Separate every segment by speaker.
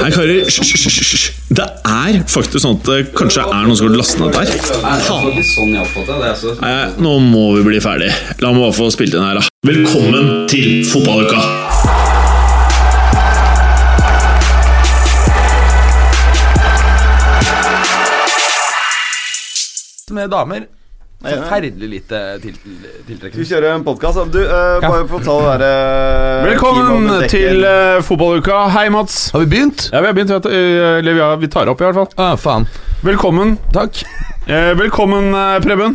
Speaker 1: Nei, karer, hysj, hysj, hysj, hysj. Det er faktisk sånn at det kanskje er noen som har lastet ned dette her. Faen. Nei, nå må vi bli ferdig. La meg bare få spilt inn her, da. Velkommen til fotballuka!
Speaker 2: med damer. Forferdelig lite til, tiltrekning.
Speaker 3: Vi kjører en podkast. Du, eh, bare få ta det eh, derre
Speaker 4: Velkommen til eh, fotballuka. Hei, Mats.
Speaker 2: Har vi begynt?
Speaker 4: Ja, vi har begynt. vet du. Eh, Eller vi, har, vi tar opp, i hvert fall.
Speaker 2: Å, faen.
Speaker 4: Velkommen.
Speaker 2: Takk.
Speaker 4: Eh, velkommen, eh, Preben.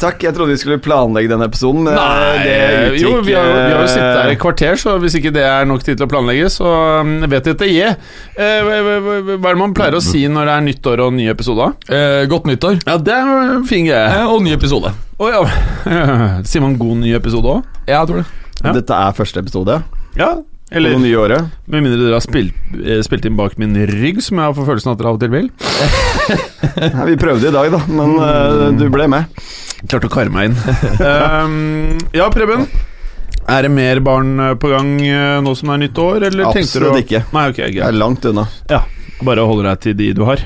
Speaker 3: Takk. Jeg trodde vi skulle planlegge den episoden. men, eh,
Speaker 4: Eh,
Speaker 3: det utgikk,
Speaker 4: jo, vi har, vi har jo sittet her
Speaker 3: eh,
Speaker 4: i kvarter, så hvis ikke det er nok tid til å planlegge, så mm, vet dette jeg. Eh, hva hva- hva- hva er det man pleier å si når det er nytt år og nye episoder?
Speaker 2: Eh, godt nyttår.
Speaker 4: Ja, det er jo en fin greie.
Speaker 2: Eh, og ny episode.
Speaker 4: Å, ja. Sier man god ny episode òg?
Speaker 2: Ja, jeg tror det.
Speaker 4: Ja.
Speaker 3: Dette er første episode
Speaker 4: Ja.
Speaker 3: på det
Speaker 4: Eller
Speaker 3: nye året.
Speaker 4: med mindre dere har spilt, eh, spilt inn bak min rygg, som jeg har for følelsen av at dere av og til vil.
Speaker 3: Nei, vi prøvde i dag, da, men eh, du ble med.
Speaker 4: Klarte å karre meg inn. Ehm, ja, Preben. Er det mer barn eh, på gang eh, nå som det er nytt år, eller tenkte du å-
Speaker 3: Absolutt ikke.
Speaker 4: Nei, ok,
Speaker 3: Jeg er
Speaker 4: greit.
Speaker 3: langt unna.
Speaker 4: Bare holder deg til de du har.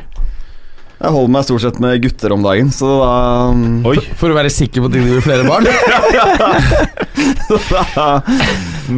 Speaker 3: Jeg holder meg stort sett med gutter om dagen, så da,
Speaker 4: Oi.
Speaker 2: For å være sikker på at det blir flere barn.
Speaker 3: da,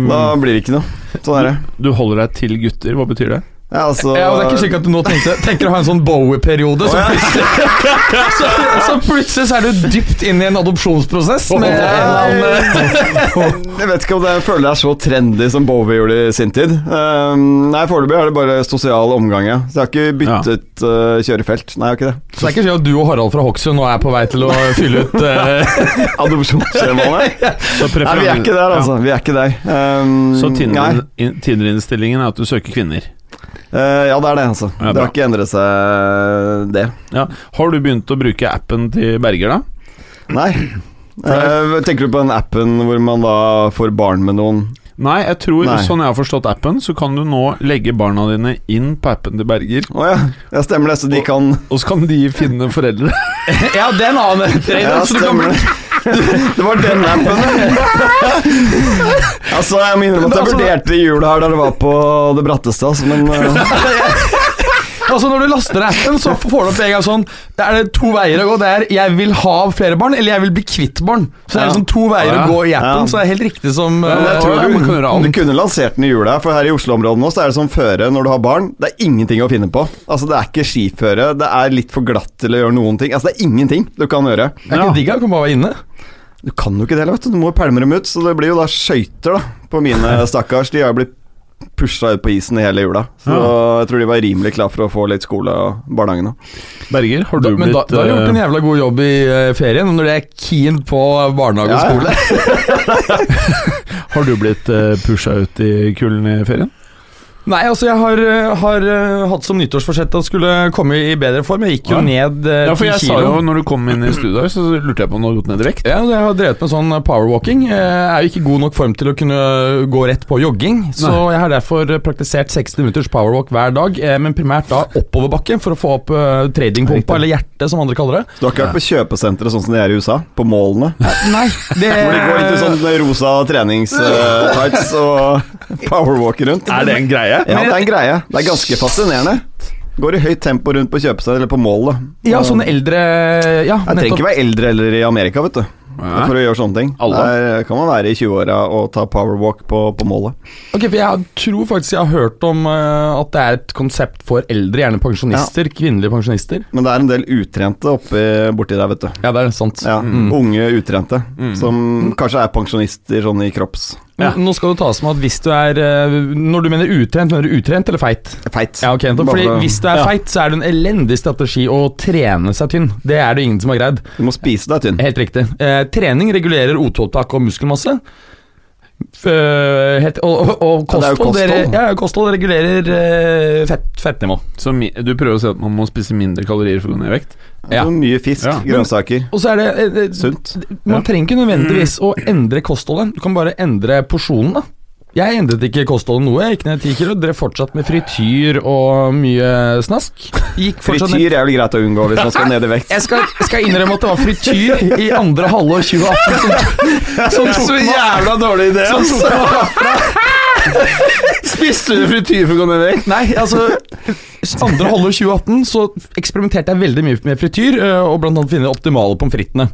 Speaker 3: da
Speaker 4: Mm.
Speaker 3: blir det ikke noe. Sånn er det.
Speaker 4: Du holder deg til gutter, hva betyr det?
Speaker 3: Ja, altså,
Speaker 2: ja, og det er ikke slik at du nå tenkte, tenker å ha en sånn Bowie-periode, så,
Speaker 3: Å, ja.
Speaker 2: plutselig- så, så plutselig så er du dypt inn i en adopsjonsprosess med en eller annen eh,
Speaker 3: Jeg vet ikke om det, jeg føler det er så trendy som Bowie gjorde i sin tid. Ehm, nei, foreløpig er det bare sosial omgang, ja. Så jeg har ikke byttet eh, kjørefelt. Nei, jeg har ikke det.
Speaker 2: Så det er ikke slik at du og Harald fra Hokksund nå er på vei til å fylle ut eh,
Speaker 3: Adopsjonsskjemaene.
Speaker 4: Så
Speaker 3: Nei, vi er ikke der, altså. Vi er ikke der. Ehm,
Speaker 4: Så
Speaker 3: nei.
Speaker 4: Tinder- in- Tinder-innstillingen er at du søker kvinner.
Speaker 3: Eh, ja, det er det, altså.
Speaker 4: Ja,
Speaker 3: det
Speaker 4: bra.
Speaker 3: har ikke endret seg, det.
Speaker 4: Ja. Har du begynt å bruke appen til Berger, da?
Speaker 3: Nei. Eh, tenker du på den appen hvor man da får barn med noen?
Speaker 4: Nei, jeg tror,
Speaker 3: Nei.
Speaker 4: sånn jeg har forstått appen, så kan du nå legge barna dine inn på appen til Berger,
Speaker 3: Å ja, ja, stemmer det. Så de kan
Speaker 4: og så kan de finne foreldre.
Speaker 2: Ja, det er en annen
Speaker 3: Ja,
Speaker 2: trend. Så du kan
Speaker 3: stemmer
Speaker 2: bli
Speaker 3: det. Det var den appen, ja. altså, jeg må innrømme at jeg
Speaker 2: Altså, det-
Speaker 3: vurderte jula her da det var på det bratteste, altså, men eh,
Speaker 2: Altså Når du laster ned appen, så får du opp en gang sånn Det er det to veier å gå. Det er 'jeg vil ha flere barn', eller 'jeg vil bli kvitt barn'. Så det er
Speaker 3: Ja.
Speaker 2: liksom to veier
Speaker 4: Ja.
Speaker 2: å gå i
Speaker 3: Ja.
Speaker 2: appen, så det er helt riktig som
Speaker 4: men
Speaker 2: eh,
Speaker 3: jeg tror
Speaker 4: ja, man kan gjøre
Speaker 3: du, du
Speaker 4: annet.
Speaker 3: kunne lansert den i jula, for her i Oslo-området nå så er det som føre når du har barn. Det er ingenting å finne på. Altså, det er ikke skiføre, det er litt for glatt til å gjøre noen ting. Altså, det er ingenting du kan gjøre.
Speaker 2: Det er
Speaker 4: Ja.
Speaker 2: ikke digg å bare være inne.
Speaker 3: Du kan jo ikke det, vet du. Du må jo pælme dem ut, så det blir jo da skøyter, da, på mine stakkars. De har jo blitt pusha ut på isen i hele jula, så jeg tror de var rimelig klar for å få litt skole og barnehagen nå.
Speaker 4: Berger, har
Speaker 2: Da,
Speaker 4: du
Speaker 2: men da,
Speaker 4: blitt
Speaker 2: da har du gjort en
Speaker 4: eh,
Speaker 2: jævla god jobb i eh, ferien, når du er keen på barnehage og
Speaker 3: Ja, ja.
Speaker 2: skole.
Speaker 4: Har du blitt eh, pusha ut i kulden i ferien?
Speaker 2: Nei, altså jeg har, eh, har eh, hatt som nyttårsforsett å skulle komme i bedre form. Jeg gikk jo
Speaker 4: Ja.
Speaker 2: ned eh,
Speaker 4: Ja, for jeg
Speaker 2: 10
Speaker 4: sa
Speaker 2: kilo.
Speaker 4: jo når du kom inn i studio her, så lurte jeg på om du hadde gått ned i vekt.
Speaker 2: Ja, jeg har drevet med sånn powerwalking. Jeg er jo ikke god nok form til å kunne eh, gå rett på jogging, så
Speaker 4: Nei.
Speaker 2: jeg har derfor eh, praktisert 60 minutters powerwalk hver dag, eh, men primært da oppoverbakke for å få opp eh, tradingpumpa, eller hjertet som andre kaller det.
Speaker 3: Du har ikke vært på kjøpesenteret sånn som de er i USA? På målene?
Speaker 2: Nei, det
Speaker 3: Hvor de går litt i sånn rosa treningstights og powerwalk rundt?
Speaker 4: Er det en greie?
Speaker 3: Ja, det er en greie. Det er ganske fascinerende. Går i høyt tempo rundt på kjøpesenteret eller på mål, da.
Speaker 2: Ja,
Speaker 4: sånn-
Speaker 2: sånne eldre Ja,
Speaker 3: Jeg trenger ikke være eldre eller i Amerika, vet du.
Speaker 4: Nei.
Speaker 3: For å gjøre sånne ting.
Speaker 4: Alle.
Speaker 3: Der eh, kan man være i 20-åra og ta powerwalk på, på målet.
Speaker 2: Ok, for Jeg tror faktisk jeg har hørt om eh, at det er et konsept for eldre, gjerne pensjonister. Kvinnelige pensjonister.
Speaker 3: Men det er en del utrente oppi, borti der, vet du.
Speaker 2: Ja, det er sant.
Speaker 3: Ja,
Speaker 4: Mm.
Speaker 3: Unge utrente. Som kanskje er pensjonister sånn i kropps...
Speaker 2: Men Nå skal det tas med at hvis du er eh, Når du mener utrent, mener du utrent eller feit?
Speaker 3: Feit.
Speaker 2: Ja, ok, nettopp,
Speaker 3: Bare
Speaker 2: fordi
Speaker 3: for å-
Speaker 2: Hvis du er
Speaker 4: Ja.
Speaker 2: feit, så er det en elendig strategi å trene seg tynn. Det er det ingen som har greid.
Speaker 3: Du må spise deg tynn.
Speaker 2: Helt riktig. Eh, trening regulerer O2-opptak og muskelmasse. F- eh, helt, og, og, og
Speaker 3: Ja, det er jo
Speaker 2: kosthold, dere-
Speaker 3: kosthold.
Speaker 2: ja, kosthold regulerer eh, fett, fettnivå.
Speaker 4: Så mi, du prøver å si at man må spise mindre kalorier for å gå ned i vekt?
Speaker 2: Ja.
Speaker 3: Så Mye fisk,
Speaker 4: Ja.
Speaker 3: grønnsaker.
Speaker 2: Og så er det eh, eh,
Speaker 3: Sunt.
Speaker 2: Man trenger ikke nødvendigvis
Speaker 4: Mm.
Speaker 2: å endre kostholdet. Du kan bare endre porsjonen, da. Jeg endret ikke kostholdet noe. Jeg gikk ned 10 kilo, drev fortsatt med frityr og mye snask. Gikk fortsatt ned
Speaker 3: Frityr er vel greit å unngå hvis man skal ned i vekt.
Speaker 2: Jeg skal, skal innrømme at det var frityr i andre halvår 2018 som, som tok meg
Speaker 4: jævla dårlig idé! altså.
Speaker 2: som tok meg herfra.
Speaker 4: Spiste du frityr for å gå ned i vekt?
Speaker 2: Nei, altså Andre halvår 2018 så eksperimenterte jeg veldig mye med frityr, eh, og blant annet finne de optimale pommes fritene.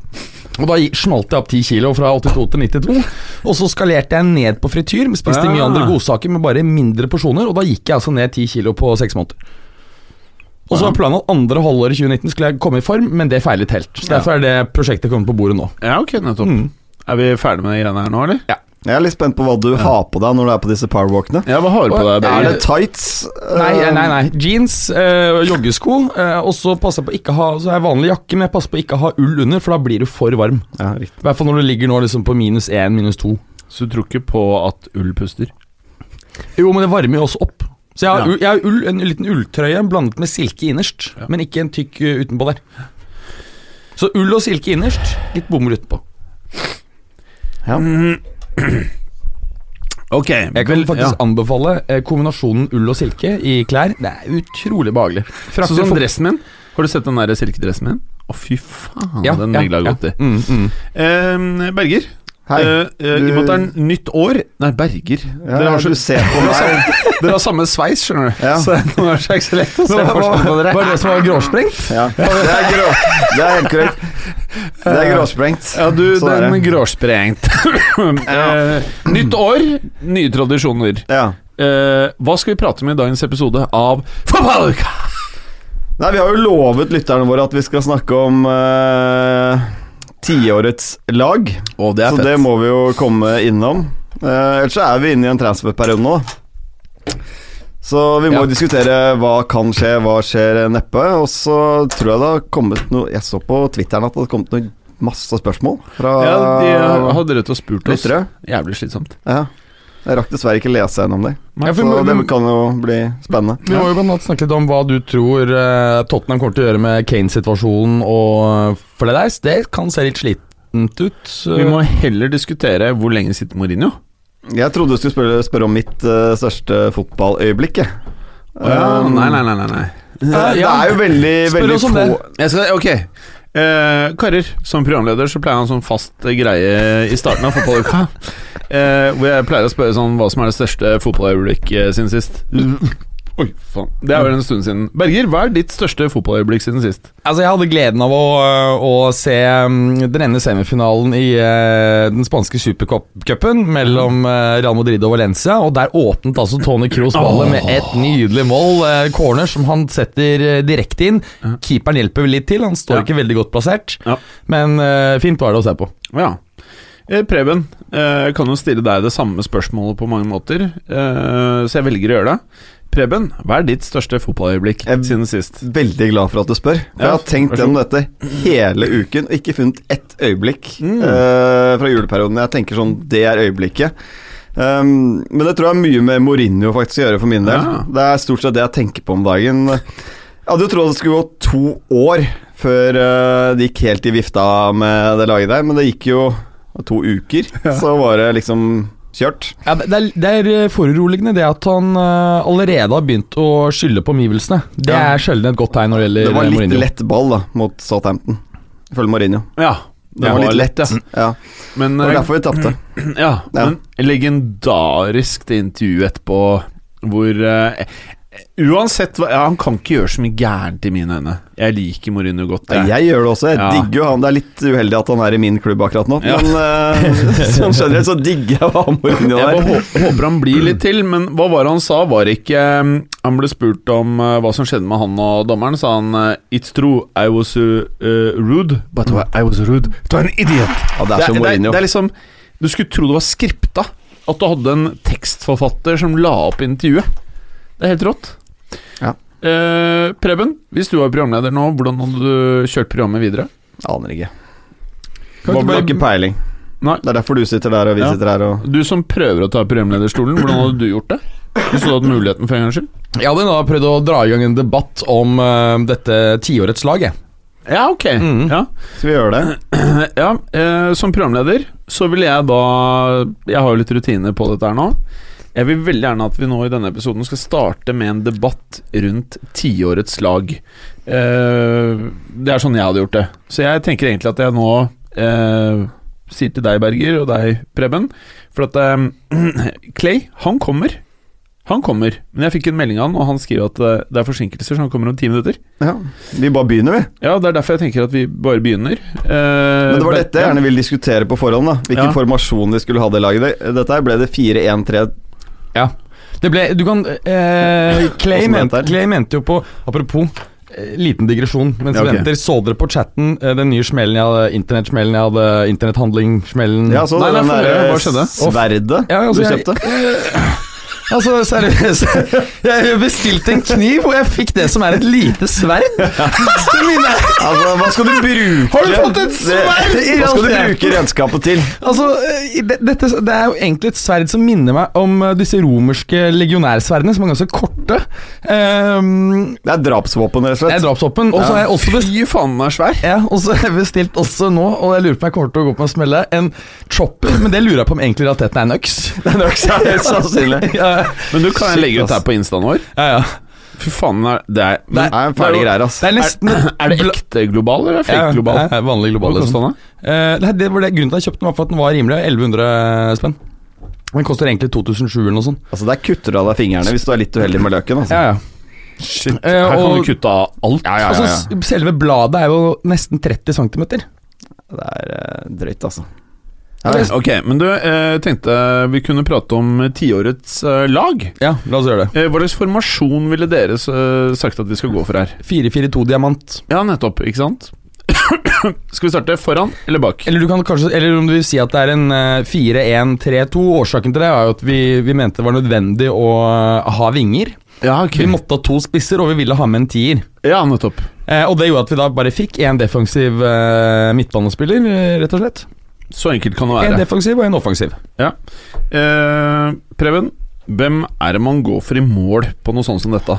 Speaker 2: Og da gi- smalt jeg opp 10 kilo fra 82 til 92, og så skalerte jeg ned på frityr. Spiste mye
Speaker 1: Ah.
Speaker 2: andre godsaker, men bare mindre porsjoner, og da gikk jeg altså ned 10 kilo på 6 måneder. Og så var planen at andre halvår i 2019 skulle jeg komme i form, men det feilet helt. Så derfor er det prosjektet kommet på bordet nå.
Speaker 4: Ja, ok, nettopp.
Speaker 2: Mm.
Speaker 4: Er vi ferdige med de greiene her nå, eller?
Speaker 3: Jeg er litt spent på hva du har på deg når du er på disse powerwalkene.
Speaker 4: Ja, hva har du på
Speaker 2: Å,
Speaker 4: deg?
Speaker 2: ja,
Speaker 4: Birger?
Speaker 3: Er det tights? eh?
Speaker 2: Nei,
Speaker 4: Um,
Speaker 2: nei, nei. Jeans, eh, joggesko, eh, og så passer jeg på ikke å ha Så har jeg vanlig jakke, men jeg passer på ikke å ha ull under, for da blir du for varm.
Speaker 3: Ja, riktig.
Speaker 2: I hvert fall når du ligger nå liksom på minus én, minus to.
Speaker 4: Så du tror ikke på at ull puster?
Speaker 2: Jo, men det varmer jo også opp. Så jeg har,
Speaker 4: Ja.
Speaker 2: ull, jeg har ull, en liten ulltrøye blandet med silke innerst,
Speaker 4: Ja.
Speaker 2: men ikke en tykk eh, utenpå der. Så ull og silke innerst, litt bomull utenpå.
Speaker 3: Ja.
Speaker 4: Mm. Ok.
Speaker 2: Jeg kan
Speaker 4: vel, ja.
Speaker 2: faktisk anbefale eh, kombinasjonen ull og silke i klær. Det er utrolig behagelig. Frakter
Speaker 4: Sånn som
Speaker 2: folk-
Speaker 4: dressen min. Har du sett den der silkedressen min? Å, fy faen,
Speaker 2: Ja,
Speaker 4: den
Speaker 2: ja,
Speaker 4: negla
Speaker 2: ja.
Speaker 4: godt i.
Speaker 2: Mm, mm.
Speaker 4: Eh, Berger,
Speaker 3: Hei.
Speaker 4: eh, eh, i
Speaker 3: Du-
Speaker 4: og med at det er nytt år Nei, Berger.
Speaker 3: Ja,
Speaker 4: dere, har
Speaker 3: du
Speaker 4: så,
Speaker 3: ser på meg.
Speaker 4: dere har samme sveis, skjønner du.
Speaker 3: Ja.
Speaker 4: Så nå er det ikke så lett å se
Speaker 2: Hva-
Speaker 4: forskjell på
Speaker 2: hva-
Speaker 4: dere.
Speaker 2: hva er det som var gråsprengt?
Speaker 3: Ja. Det, er grå. det er helt korrekt. Det er gråsprengt.
Speaker 4: Ja, du,
Speaker 3: Sånn er
Speaker 4: den
Speaker 3: det.
Speaker 4: gråsprengt. Eh, nytt år, nye tradisjoner.
Speaker 3: Ja.
Speaker 4: Eh, hva skal vi prate om i dagens episode av Fotballuka?
Speaker 3: Nei, vi har jo lovet lytterne våre at vi skal snakke om eh, tiårets lag.
Speaker 4: Oh, det
Speaker 3: så det må vi jo komme innom. Eh, ellers så er vi inne i en transferperiode nå. Så vi må
Speaker 2: Ja.
Speaker 3: diskutere hva kan skje, hva skjer neppe. Og så tror jeg det har kommet noe Jeg så på Twitteren at det hadde kommet noe, masse spørsmål fra
Speaker 4: Ja, de har- hadde rett og spurt oss.
Speaker 3: lyttere.
Speaker 4: Jævlig slitsomt.
Speaker 3: Ja. Jeg rakk dessverre ikke lese gjennom det.
Speaker 2: Ja, for
Speaker 3: Så
Speaker 2: vi må-
Speaker 3: det
Speaker 2: vi-
Speaker 3: kan jo bli spennende.
Speaker 2: Vi må jo blant annet snakke litt om hva du tror eh, Tottenham kommer til å gjøre med Kane-situasjonen og eh, for det der. Det kan se litt slitent ut.
Speaker 4: Vi må heller diskutere hvor lenge sitter Mourinho.
Speaker 3: Jeg trodde du skulle spørre, spørre om mitt eh, største fotballøyeblikk. jeg.
Speaker 4: Eh,
Speaker 3: Um,
Speaker 4: nei, nei, nei, nei, nei.
Speaker 2: Eh,
Speaker 3: Det
Speaker 2: ja.
Speaker 3: er jo veldig,
Speaker 2: Spør
Speaker 3: veldig
Speaker 2: oss om
Speaker 3: få
Speaker 2: det.
Speaker 4: Jeg skal, ok Eh, Karer, som programleder så pleier han sånn fast eh, greie i starten av fotballuka. Eh, hvor jeg pleier å spørre sånn hva som er det største fotballøyeblikket siden sist. Oi, faen. Det er vel en stund siden. Berger, hva er ditt største fotballøyeblikk siden sist?
Speaker 2: Altså, jeg hadde gleden av å, eh, å se mm, den ene semifinalen i eh, den spanske supercupen mellom eh, Real Madrid og Valencia, og der åpnet altså Tony Kroos ballet med et nydelig mål. eh, corner som han setter eh, direkte inn. Keeperen hjelper vel litt til, han står
Speaker 4: Ja.
Speaker 2: ikke veldig godt plassert,
Speaker 4: Ja.
Speaker 2: men eh, fint var det å se på.
Speaker 4: Ja. Eh, Preben, eh, jeg kan jo stille deg det samme spørsmålet på mange måter, eh, så jeg velger å gjøre det. Preben, hva er ditt største fotballøyeblikk
Speaker 3: Jeg-
Speaker 4: siden sist?
Speaker 3: Veldig glad for at du spør. For
Speaker 4: Ja,
Speaker 3: Jeg har tenkt
Speaker 4: vær så
Speaker 3: gjennom dette hele uken og ikke funnet ett øyeblikk
Speaker 4: Mm.
Speaker 3: eh, fra juleperioden. Jeg tenker sånn Det er øyeblikket. Um, men det tror jeg har mye med Mourinho faktisk å gjøre for min del.
Speaker 4: Ja.
Speaker 3: Det er stort sett det jeg tenker på om dagen. Jeg hadde jo trodd det skulle gå to år før eh, det gikk helt i vifta med det laget der, men det gikk jo to uker. Så var det liksom kjørt.
Speaker 2: Ja, det, det er, det er eh, foruroligende det at han eh, allerede har begynt å skylde på omgivelsene. Det
Speaker 3: Ja.
Speaker 2: er sjelden et godt tegn når det gjelder
Speaker 3: Det var
Speaker 2: eh,
Speaker 3: litt
Speaker 2: Mourinho.
Speaker 3: lett ball da mot Southampton, ifølge Mourinho.
Speaker 4: Ja,
Speaker 3: Det var litt lett,
Speaker 4: ja.
Speaker 3: ja.
Speaker 4: Men,
Speaker 3: Det var
Speaker 4: eh,
Speaker 3: derfor vi tapte.
Speaker 4: Ja,
Speaker 3: Ja.
Speaker 4: men legendarisk det intervjuet etterpå hvor eh, Uansett hva ja, Han kan ikke gjøre så mye gærent i mine øyne. Jeg liker Mourinho godt.
Speaker 3: Ja, jeg gjør det også. Jeg
Speaker 4: Ja.
Speaker 3: digger jo han. Det er litt uheldig at han er i min klubb akkurat nå,
Speaker 4: Ja.
Speaker 3: men eh, sånn generelt så digger jeg hva han Mourinho
Speaker 4: Jeg bare
Speaker 3: der.
Speaker 4: hå- håper han blir litt til, men hva var det han sa? Var det ikke eh, Han ble spurt om eh, hva som skjedde med han og dommeren. Sa han eh, It's true, I was uh, uh, rude, but I was rude to an idiot.
Speaker 3: Ja, det
Speaker 4: det,
Speaker 3: er som
Speaker 4: er,
Speaker 3: Mourinho.
Speaker 4: det er liksom Du skulle tro det var skripta. At du hadde en tekstforfatter som la opp intervjuet. Det er helt rått.
Speaker 3: Ja.
Speaker 4: Eh, Preben, hvis du var programleder nå, hvordan hadde du kjørt programmet videre?
Speaker 3: Aner ikke.
Speaker 2: Kan
Speaker 3: Var
Speaker 2: ikke
Speaker 3: vel
Speaker 2: bare-
Speaker 3: ikke peiling.
Speaker 4: Nei.
Speaker 3: Det er derfor du sitter der, og vi
Speaker 4: Ja.
Speaker 3: sitter her, og
Speaker 4: Du som prøver å ta programlederstolen, hvordan hadde du gjort det? Hvis du hadde hatt muligheten for en gangs skyld?
Speaker 2: Jeg hadde da prøvd å dra i gang en debatt om eh, dette tiårets lag, jeg.
Speaker 4: Ja, ok.
Speaker 2: Mm.
Speaker 4: Ja.
Speaker 3: Skal vi gjøre det?
Speaker 4: ja eh, som programleder så vil jeg da Jeg har jo litt rutiner på dette her nå. Jeg vil veldig gjerne at vi nå i denne episoden skal starte med en debatt rundt tiårets lag. Eh, det er sånn jeg hadde gjort det. Så jeg tenker egentlig at jeg nå eh, sier til deg, Berger, og deg, Preben. For at eh, Clay, han kommer. Han kommer. Men jeg fikk en melding av han, og han skriver at eh, det er forsinkelser, så han kommer om ti minutter.
Speaker 3: Ja, Vi bare begynner, vi.
Speaker 4: Ja, det er derfor jeg tenker at vi bare begynner. Eh,
Speaker 3: Men det var dette jeg gjerne ville diskutere på forhånd. da Hvilken
Speaker 4: Ja.
Speaker 3: formasjon de skulle ha det laget. i. Dette her ble det 4-1-3.
Speaker 2: Ja. Det ble Du kan eh, Clay,
Speaker 3: Åssen mente
Speaker 2: mente,
Speaker 3: han?
Speaker 2: Clay mente jo på Apropos eh, Liten digresjon mens
Speaker 4: Ja, ok.
Speaker 2: vi venter. Så dere på chatten eh, den nye smellen jeg hadde? Internettsmellen jeg hadde? Internetthandling-smellen?
Speaker 3: Ja, så
Speaker 4: Nei, nei,
Speaker 3: den
Speaker 4: få høre, hva
Speaker 3: der eh,
Speaker 4: skjedde?
Speaker 3: sverdet
Speaker 2: Ja, altså,
Speaker 3: du
Speaker 2: jeg-
Speaker 3: kjøpte.
Speaker 2: Altså, seriøst Jeg bestilte en kniv, og jeg fikk det som er et lite sverd. Det minner
Speaker 3: Altså, hva skal du bruke
Speaker 2: Har du fått et sverd?
Speaker 3: Det- Hva skal du bruke redskapet til?
Speaker 2: Altså, eh, det, dette, det er jo egentlig et sverd som minner meg om eh, disse romerske legionærsverdene, som er ganske korte. Ehm,
Speaker 3: Det er drapsvåpen, rett og
Speaker 2: det er
Speaker 3: slett.
Speaker 2: drapsvåpen. Og så har jeg også best-
Speaker 4: Fy faen, den er svær.
Speaker 2: ja, og så har jeg bestilt også nå, og jeg lurer på om jeg kommer til å gå på en smelle, en chopper. Men det lurer jeg på om egentlig i realiteten er en øks.
Speaker 3: Det er nok så høyst sannsynlig.
Speaker 2: Ja,
Speaker 4: Men du kan jeg
Speaker 3: Shit,
Speaker 4: legge ut
Speaker 3: ass.
Speaker 4: her på instaen vår.
Speaker 2: ja, ja.
Speaker 4: Fy faen, den er, det er, men,
Speaker 3: Det er en fæle greier, ass.
Speaker 2: Det er nesten
Speaker 4: er det ekte global, eller er det
Speaker 2: Ja,
Speaker 4: fake global?
Speaker 2: ja, ja, vanlig global.
Speaker 4: Hva koster
Speaker 2: liksom.
Speaker 4: den, da?
Speaker 2: Eh, nei, det var det grunnen til at jeg kjøpte den, var for at den var rimelig. 1100 spenn. Den koster egentlig 2007 eller noe sånt.
Speaker 3: Altså, der kutter du av deg fingrene hvis du er litt uheldig med løken. Altså.
Speaker 2: Ja, ja.
Speaker 4: Shit,
Speaker 2: Eh,
Speaker 4: her kan
Speaker 2: og-
Speaker 4: du kutte av alt.
Speaker 3: Ja, ja,
Speaker 2: Altså,
Speaker 3: ja, ja.
Speaker 2: s- selve bladet er jo nesten 30 cm.
Speaker 3: Det er eh, drøyt, altså.
Speaker 4: Ok, men du, eh, tenkte vi kunne prate om eh, tiårets eh, lag.
Speaker 2: Ja, la oss gjøre det.
Speaker 4: Eh, hva slags formasjon ville dere eh, sagt at vi skal gå for her?
Speaker 2: 442 diamant.
Speaker 4: Ja, nettopp, ikke sant? skal vi starte foran eller bak?
Speaker 2: Eller, du kan kanskje, eller om du vil si at det er en eh, 4-1-3-2. Årsaken til det er jo at vi, vi mente det var nødvendig å eh, ha vinger.
Speaker 4: Ja, ok.
Speaker 2: Vi måtte ha to spisser, og vi ville ha med en tier.
Speaker 4: Ja, nettopp.
Speaker 2: Eh, og det gjorde at vi da bare fikk én defensiv eh, midtbanespiller, eh, rett og slett.
Speaker 4: Så enkelt kan det
Speaker 2: En
Speaker 4: være.
Speaker 2: defensiv og en offensiv.
Speaker 4: Ja. Eh, Preben, hvem er det man går for i mål på noe sånt som dette?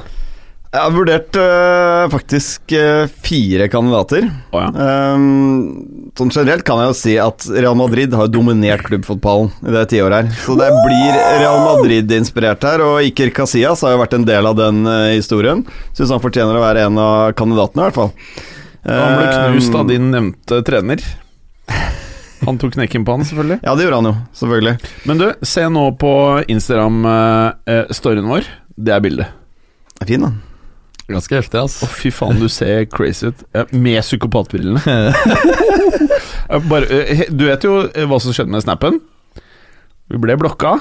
Speaker 3: Jeg har vurdert eh, faktisk eh, fire kandidater.
Speaker 4: Å ja.
Speaker 3: Ehm, sånn generelt kan jeg jo si at Real Madrid har jo dominert klubbfotballen i det tiåret her. Så det blir Real Madrid-inspirert her, og Iker Casillas har jo vært en del av den eh, historien. Syns han fortjener å være en av kandidatene, i hvert fall.
Speaker 4: Han ble knust av
Speaker 3: Ehm,
Speaker 4: din nevnte trener. Han tok knekken på han, selvfølgelig.
Speaker 3: Ja, det gjorde han jo, selvfølgelig.
Speaker 4: Men du, se nå på Instagram-storyen vår. Det er bildet.
Speaker 3: Det er Fin, da.
Speaker 2: Ganske heftig, ass.
Speaker 4: Å, fy faen, du ser crazy ut. Ja, Med psykopatbrillene. Ja, Bare, eh, he- du vet jo eh, hva som skjedde med snappen. Vi ble blokka.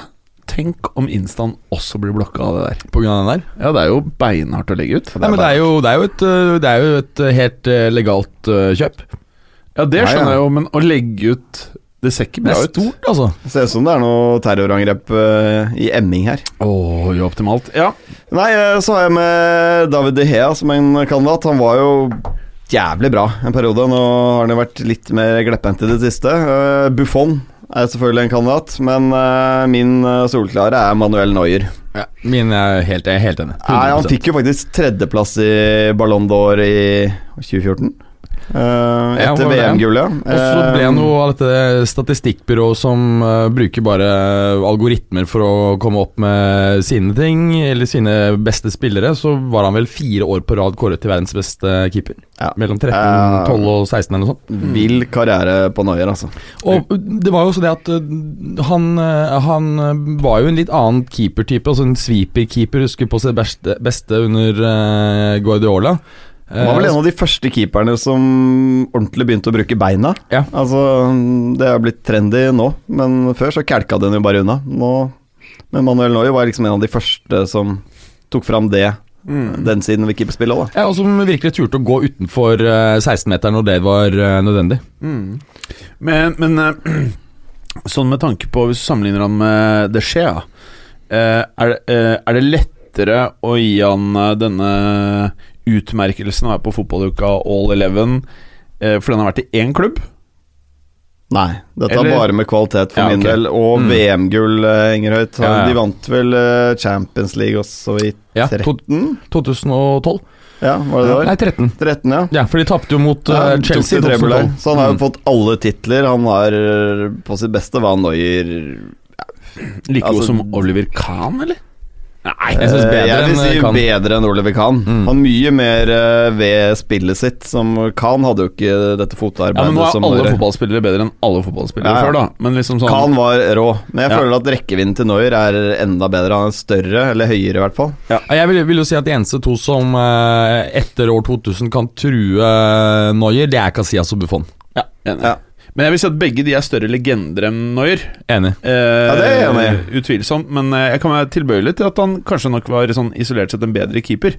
Speaker 4: Tenk om Instaen også blir blokka av det der.
Speaker 2: På grunn av den der.
Speaker 4: Ja, det er jo beinhardt å legge ut.
Speaker 2: Nei, men det er jo, det er jo, et, eh, det er jo et eh, helt eh, legalt eh, kjøp.
Speaker 4: Ja, det
Speaker 3: Ja, ja.
Speaker 4: skjønner jeg jo, men å legge ut Det ser ikke
Speaker 2: Det
Speaker 4: bra
Speaker 2: er
Speaker 4: ut.
Speaker 2: stort, altså.
Speaker 3: Ser ut som det er noe terrorangrep eh, i Emming her.
Speaker 4: Å, uoptimalt. Ja.
Speaker 3: Nei, eh, så har jeg med David De Gea som en kandidat. Han var jo jævlig bra en periode. Nå har han jo vært litt mer glepphendt i det siste. Eh, Buffon er selvfølgelig en kandidat, men eh, min eh, soleklare er Manuel Neuer.
Speaker 2: Min er helt, jeg er helt enig.
Speaker 3: Nei, han fikk jo faktisk tredjeplass i Ballon d'Or i 2014. eh,
Speaker 2: Ja,
Speaker 3: etter
Speaker 2: var det det?
Speaker 3: VM-gullet. Eh,
Speaker 2: Og så ble han jo av dette statistikkbyrået som eh, bruker bare algoritmer for å komme opp med sine ting, eller sine beste spillere, så var han vel fire år på rad kåret til verdens beste keeper.
Speaker 3: Ja.
Speaker 2: Mellom 13,
Speaker 3: Ja.
Speaker 2: 12 og 16 eller noe sånt.
Speaker 3: Eh, Vill karriere på Neuer, altså.
Speaker 2: Og det var jo også det at eh, han, eh, han eh, var jo en litt annen keepertype, altså en sweeperkeeper, husker på sitt beste, beste under eh, Guardiola. Eh,
Speaker 3: Han var vel en av de første keeperne som ordentlig begynte å bruke beina.
Speaker 2: Ja.
Speaker 3: Altså, Det er blitt trendy nå, men før så kælka den jo bare unna. Nå, men Manuel Neuer var liksom en av de første som tok fram det,
Speaker 4: Mm.
Speaker 3: den siden ved keeperspillet òg, da.
Speaker 2: ja, og som virkelig turte å gå utenfor eh, 16-meteren når det var eh, nødvendig.
Speaker 4: Mm. Men, men eh, sånn med tanke på Hvis du sammenligner han med De Gea eh, er, det- eh, er det lettere å gi han eh, denne utmerkelsen å være på fotballuka All Eleven eh, fordi han har vært i én klubb?
Speaker 3: Nei, dette
Speaker 4: Eller-
Speaker 3: er bare med kvalitet for
Speaker 4: Ja,
Speaker 3: min
Speaker 4: ok.
Speaker 3: del. Og
Speaker 4: Mm.
Speaker 3: VM-gull, eh, henger høyt.
Speaker 2: Ja, ja.
Speaker 3: De vant vel eh, Champions League også i
Speaker 2: Ja, to-
Speaker 3: 13?
Speaker 2: 2012?
Speaker 3: Ja, var det det var?
Speaker 2: Nei, 13.
Speaker 3: 13, ja.
Speaker 2: Ja, for de tapte jo mot
Speaker 3: Ja,
Speaker 2: eh,
Speaker 3: han tok
Speaker 2: Chelsea i
Speaker 3: det trebel der.
Speaker 2: 2012.
Speaker 3: Så han har jo
Speaker 2: Mm.
Speaker 3: fått alle titler. Han har eh, på sitt beste hva Neuer
Speaker 4: Like
Speaker 3: Altså-
Speaker 4: god som Oliver Kahn, eller?
Speaker 2: Nei, jeg synes
Speaker 3: Eh,
Speaker 2: bedre
Speaker 3: jeg vil
Speaker 2: enn
Speaker 3: si
Speaker 2: Kan.
Speaker 3: bedre enn Oliver Kahn.
Speaker 4: Mm.
Speaker 3: Han mye mer eh, ved spillet sitt. Som Kahn hadde jo ikke dette
Speaker 4: Ja,
Speaker 3: fotarbeidet
Speaker 4: men Nå er
Speaker 3: som
Speaker 4: alle
Speaker 3: Neuer.
Speaker 4: fotballspillere bedre enn alle fotballspillere
Speaker 3: Ja, ja.
Speaker 4: før, da. Men liksom sånn
Speaker 3: Kahn var rå. Men jeg
Speaker 4: Ja.
Speaker 3: føler at rekkevidden til Neuer er enda bedre. Han er større, eller høyere i hvert fall.
Speaker 2: Ja, Jeg vil, vil jo si at de eneste to som eh, etter år 2000 kan true eh, Neuer, det er Casillas og Buffon.
Speaker 4: Ja, enig.
Speaker 3: Ja.
Speaker 4: Men jeg vil si at begge de er større legender enn Neuer.
Speaker 2: Enig.
Speaker 4: Eh,
Speaker 3: det er jeg enig
Speaker 4: Utvilsomt. Men eh, jeg kan være tilbøyelig til at han kanskje nok var sånn isolert sett en bedre keeper.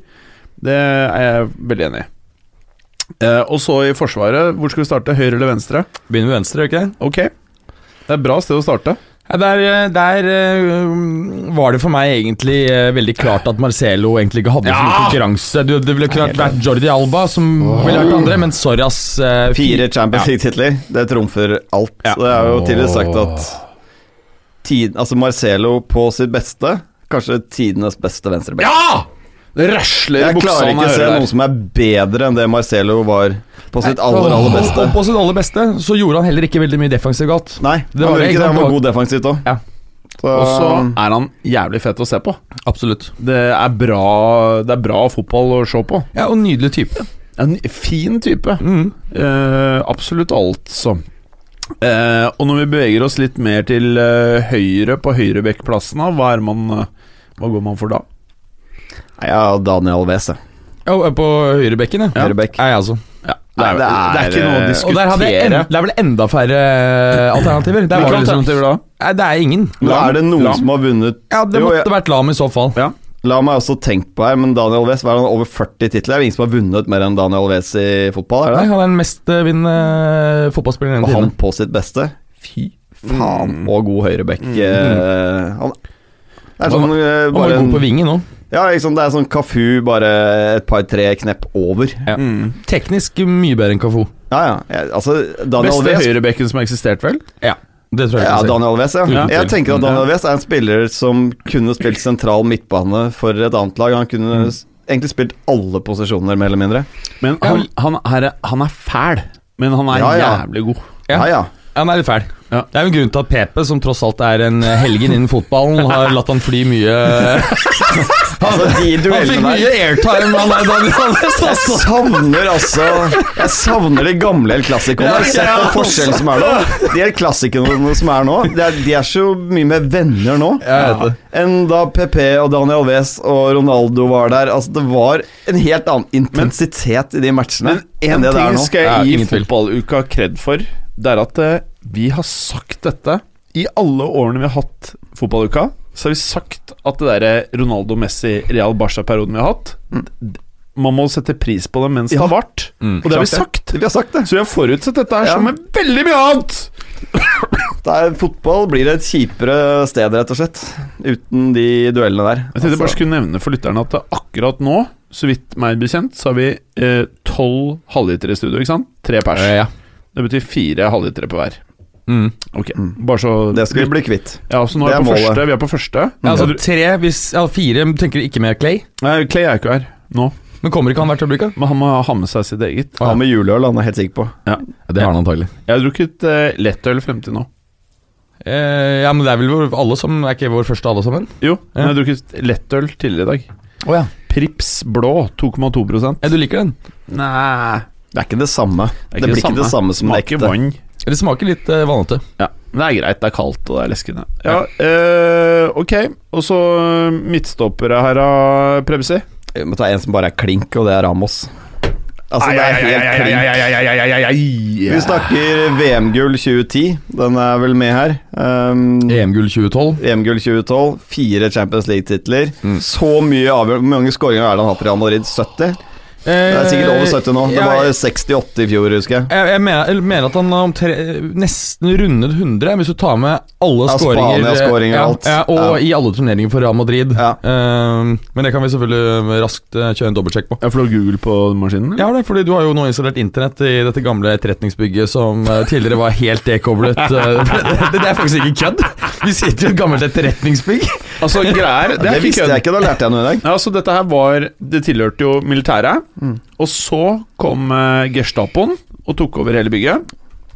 Speaker 4: Det er jeg veldig enig i. Eh, og så i Forsvaret, hvor skal vi starte? Høyre eller venstre?
Speaker 2: Begynner med venstre, gjør vi ikke det?
Speaker 4: Ok. Det er et bra sted å starte.
Speaker 2: Ja, Der, eh, der eh, var det for meg egentlig eh, veldig klart at Marcelo egentlig ikke hadde så mye konkurranse. Du, det ville klart vært Jordi Alba som ville vært andre, men sorry, ass. eh,
Speaker 3: Fire Champions League-titler, det trumfer alt. Det er jo tidligere sagt at tid, altså Marcelo på sitt beste Kanskje tidenes beste venstreback.
Speaker 4: Ja! Det rasler i
Speaker 3: Jeg klarer
Speaker 4: buksa
Speaker 3: ikke
Speaker 4: når
Speaker 3: å
Speaker 4: jeg
Speaker 3: se
Speaker 4: hører
Speaker 3: noen
Speaker 4: det.
Speaker 3: som er bedre enn det Marcelo var på sitt aller, aller beste.
Speaker 2: Og på sitt aller beste så gjorde han heller ikke veldig mye defensivt galt.
Speaker 3: Nei,
Speaker 2: Det
Speaker 3: det
Speaker 2: var
Speaker 3: var,
Speaker 2: det,
Speaker 3: ikke
Speaker 2: ikke
Speaker 3: det.
Speaker 2: sant?
Speaker 3: han var god defensivt um, òg.
Speaker 2: Ja.
Speaker 4: Og så er han jævlig fett å se på.
Speaker 2: Absolutt.
Speaker 4: Det er bra, det er bra fotball å se på.
Speaker 2: Ja, og nydelig type.
Speaker 4: En fin type.
Speaker 3: Mm.
Speaker 4: Eh, absolutt alt, så. Eh, og når vi beveger oss litt mer til eh, høyre på høyrebekkplassen, da, hva er man eh, Hva går man for da?
Speaker 3: Ja, Daniel Wese.
Speaker 2: Ja, og eh, på høyrebekken, ja.
Speaker 3: Høyrebekk.
Speaker 2: Ja, jeg også.
Speaker 3: Nei, det er-
Speaker 4: det er ikke noe å
Speaker 2: Og der hadde jeg en,
Speaker 4: diskutere.
Speaker 2: det er vel enda færre eh, alternativer. Der var
Speaker 4: Hvilke
Speaker 2: det, liksom,
Speaker 4: alternativer da?
Speaker 2: nei, det er ingen.
Speaker 3: Men er det noen
Speaker 4: Lam.
Speaker 3: som har vunnet
Speaker 2: Ja, Det
Speaker 3: Jo,
Speaker 2: måtte
Speaker 3: jeg-
Speaker 2: vært Lam i så fall.
Speaker 4: Ja.
Speaker 3: La meg også tenke på her, men Daniel Wes, hva er han over 40 titler? Er det ingen som har vunnet mer enn Daniel Wes i fotball?
Speaker 2: Nei,
Speaker 3: er det?
Speaker 2: Han er den mestvinnende uh, fotballspilleren
Speaker 3: Og han
Speaker 2: gjennom tidene.
Speaker 3: på sitt beste? Fy faen,
Speaker 2: Mm.
Speaker 3: og god høyrebekk. eh, han det er
Speaker 2: Han-
Speaker 3: sånn eh,
Speaker 2: Han var
Speaker 3: bare
Speaker 2: jo
Speaker 3: en,
Speaker 2: god på vingen òg.
Speaker 3: Ja, liksom, det er sånn Kafu, bare et par-tre knepp over. Ja,
Speaker 2: Teknisk mye bedre enn Kafo.
Speaker 3: ja. Jeg, altså, Daniel
Speaker 4: Beste
Speaker 3: Wes
Speaker 4: høyrebekken som har eksistert, vel?
Speaker 2: Ja, det tror jeg
Speaker 3: ja,
Speaker 2: jeg kan si.
Speaker 3: Daniel Wes, ja.
Speaker 2: Uten
Speaker 3: Jeg
Speaker 2: tvil.
Speaker 3: tenker at Daniel
Speaker 4: Ja.
Speaker 3: Wes er en spiller som kunne spilt sentral midtbane for et annet lag. Han kunne
Speaker 2: Mm.
Speaker 3: s- egentlig spilt alle posisjoner, mer eller mindre.
Speaker 4: Men
Speaker 2: Ja.
Speaker 4: han, han, er, han er fæl, men han er
Speaker 3: Ja, ja.
Speaker 4: jævlig god.
Speaker 2: Ja.
Speaker 3: Ja, ja.
Speaker 2: Han er litt fæl.
Speaker 4: Ja.
Speaker 2: Det er jo en grunn til at Pepe, som tross alt er en eh, helgen innen fotballen, har latt han fly mye
Speaker 3: Altså, de
Speaker 2: Han fikk
Speaker 3: duellene der
Speaker 2: mye airtime, han der Daniel Alves, altså.
Speaker 3: Jeg savner altså Jeg savner de gamle El Classicoene.
Speaker 2: Ja,
Speaker 3: Har du Sett
Speaker 2: ja,
Speaker 3: den forskjellen som er nå. De El Classicoene som er nå, de er, de er så mye mer venner nå
Speaker 2: Jeg vet det.
Speaker 3: enn da PP og Daniel Wes og Ronaldo var der. Altså, det var en helt annen intensitet i de matchene
Speaker 4: Men én
Speaker 3: enn det det er
Speaker 4: ting
Speaker 3: nå.
Speaker 4: skal
Speaker 2: Ja,
Speaker 4: jeg gi
Speaker 2: ingen tvil.
Speaker 4: fotballuka kred for. Det er at eh, vi har sagt dette i alle årene vi har hatt fotballuka. Så har vi sagt at det derre Ronaldo Messi Real Barca-perioden vi har hatt d- Man må sette pris på det mens det
Speaker 3: Mm. Ja.
Speaker 4: har vart.
Speaker 2: Mm.
Speaker 4: Og det har vi
Speaker 3: Klart
Speaker 4: sagt.
Speaker 3: Vi har sagt det.
Speaker 4: Så vi har forutsett dette her
Speaker 3: Ja.
Speaker 4: som med veldig mye annet!
Speaker 3: det er, fotball blir et kjipere sted, rett og slett. Uten de duellene der.
Speaker 4: Jeg tenkte jeg bare
Speaker 3: Altså,
Speaker 4: skulle nevne for lytterne at akkurat nå, så vidt meg bekjent, så har vi eh, tolv halvlitere i studio, ikke sant? Tre pers.
Speaker 2: Ja, ja.
Speaker 4: Det betyr fire halvlitere på hver.
Speaker 2: Mm.
Speaker 4: Ok, bare så
Speaker 3: det skal vi bli kvitt.
Speaker 4: Ja, så nå
Speaker 3: Det
Speaker 4: er
Speaker 3: er
Speaker 4: vi på
Speaker 3: målet.
Speaker 4: første. Vi er på første.
Speaker 2: Ja,
Speaker 4: Så
Speaker 2: altså
Speaker 4: du-
Speaker 2: tre, hvis, ja, fire tenker ikke med Clay.
Speaker 4: Nei, Clay er ikke her nå,
Speaker 2: Men kommer ikke han hvert øyeblikk? da?
Speaker 4: men han må ha med seg sitt eget.
Speaker 3: Ha med juleøl, han er helt sikker på.
Speaker 2: Det har han antagelig.
Speaker 4: Jeg har drukket eh, lettøl frem til nå.
Speaker 2: Eh, ja, men det er vel vår, alle som Er ikke vår første alle sammen?
Speaker 4: Jo, men jeg
Speaker 2: Ja.
Speaker 4: har drukket lettøl tidligere i dag.
Speaker 2: Å ja.
Speaker 4: Prips blå, 2,2
Speaker 2: Du liker den?
Speaker 4: Nei
Speaker 3: Det er ikke det samme.
Speaker 4: er
Speaker 3: Det,
Speaker 4: ikke
Speaker 3: blir ikke det samme som en
Speaker 4: Smaker
Speaker 3: ekte.
Speaker 4: vann.
Speaker 2: Det smaker litt eh, vannete.
Speaker 4: Ja, men det er greit. Det er kaldt, og det er leskende. Ja, eh, ok. Og så eh, midtstoppere her, da, Prebsi.
Speaker 3: Vi må ta en som bare er klink, og det er Ramos. Altså, det er helt klink. Vi snakker VM-gull 2010. Den er vel med her. Um,
Speaker 2: EM-gull 2012.
Speaker 3: VM-gull 2012, fire Champions League-titler.
Speaker 4: Mm.
Speaker 3: Så mye avgjørende. Hvor mange skåringer er det han har hatt for Real Madrid? 70? Det er sikkert over 70 nå. Det var 68 i fjor, husker jeg.
Speaker 2: Jeg, jeg, mener, jeg mener at han har omtre, nesten rundet 100, hvis du tar med alle
Speaker 3: Ja,
Speaker 2: skåringer. eh,
Speaker 3: Spania-skåringer og
Speaker 2: ja,
Speaker 3: alt.
Speaker 2: Ja,
Speaker 3: Ja.
Speaker 2: og i alle turneringer for Real Madrid.
Speaker 3: Ja.
Speaker 2: Ehm, men det kan vi selvfølgelig raskt eh, kjøre en dobbeltsjekk på.
Speaker 4: Ja, for du har Google på maskinen?
Speaker 3: Mm.
Speaker 4: eller?
Speaker 2: Ja, det, er fordi Du har jo nå installert internett i dette gamle etterretningsbygget som eh, tidligere var helt dekoblet. eh, det, det er faktisk ikke kødd! Vi sitter i et gammelt etterretningsbygg.
Speaker 4: Altså, greier Det
Speaker 3: Det,
Speaker 4: er ikke
Speaker 3: visste
Speaker 4: kødd.
Speaker 3: jeg ikke, da lærte jeg noe i dag.
Speaker 4: Ja, så dette her var Det tilhørte jo militæret. Og så kom eh, Gestapoen og tok over hele bygget.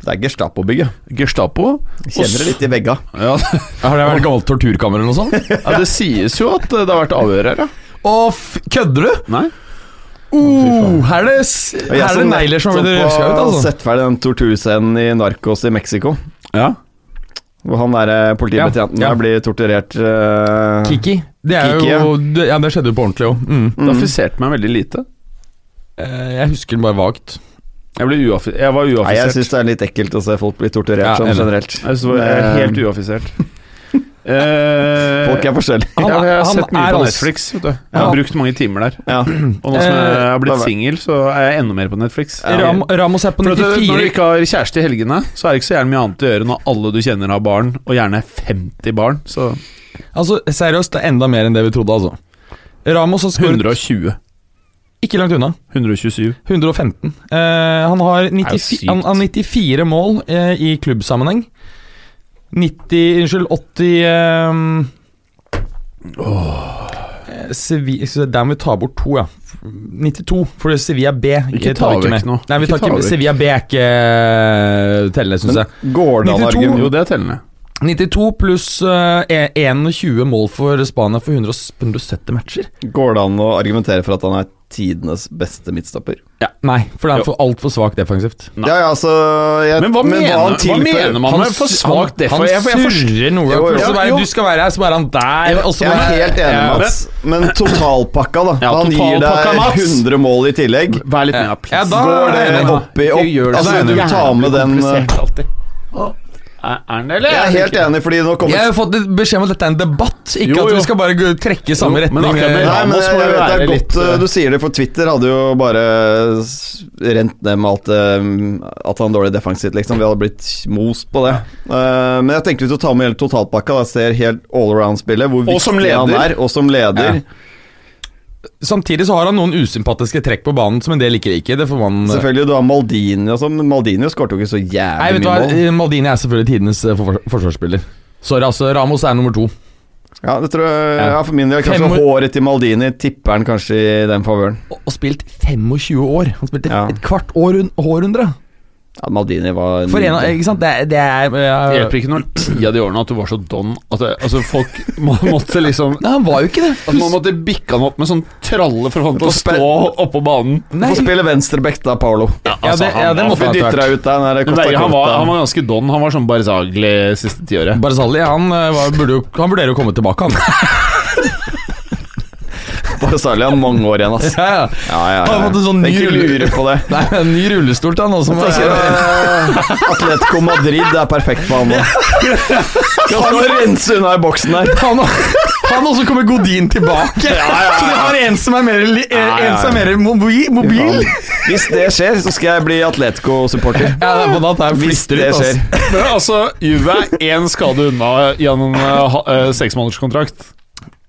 Speaker 3: Det er Gestapo-bygget.
Speaker 4: Gestapo.
Speaker 3: Kjenner det litt i vegga.
Speaker 4: Ja,
Speaker 2: Har det vært et gammelt torturkammer eller noe sånt?
Speaker 4: ja, det sies jo at det har vært avhør her, ja.
Speaker 2: Å, f kødder du?!
Speaker 4: Nei?
Speaker 2: Oh, her er det, s-
Speaker 3: Og
Speaker 2: her er det negler som
Speaker 3: nettopp
Speaker 2: blir røska ut,
Speaker 3: har
Speaker 2: altså.
Speaker 3: sett ferdig den torturscenen i Narcos i Mexico.
Speaker 4: Ja.
Speaker 3: Hvor han derre politibetjenten
Speaker 2: Ja, ja.
Speaker 3: der blir torturert eh,
Speaker 2: Kiki. Det er
Speaker 3: Kiki,
Speaker 2: jo det- Ja, det skjedde jo på ordentlig, jo. Mm.
Speaker 4: Det affiserte meg veldig lite.
Speaker 2: Eh, Jeg husker den bare vagt.
Speaker 4: Jeg, ble uaffi jeg var
Speaker 3: Nei, jeg
Speaker 4: uaffisert.
Speaker 3: syns det er litt ekkelt å se folk bli torturert
Speaker 2: Ja,
Speaker 3: sånn
Speaker 2: enig.
Speaker 3: generelt.
Speaker 4: Jeg synes det var jeg er helt uaffisert. Eh,
Speaker 3: Folk er forskjellige.
Speaker 4: ja,
Speaker 2: Han er-
Speaker 4: jeg har
Speaker 2: han
Speaker 4: sett mye
Speaker 2: er
Speaker 4: på
Speaker 2: altså-
Speaker 4: Netflix. Vet du. Jeg har
Speaker 2: Ja.
Speaker 4: brukt mange timer der.
Speaker 3: Ja.
Speaker 4: Og nå som jeg har blitt
Speaker 3: Eh,
Speaker 4: singel, så er jeg enda mer på Netflix.
Speaker 2: Ram, Ramos er på
Speaker 4: For at du, når du
Speaker 2: 94.
Speaker 4: ikke har kjæreste i helgene, så er det ikke så gjerne mye annet å gjøre når alle du kjenner har barn, og gjerne 50 barn. Så
Speaker 2: Altså, seriøst, det er enda mer enn det vi trodde, altså. Ramos har skåret
Speaker 4: 120.
Speaker 2: ikke langt unna.
Speaker 4: 127.
Speaker 2: 115. Eh, han har
Speaker 4: jo
Speaker 2: 94,
Speaker 4: sykt.
Speaker 2: han, han har 94 mål eh, i klubbsammenheng. 90 Unnskyld, 80 um, Sevilla, eh, så der må vi ta bort to, ja. 92, for Sevilla B
Speaker 4: Ikke
Speaker 2: tar
Speaker 4: ta
Speaker 2: vi ikke
Speaker 4: vekk
Speaker 2: med.
Speaker 4: noe.
Speaker 2: Nei, vi
Speaker 4: Ikke
Speaker 2: tar
Speaker 4: ta
Speaker 2: ikke,
Speaker 4: vekk.
Speaker 2: Sevilla B er ikke eh, tellende, syns jeg.
Speaker 3: Går det an å
Speaker 2: 92?
Speaker 3: argumentere
Speaker 4: Jo, det er tellende.
Speaker 2: 92 pluss eh, e- 21 mål for Spania for 100 170 matcher.
Speaker 3: Går det an å argumentere for at han er tidenes beste midtstopper?
Speaker 2: Nei, for det
Speaker 4: Jo.
Speaker 2: er for altfor svakt defensivt.
Speaker 4: Nei.
Speaker 3: Ja, ja, altså jeg,
Speaker 4: Men hva, mener,
Speaker 3: han
Speaker 4: hva
Speaker 3: tilfører-
Speaker 4: mener man med
Speaker 2: s-
Speaker 4: for svakt
Speaker 2: han
Speaker 4: derfor? Jeg, for jeg forstår-
Speaker 2: surrer noe.
Speaker 3: Jo, jo.
Speaker 2: Så bare,
Speaker 4: Jo.
Speaker 2: du skal være her, så bare han der. Og så
Speaker 3: Jeg
Speaker 2: bare,
Speaker 3: er helt enig, Mats. Men totalpakka, da.
Speaker 4: Ja,
Speaker 3: han gir
Speaker 4: totalpakka,
Speaker 3: deg
Speaker 4: Mats.
Speaker 3: 100 mål i tillegg.
Speaker 4: Vær litt mer
Speaker 2: Ja,
Speaker 4: please.
Speaker 2: da
Speaker 3: Går
Speaker 2: er jeg
Speaker 3: det
Speaker 2: enig.
Speaker 3: opp i opp?
Speaker 4: Ikke gjør det så
Speaker 3: Altså, du
Speaker 4: jævlig
Speaker 3: tar med den eh,
Speaker 4: komplisert alltid. Er er den det, eller?
Speaker 3: Jeg er helt enig, fordi nå kommer
Speaker 2: Jeg har jo fått litt beskjed om at dette er en debatt, ikke
Speaker 4: Jo,
Speaker 2: at
Speaker 4: jo.
Speaker 2: vi skal bare gå- trekke i samme
Speaker 4: Jo, men
Speaker 2: retning.
Speaker 4: akkurat med
Speaker 3: Nei,
Speaker 2: eh,
Speaker 3: men
Speaker 4: Ramos
Speaker 3: jeg,
Speaker 4: må jo
Speaker 3: vet det er
Speaker 4: være
Speaker 3: godt
Speaker 4: litt,
Speaker 3: eh, du sier det, for Twitter hadde jo bare s- rent ned med alt eh, At han er dårlig defensivt, liksom. Vi hadde blitt most på det. Eh, men jeg tenkte vi skulle ta med hele totalpakka. Da. Ser helt allround-spillet, hvor
Speaker 4: Og som
Speaker 3: viktig han
Speaker 4: leder.
Speaker 3: er, og som leder.
Speaker 2: Samtidig så har han noen usympatiske trekk på banen som en del liker ikke. Det får man eh,
Speaker 3: Selvfølgelig, du har Maldini og sånn, men Maldini skåret jo ikke så
Speaker 2: Nei,
Speaker 3: jævlig
Speaker 2: vet du
Speaker 3: mye
Speaker 2: hva, Eh,
Speaker 3: mål.
Speaker 2: Maldini er selvfølgelig tidenes eh, forfors- forsvarsspiller. Sorry, altså. Ramos er nummer to.
Speaker 3: Ja, det tror jeg,
Speaker 2: Ja.
Speaker 3: ja, for min del kanskje
Speaker 2: Fem-
Speaker 3: håret til Maldini tipper han kanskje i den favøren.
Speaker 2: Og, og spilt 25 år. Han spilte
Speaker 3: Ja.
Speaker 2: et kvart århund- århundre.
Speaker 3: Ja, Maldini var
Speaker 2: For en av Ikke sant? Det er, det er
Speaker 4: Det
Speaker 2: eh,
Speaker 4: hjelper ikke når ti av de årene at du var så don at det, altså folk må, måtte liksom
Speaker 2: Nei, han var jo ikke det.
Speaker 4: At man måtte bikke han opp med sånn tralle for å få han til å stå oppå banen.
Speaker 3: Få spille venstreback, da, Paolo.
Speaker 4: altså,
Speaker 2: Ja, det, ja, det måtte
Speaker 3: Vi
Speaker 2: han ha
Speaker 3: dytter
Speaker 2: vært.
Speaker 3: deg ut der. Den der
Speaker 4: Men
Speaker 3: Costa
Speaker 4: Berger, han, var,
Speaker 3: Costa.
Speaker 4: han var ganske don. Han var sånn Barzagli siste tiåret.
Speaker 2: Barzali han, eh, var, burde jo, han vurderer å komme tilbake, han.
Speaker 3: Bare særlig han mange år igjen, ass.
Speaker 2: ja, ja.
Speaker 3: Ja, ja, ja.
Speaker 2: Han har fått en sånn
Speaker 3: Tenk
Speaker 2: ny
Speaker 3: ikke
Speaker 2: rulle-
Speaker 3: lure på det.
Speaker 2: Nei, en ny rullestol til han sånn- også. må
Speaker 3: Tenker,
Speaker 2: jeg-
Speaker 3: eh, Atletico Madrid er perfekt for han nå. Han må rense unna i boksen der.
Speaker 2: Han, han også kommer Godin tilbake! Så de har en som er mer, li- eh,
Speaker 3: ja, ja.
Speaker 2: en som er mer mobi, mobil.
Speaker 3: Hvis det skjer, så skal jeg bli Atletico-supporter.
Speaker 2: Ja, det er på natt, det er
Speaker 3: Hvis
Speaker 2: flister
Speaker 3: det
Speaker 2: ut,
Speaker 3: skjer.
Speaker 2: altså.
Speaker 4: Men altså, Juve er én skade unna gjennom uh, seksmånederskontrakt.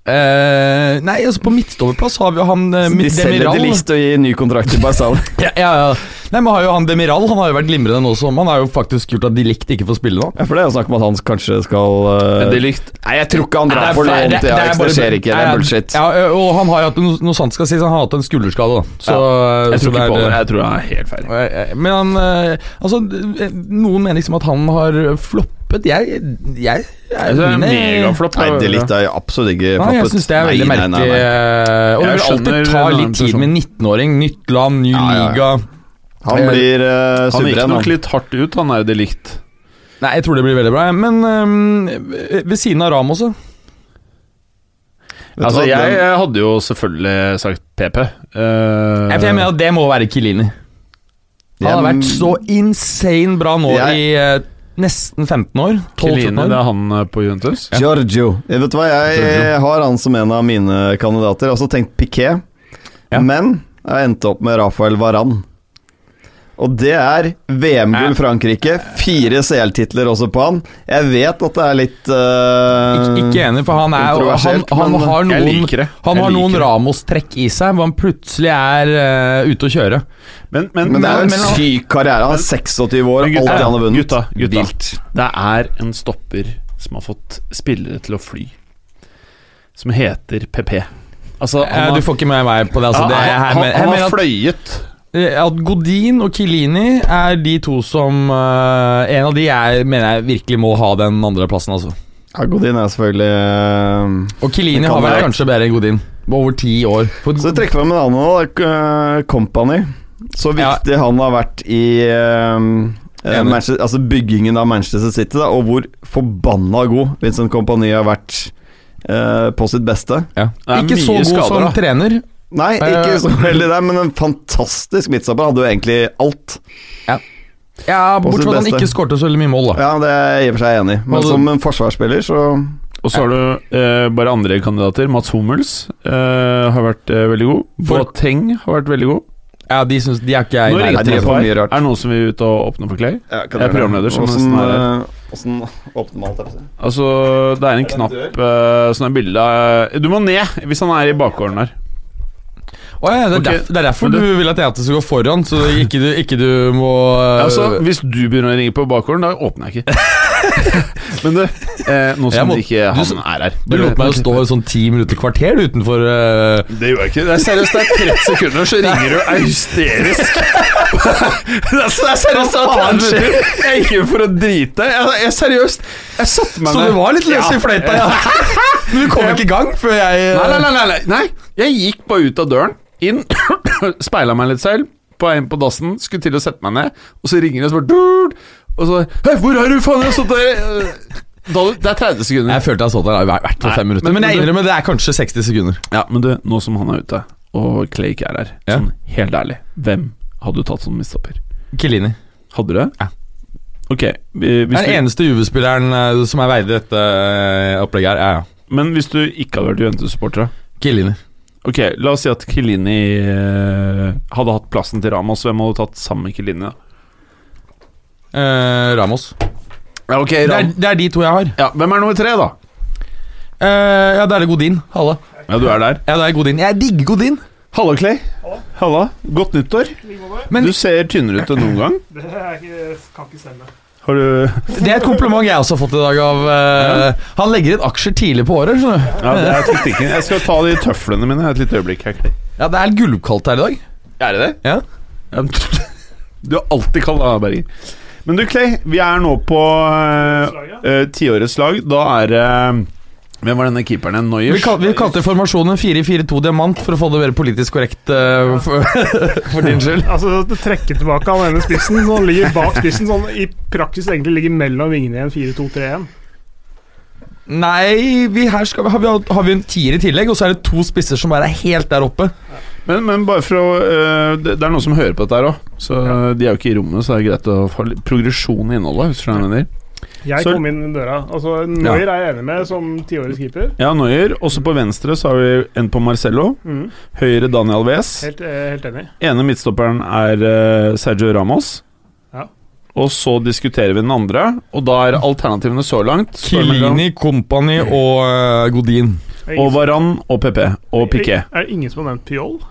Speaker 2: Eh, nei, altså på midtstopperplass har vi jo han eh,
Speaker 3: De selger
Speaker 2: Demiral.
Speaker 3: til list og gir ny kontrakt til Barzal.
Speaker 2: Ja, ja, ja. Nei, men har jo han Demiral Han har jo vært glimrende nå som Han har jo faktisk gjort at de likte ikke får spille nå.
Speaker 3: Ja, for det er jo snakk om at han kanskje skal eh,
Speaker 4: likt.
Speaker 3: Nei, jeg tror ikke han
Speaker 2: Nei,
Speaker 3: drar for
Speaker 2: faen,
Speaker 3: lån til
Speaker 2: er
Speaker 3: Ajax. Det
Speaker 2: bare-
Speaker 3: skjer ikke. Det
Speaker 2: Nei,
Speaker 3: er bullshit.
Speaker 2: Ja, ø, og han har jo hatt noe, noe sant skal sies, han har hatt en skulderskade, da. Så, eh,
Speaker 4: Jeg tror ikke
Speaker 2: så det
Speaker 4: på
Speaker 2: er-
Speaker 4: det. Jeg tror han er helt ferdig.
Speaker 2: Eh, eh, Men han eh, Altså, eh, noen mener liksom at han har floppet. Jeg Jeg, jeg,
Speaker 4: Jeg tror det er
Speaker 2: mine-
Speaker 4: megaflopp.
Speaker 3: Nei, det litt er absolutt ikke
Speaker 2: Nei, jeg syns det er veldig merkelig. eh, Og det
Speaker 4: Jeg
Speaker 2: vil alltid
Speaker 4: skjønner
Speaker 2: ta
Speaker 4: den
Speaker 2: litt tid
Speaker 4: personen.
Speaker 2: med 19-åring. Nytt land, ny
Speaker 3: Ja, ja, ja.
Speaker 2: liga.
Speaker 3: Han blir eh,
Speaker 4: Han gikk
Speaker 3: suveren,
Speaker 4: nok
Speaker 3: han.
Speaker 4: litt hardt ut, han er det likt.
Speaker 2: Nei, jeg tror det blir veldig bra. jeg. Men eh, ved siden av Ramos også.
Speaker 3: du
Speaker 4: Altså,
Speaker 3: hva,
Speaker 4: jeg
Speaker 3: den-
Speaker 4: eh, hadde jo selvfølgelig sagt PP. eh,
Speaker 2: Jeg mener at det må være Kilini. Han har
Speaker 3: Jeg-
Speaker 2: vært så insane bra nå
Speaker 3: Jeg-
Speaker 2: i eh, nesten 15 år. 12-13
Speaker 4: Chiellini, det
Speaker 2: år.
Speaker 4: er han eh, på Juventus.
Speaker 3: Giorgio. Jeg Eh, vet du hva, jeg
Speaker 4: Giorgio.
Speaker 3: har han som en av mine kandidater. Jeg har også tenkt Piquet,
Speaker 4: Ja.
Speaker 3: men jeg endte opp med Rafael Varan. Og det er VM-gull Frankrike. Fire CL-titler også på han. Jeg vet at det er litt
Speaker 2: Ik
Speaker 3: eh,
Speaker 2: ikke enig, for han, er, han,
Speaker 3: Kontroversielt,
Speaker 2: han
Speaker 3: men
Speaker 2: har
Speaker 4: jeg
Speaker 2: noen,
Speaker 4: liker det.
Speaker 2: han
Speaker 4: Jeg
Speaker 2: har noen
Speaker 4: liker det.
Speaker 2: Ramos-trekk i seg, hvor han plutselig er eh, ute å kjøre.
Speaker 4: Men, men,
Speaker 3: Men det er jo
Speaker 4: men-
Speaker 3: en syk karriere. Han er 26 år,
Speaker 4: Men
Speaker 3: alt det han har vunnet.
Speaker 4: Gutta, gutta.
Speaker 3: Vilt.
Speaker 4: Det er en stopper som har fått spillere til å fly, som heter PP. Altså,
Speaker 2: Eh,
Speaker 4: han
Speaker 2: du
Speaker 4: har,
Speaker 2: får ikke med meg på det. Altså,
Speaker 4: Ja,
Speaker 2: det er, jeg,
Speaker 4: han,
Speaker 2: men-
Speaker 4: han,
Speaker 2: jeg
Speaker 4: han
Speaker 2: mener
Speaker 4: har
Speaker 2: at
Speaker 4: fløyet
Speaker 2: eh, at Godin og Kilini er de to som eh, En av de jeg mener jeg virkelig må ha den andreplassen, altså.
Speaker 3: Ja, Godin er selvfølgelig eh,
Speaker 2: Og Kilini
Speaker 3: Det kan
Speaker 2: har vært
Speaker 3: være.
Speaker 2: kanskje bedre enn Godin. Over ti år. For,
Speaker 3: Så trekker vi med en annen nå, da, eh, Company. Så
Speaker 2: Ja.
Speaker 3: viktig han har vært i eh, eh,
Speaker 2: Enig.
Speaker 3: Manchester, altså byggingen av Manchester City, da, og hvor forbanna god Vincent Company har vært eh, på sitt beste.
Speaker 2: ja.
Speaker 4: Det er
Speaker 2: Ikke så
Speaker 4: mye
Speaker 2: god
Speaker 4: skader,
Speaker 2: som
Speaker 4: da.
Speaker 2: trener.
Speaker 3: Nei,
Speaker 2: Eh.
Speaker 3: ikke så veldig der, men en fantastisk midtstopper. Hadde jo egentlig alt.
Speaker 2: Ja,
Speaker 3: På
Speaker 2: Bortsett
Speaker 3: sitt
Speaker 2: fra at han
Speaker 3: beste.
Speaker 2: ikke skårte så veldig mye mål, da.
Speaker 3: Ja, det er jeg i og for seg enig i, men
Speaker 2: Hadde-
Speaker 3: som en forsvarsspiller, så
Speaker 4: Og så har du eh, bare andre kandidater. Mats Hummels eh, har vært eh, veldig god.
Speaker 2: For-
Speaker 4: Boateng har vært veldig god.
Speaker 2: Ja, De, syns, de er ikke jeg
Speaker 4: Nå
Speaker 2: i
Speaker 4: ringer det
Speaker 3: det er
Speaker 2: nærheten av.
Speaker 4: på her.
Speaker 3: mye rart.
Speaker 4: Er det noen som vil ut og åpne for Clay?
Speaker 3: Jeg
Speaker 4: Jeg er programleder, så
Speaker 3: Åssen
Speaker 4: nesten
Speaker 3: eh, åssen åpner man alt dette?
Speaker 4: Altså, det er en knapp eh, sånn er bilde av Du må ned hvis han er i bakgården her.
Speaker 2: Å ja, det, er
Speaker 4: Ok,
Speaker 2: derf, det er derfor
Speaker 4: men
Speaker 2: du
Speaker 4: du-
Speaker 2: vil at jeg skal gå foran, så ikke du, ikke du må eh,
Speaker 4: Altså, hvis du begynner å ringe på bakgården, da åpner jeg ikke. Men du, eh, nå
Speaker 2: Jeg
Speaker 4: som
Speaker 2: må-
Speaker 4: ikke
Speaker 2: du
Speaker 4: han
Speaker 2: som-
Speaker 4: er her
Speaker 2: Du lot meg jo stå i sånn ti minutter kvarter utenfor eh,
Speaker 4: Det gjør jeg ikke. Det er seriøst, det er 30 sekunder, så ringer du og er hysterisk. det er, så- det er seriøst, det er 30 minutter. Jeg gikk jo for å drite. Jeg, jeg Seriøst. Jeg satte meg
Speaker 2: Så
Speaker 4: ned.
Speaker 2: du var litt løs
Speaker 4: Ja.
Speaker 2: i fløyta, ja. Men du kom ikke i gang før jeg eh,
Speaker 4: Nei, nei, nei, nei, nei. nei. Jeg gikk bare ut av døren, inn, speila meg litt selv, på vei inn på dassen, skulle til å sette meg ned, og så ringer det og så bare «Durt!» Og så Hei, hvor er du, faen? Jeg har stått der eh, da, Det er 30 sekunder.
Speaker 2: Jeg følte jeg så deg i hvert fall fem
Speaker 4: Nei,
Speaker 2: minutter.
Speaker 4: men-
Speaker 2: Men jeg
Speaker 4: men du-
Speaker 2: innrømmer, det er kanskje 60 sekunder.
Speaker 4: Ja, men du, nå som han er ute, og Clay ikke er her,
Speaker 2: Ja.
Speaker 4: sånn helt ærlig, hvem hadde du tatt som midtstopper?
Speaker 2: Kilini.
Speaker 4: Hadde du det?
Speaker 2: Ja.
Speaker 4: Ok, vi-
Speaker 2: Det
Speaker 4: hvis
Speaker 2: er den
Speaker 4: du,
Speaker 2: eneste UV-spilleren eh, som er verdig dette eh, opplegget her. Ja, ja.
Speaker 4: men hvis du ikke hadde vært Juventus-supporter, da?
Speaker 2: Kilini.
Speaker 4: Ok, la oss si at Kilini eh, hadde hatt plassen til Ramos. Hvem hadde du tatt sammen med Kilini? da?
Speaker 2: Eh, Ramos.
Speaker 4: Ja, ok,
Speaker 2: Det er, det er de to jeg har.
Speaker 4: Ja, hvem er nummer tre, da?
Speaker 2: Eh, ja, da er det Godin. Halla.
Speaker 4: Ja, du er der.
Speaker 2: Ja, det er Godin. Jeg digger Godin.
Speaker 4: Hallo, Clay. Halla. Godt nyttår.
Speaker 2: Men-
Speaker 4: du ser tynnere ut enn noen gang.
Speaker 5: Det er ikke, kan ikke stemme.
Speaker 4: Har du
Speaker 2: Det er et kompliment jeg også har fått i dag av eh, Han legger inn aksjer tidlig på året, skjønner du.
Speaker 4: Ja, det er teknikken. Jeg skal ta de tøflene mine et lite øyeblikk her, Clay.
Speaker 2: Ja, det er gulvkaldt her i dag.
Speaker 4: Er det det?
Speaker 2: Ja.
Speaker 4: Ja, men- Du er alltid kald, da, Berger. Men du, Clay. Vi er nå på eh, eh, tiårets lag. Da er det eh, Hvem var denne keeperen igjen?
Speaker 2: Vi,
Speaker 4: Noyers?
Speaker 2: kal vi kalte formasjonen 4-4-2 diamant for å få det mer politisk korrekt eh, for, for din skyld.
Speaker 5: Altså, du trekker tilbake han ene spissen, så han ligger bak spissen. Sånn i praksis egentlig ligger mellom vingene i en 4-2-3-1.
Speaker 2: Nei, vi her skal, har, vi, har vi en tier i tillegg, og så er det to spisser som bare er helt der oppe.
Speaker 4: Men, men bare for å eh, det, det er noen som hører på dette her òg. Så eh, de er jo ikke i rommet, så det er greit å få litt progresjon i innholdet. Hvis du skjønner hva jeg mener.
Speaker 5: Jeg
Speaker 4: Så-
Speaker 5: kom inn døra. Altså, Neuer er jeg enig med som tiårets keeper.
Speaker 4: Ja, Neuer. Også på venstre så har vi en på Marcello.
Speaker 5: Mhm.
Speaker 4: Høyre Daniel Wes.
Speaker 5: Helt, eh, helt enig.
Speaker 4: Ene midtstopperen er eh, Sergio Ramos.
Speaker 5: Ja.
Speaker 4: Og så diskuterer vi den andre, og da er alternativene så langt så er det mellom-
Speaker 2: Kilini, Kompani og eh, Godin.
Speaker 5: Er
Speaker 4: Og
Speaker 5: det ingen som-
Speaker 4: Varan og PP og Piquet.
Speaker 5: Er det ingen som har nevnt Pjol?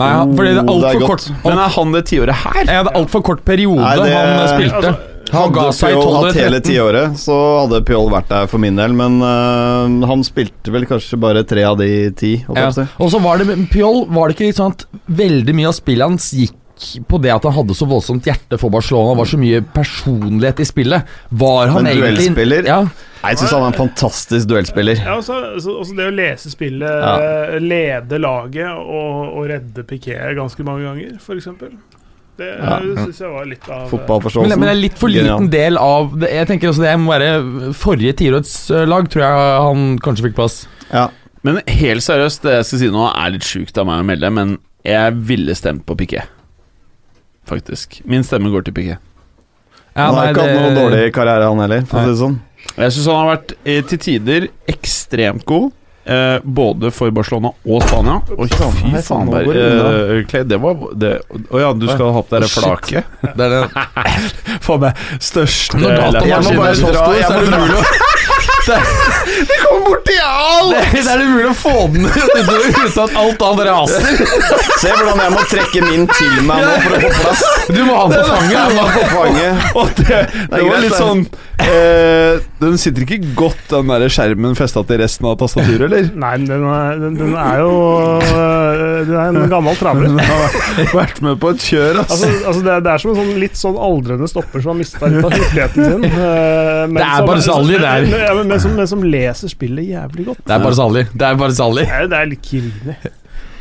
Speaker 2: Nei, han- fordi det er
Speaker 3: Oh, det er
Speaker 2: altfor
Speaker 3: godt.
Speaker 2: kort,
Speaker 4: Men
Speaker 2: alt,
Speaker 4: er han det tiåret her?
Speaker 2: ja, det er alt for kort periode
Speaker 3: Nei, det-
Speaker 2: han eh, spilte.
Speaker 5: Altså,
Speaker 2: Han
Speaker 3: Hadde
Speaker 2: ga seg i
Speaker 3: Pjol
Speaker 2: 12
Speaker 3: hatt hele
Speaker 2: eller 13.
Speaker 3: tiåret, så hadde Pjol vært der for min del. Men øh, han spilte vel kanskje bare tre av de ti. holdt jeg
Speaker 2: Ja.
Speaker 3: på å si.
Speaker 2: Og så var det med Pjol Var det ikke litt sånn at veldig mye av spillet hans gikk på det at han hadde så voldsomt hjerte for Barcelona, var så mye personlighet i spillet. Var han
Speaker 3: Men
Speaker 2: egentlig
Speaker 3: duellspiller?
Speaker 2: Ja.
Speaker 3: Nei, Jeg syns han er en fantastisk duellspiller.
Speaker 5: ja, også, også det å lese spillet, eh, lede laget og, og redde Piquet ganske mange ganger, f.eks. Det ja. syns jeg var litt av
Speaker 2: Men, men det
Speaker 3: Fotballforståelsen.
Speaker 2: er litt for liten
Speaker 3: Genial.
Speaker 2: del av det, Jeg tenker også det må være forrige tiårets eh, lag, tror jeg han kanskje fikk plass.
Speaker 3: Ja.
Speaker 4: Men helt seriøst, det jeg skal si nå er litt sjukt av meg å melde, men jeg ville stemt på Piquet. Faktisk. Min stemme går til Piquet.
Speaker 2: Ja,
Speaker 3: Han har
Speaker 2: nei,
Speaker 3: ikke hatt noen dårlig
Speaker 2: det-
Speaker 3: karriere, han heller. For å si det sånn
Speaker 4: Og Jeg syns han har vært eh, til tider ekstremt god. Eh, både for Barcelona og Spania. Oi, fy
Speaker 3: Hei,
Speaker 4: faen,
Speaker 3: faen, nå
Speaker 4: Berg.
Speaker 3: går det unna.
Speaker 4: Eh, Clay, det var det, Å ja, du skal ha på deg det
Speaker 2: shit.
Speaker 4: flaket?
Speaker 2: Det er det.
Speaker 4: Faen meg, største
Speaker 2: Når
Speaker 3: Jeg må
Speaker 2: datamaskinen
Speaker 3: bare
Speaker 2: er så
Speaker 3: dra,
Speaker 2: stor,
Speaker 3: jeg
Speaker 2: så er det
Speaker 3: må
Speaker 2: umulig å
Speaker 4: Det kom borti all!
Speaker 2: Det er det mulig å få den ut uten at alt annet raser.
Speaker 3: Se hvordan jeg må trekke min til meg nå for å få plass.
Speaker 2: Du må ha den på fanget.
Speaker 3: Jeg må på fanget.
Speaker 4: Og det, det
Speaker 3: greit,
Speaker 4: var litt
Speaker 3: det.
Speaker 4: sånn eh, Den sitter ikke godt, den der skjermen festa til resten av tastaturet, eller?
Speaker 5: Nei, men den er, den, den er jo øh, Den er en gammel travler.
Speaker 4: Den har vært med på et kjør, ass.
Speaker 5: Altså, altså det, er, det er som en sånn litt sånn aldrende stopper som har mista litt av hurtigheten sin. øh, men
Speaker 2: Det er
Speaker 5: som-
Speaker 2: Barzali, det er.
Speaker 5: Men, ja, men, men, som, men som leser spillet jævlig godt.
Speaker 2: Det er bare Sali. Det er bare Sali.
Speaker 5: Det er, det er litt kirrende.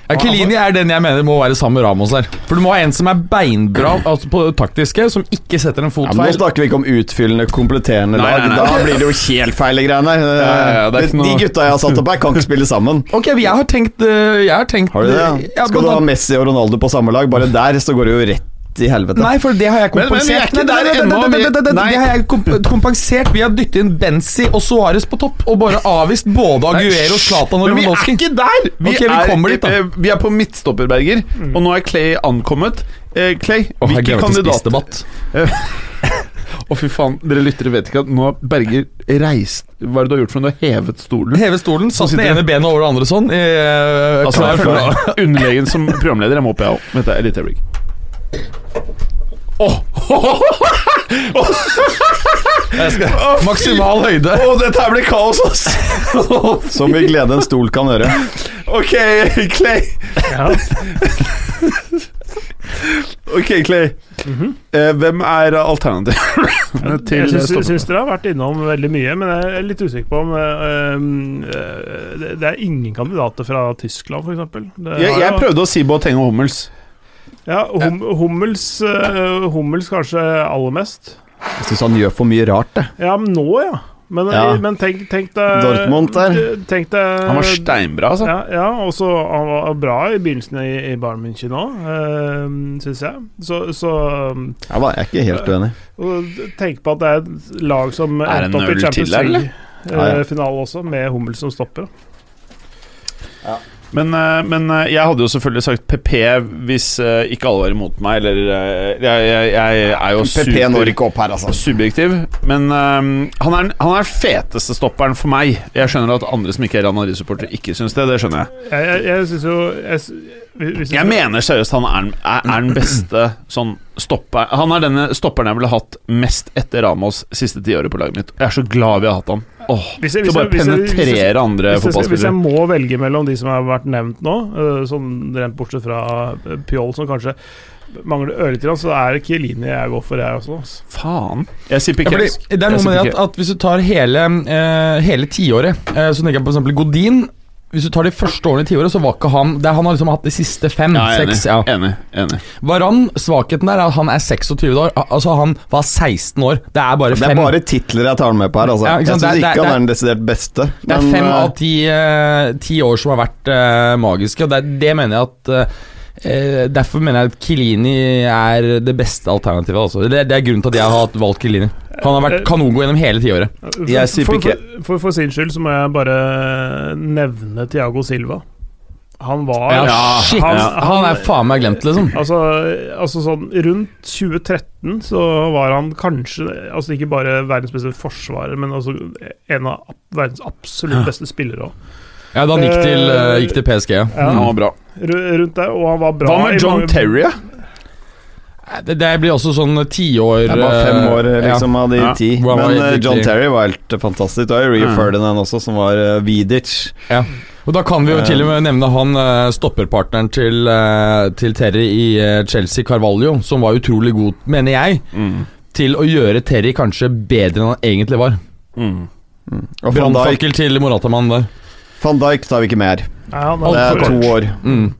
Speaker 2: Ja, Kelini er den jeg mener må være sammen med Ramos her. For du må ha en som er beinbra altså på det taktiske, som ikke setter en fot
Speaker 3: Ja, men nå
Speaker 2: feil.
Speaker 3: snakker vi ikke om utfyllende, kompletterende
Speaker 2: Nei,
Speaker 3: lag.
Speaker 2: nei, nei.
Speaker 3: Da blir det jo helt feil greiene.
Speaker 4: ja, ja, det er ikke
Speaker 3: De
Speaker 4: noe-
Speaker 3: gutta jeg har satt opp her, kan ikke spille sammen.
Speaker 2: Ok, men jeg har tenkt øh, Jeg har tenkt
Speaker 3: Har du det?
Speaker 2: Ja,
Speaker 3: Skal
Speaker 2: blant
Speaker 3: du ha
Speaker 2: annet-
Speaker 3: Messi og Ronaldo på samme lag? Bare der så går det jo rett i helvete.
Speaker 2: Nei, for det har jeg
Speaker 4: Men- men vi er
Speaker 2: kompensert.
Speaker 4: ikke
Speaker 2: Nei, nei,
Speaker 4: der
Speaker 2: nei,
Speaker 4: ennå,
Speaker 2: nei, nei,
Speaker 4: vi-
Speaker 2: nei, nei, nei,
Speaker 4: nei.
Speaker 2: Det har jeg komp- kompensert. Vi har dyttet inn Benzi og Suárez på topp, og bare avvist både Aguero, Zlatan og
Speaker 4: Men vi er
Speaker 2: Lewandowski.
Speaker 4: ikke der! Vi,
Speaker 2: Ok, vi kommer
Speaker 4: er,
Speaker 2: dit, da.
Speaker 4: eh, vi er på midtstopperberger, og nå er Clay ankommet. Eh, Clay,
Speaker 2: Åh, jeg
Speaker 4: hvilke
Speaker 2: gleder meg til
Speaker 4: kandidater Å,
Speaker 2: spissdebatt.
Speaker 4: fy faen, dere lyttere vet ikke at nå har Berger reist Hva er det du har gjort for noe? Du har hevet stolen?
Speaker 2: Heve stolen, satt det
Speaker 4: sitter-
Speaker 2: ene benet over det andre sånn. eh,
Speaker 4: Altså,
Speaker 2: klar
Speaker 4: jeg
Speaker 2: for
Speaker 4: føler meg underlegen som programleder. Jeg må opp, jeg òg. Vent, da, et lite øyeblikk. Åh,
Speaker 2: Jeg skal- Maksimal høyde.
Speaker 4: Åh, dette her blir kaos, ass!
Speaker 3: Som i glede en stol kan gjøre.
Speaker 4: Ok, Clay.
Speaker 5: Ja.
Speaker 4: Ok, Clay.
Speaker 2: Mhm.
Speaker 4: eh, hvem er alternativet til
Speaker 5: Jeg syns,
Speaker 4: stoppen?
Speaker 5: syns dere har vært innom veldig mye, men jeg er litt usikker på om eh, eh, det, det er ingen kandidater fra Tyskland, f.eks.
Speaker 4: Jeg, jeg prøvde å si Boateng og Hummels.
Speaker 5: Ja, hum, Hummels, eh, Hummels kanskje aller mest.
Speaker 3: Jeg syns han gjør for mye rart, det.
Speaker 5: Ja, men nå, ja. Men,
Speaker 3: Ja.
Speaker 5: men tenk, tenk deg
Speaker 3: Dortmund der.
Speaker 5: Tenk deg,
Speaker 4: Han var steinbra, altså.
Speaker 5: Ja, ja og så han var bra i begynnelsen i, i Bayern München òg, syns jeg. Så, så um,
Speaker 3: Jeg var- jeg er ikke helt uenig.
Speaker 5: og tenk på at det er et lag som
Speaker 4: Er det
Speaker 5: endte opp
Speaker 4: null
Speaker 5: i Champions
Speaker 4: til der, eller?
Speaker 3: Ja, ja.
Speaker 5: League-finale også, med Hummels som stopper.
Speaker 4: Men, eh, men eh, jeg hadde jo selvfølgelig sagt PP hvis eh, ikke alle var imot meg, eller eh, Jeg, jeg, jeg er jo
Speaker 3: PP når
Speaker 4: super,
Speaker 3: ikke opp her, altså.
Speaker 4: subjektiv, men eh, han er, den- han er den feteste stopperen for meg. Jeg skjønner at andre som ikke er Real Madrid-supportere, ikke syns det. Det skjønner jeg.
Speaker 5: Jeg, jeg, jeg syns jo jeg, s- hvis- hvis
Speaker 4: Jeg mener seriøst han er, den- er, er den beste sånn stopper Han er denne stopperen jeg ville hatt mest etter Ramos siste tiåret på laget mitt. Jeg er så glad vi har hatt han. Åh,
Speaker 5: Hvis jeg-
Speaker 4: til å
Speaker 5: hvis jeg-
Speaker 4: bare
Speaker 5: hvis jeg- hvis jeg-
Speaker 4: penetrere andre
Speaker 5: hvis jeg, hvis jeg
Speaker 4: eh, fotballspillere.
Speaker 5: må velge mellom de som har vært nevnt nå, øh, sånn rent bortsett fra øh, Pjol, som kanskje mangler øretiran, så er det Kielini jeg går for, jeg også. altså.
Speaker 4: Faen. Jeg sier
Speaker 2: Ja,
Speaker 4: Piquet.
Speaker 2: fordi det er
Speaker 4: Jeg
Speaker 2: noe
Speaker 4: sier
Speaker 2: med det
Speaker 4: Piqué.
Speaker 2: at, at hvis du tar hele, eh, hele tiåret, eh, så tenker jeg på eksempel Godin. Hvis du tar de første årene i tiåret, så var ikke han det, er- Han har liksom hatt de siste fem,
Speaker 4: Ja, jeg er
Speaker 2: seks.
Speaker 4: enig.
Speaker 2: Ja.
Speaker 4: enig, enig.
Speaker 2: Varan, svakheten der er at han er 26 år. Al- Altså, han var 16 år. Det er bare
Speaker 3: Det er
Speaker 2: fem.
Speaker 3: bare titler jeg tar den med på her. Altså.
Speaker 2: Ja, ikke
Speaker 3: jeg
Speaker 2: sant,
Speaker 3: syns
Speaker 2: det er-
Speaker 3: ikke
Speaker 2: det er-
Speaker 3: han er den desidert beste.
Speaker 2: det er
Speaker 3: men,
Speaker 2: fem
Speaker 3: eh,
Speaker 2: av ti, eh, ti år som har vært eh, magiske, og det, er- det mener jeg at eh, eh, Derfor mener jeg at Kilini er det beste alternativet. Altså. Det, det er grunnen til at jeg har hatt- valgt Kilini. Han har vært kanongod gjennom hele tiåret.
Speaker 5: For,
Speaker 3: Jeg sier
Speaker 5: for,
Speaker 3: Piqué.
Speaker 5: for, for, for sin skyld så må jeg bare nevne Tiago Silva. Han var
Speaker 2: Ja, shit!
Speaker 5: han-
Speaker 2: Han, er faen meg glemt, liksom.
Speaker 5: Altså, altså sånn Rundt 2013 så var han kanskje Altså ikke bare verdens beste forsvarer, men altså en av ab- verdens absolutt beste spillere òg.
Speaker 2: Ja, da han gikk til, eh, gikk til PSG. Ja.
Speaker 5: Ja.
Speaker 4: Han var bra.
Speaker 5: Rundt der, og han var bra
Speaker 4: Hva med
Speaker 5: i
Speaker 4: John
Speaker 5: mange-
Speaker 4: Terry? da?
Speaker 2: Nei, Det, det blir også sånn tiår
Speaker 3: Det er bare fem år
Speaker 2: eh, ja.
Speaker 3: liksom, av de
Speaker 4: Ja.
Speaker 3: ti.
Speaker 2: Hvor han var
Speaker 3: Men eh,
Speaker 2: helt
Speaker 3: John
Speaker 2: riktig.
Speaker 3: Terry var helt eh, fantastisk. Det var jo Rio
Speaker 4: Mm.
Speaker 3: Ferdinand også, som var eh, Vidic.
Speaker 2: Og da kan vi jo
Speaker 3: Eh.
Speaker 2: til og med nevne han eh, stopperpartneren til, eh, til Terry i eh, Chelsea, Carvalho, som var utrolig god, mener jeg,
Speaker 4: Mm.
Speaker 2: til å gjøre Terry kanskje bedre enn han egentlig var.
Speaker 4: Mm.
Speaker 3: Og van Dijk,
Speaker 2: Brannfakkel til Moratamann der.
Speaker 3: van Dijk tar vi ikke med her.
Speaker 5: Ja, han
Speaker 3: Det
Speaker 5: var
Speaker 3: er
Speaker 5: bra.
Speaker 3: to år.
Speaker 2: Mm.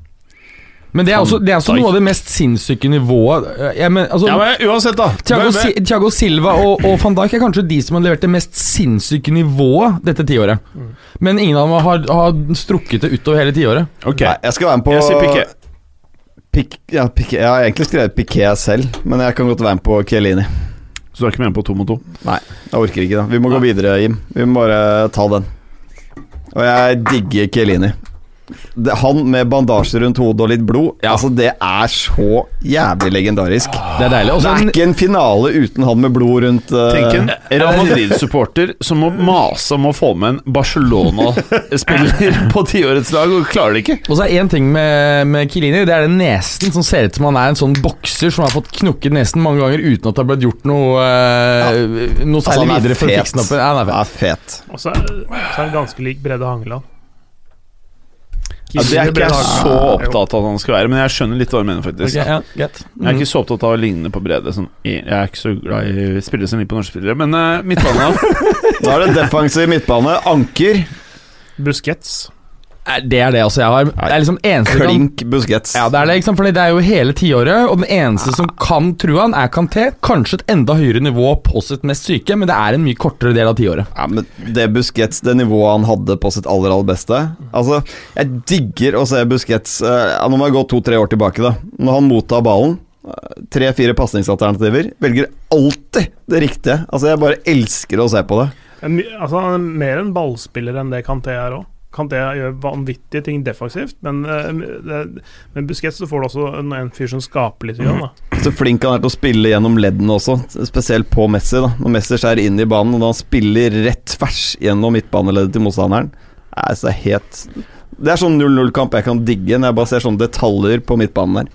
Speaker 2: Men det er også, det er også
Speaker 4: Dijk.
Speaker 2: noe av det mest sinnssyke nivået eh, jeg men, altså,
Speaker 4: Ja, men uansett, da.
Speaker 2: Thiago,
Speaker 4: Hvem-
Speaker 2: Si Thiago Silva og, og van Dijk er kanskje de som har levert det mest sinnssyke nivået dette tiåret. Men ingen av dem har, har strukket det utover hele tiåret.
Speaker 4: Ok,
Speaker 3: Nei, jeg skal være med på
Speaker 4: jeg sier Piqué.
Speaker 3: Pik- ja, Piqué. Jeg har egentlig skrevet Piqué selv, men jeg kan godt være med på Chiellini.
Speaker 4: Så du er ikke med på to mot to?
Speaker 3: Jeg orker ikke, da. Vi må gå videre, Jim. Vi må bare ta den. Og jeg digger Chiellini. det, Han med bandasje rundt hodet og litt blod, altså det er så jævlig legendarisk.
Speaker 2: Det er deilig.
Speaker 3: Det
Speaker 2: Også,
Speaker 3: er ikke en finale uten han med blod rundt eh,
Speaker 4: Tenk en Real Madrid-supporter som må mase om å få med en Barcelona-spiller på tiårets lag, og klarer det ikke.
Speaker 2: og så er én ting med, med Kilini, det er den nesen som ser ut som han er en sånn bokser som har fått knukket nesen mange ganger uten at det har blitt gjort noe, eh, noe
Speaker 3: Altså,
Speaker 2: særlig
Speaker 3: han er
Speaker 2: videre for å
Speaker 3: fet.
Speaker 2: fikse den opp. Ja, han er
Speaker 3: Ja,
Speaker 2: fet.
Speaker 3: fet.
Speaker 5: Og så er så er han ganske lik Brede Hangeland.
Speaker 4: Ja, det er ikke jeg så
Speaker 5: Jo.
Speaker 4: opptatt av at han skal være, men jeg skjønner litt hva du mener,
Speaker 2: Ok,
Speaker 4: faktisk.
Speaker 2: ja, greit.
Speaker 4: Jeg er ikke så opptatt av å ligne på Brede. Sånn, jeg er ikke så glad i spillere som ligner på norske spillere, men uh, midtbanen
Speaker 3: Da er det defensiv midtbane. Anker,
Speaker 5: Buskets.
Speaker 2: Nei, Det er det altså jeg har. Det er liksom eneste gang-
Speaker 3: klink, buskets.
Speaker 2: Ja, det er det, ikke sant? Fordi det er jo hele tiåret, og den eneste som kan true han, er Kanté. Kanskje et enda høyere nivå på sitt mest syke, men det er en mye kortere del av tiåret.
Speaker 3: Ja, men Det Busquets, det nivået han hadde på sitt aller aller beste Altså, Jeg digger å se Busquets eh, ja, Nå må jeg gå to-tre år tilbake. da Når han mottar ballen, eh, tre-fire pasningsalternativer, velger alltid det riktige. Altså, Jeg bare elsker å se på det.
Speaker 5: En my- Altså, han er mer en ballspiller enn det Kanté er òg. Kanté gjør vanvittige ting defensivt, men, eh, det- men Busquets så får du også en, en fyr som skaper litt. Grann, da.
Speaker 3: Så flink han er til å spille gjennom leddene også, spesielt på Messi. da Når Messi skjærer inn i banen, og da han spiller rett tvers gjennom midtbaneleddet til motstanderen Nei, så det er helt Det er sånn 0-0-kamp jeg kan digge når jeg bare ser sånne detaljer på midtbanen der.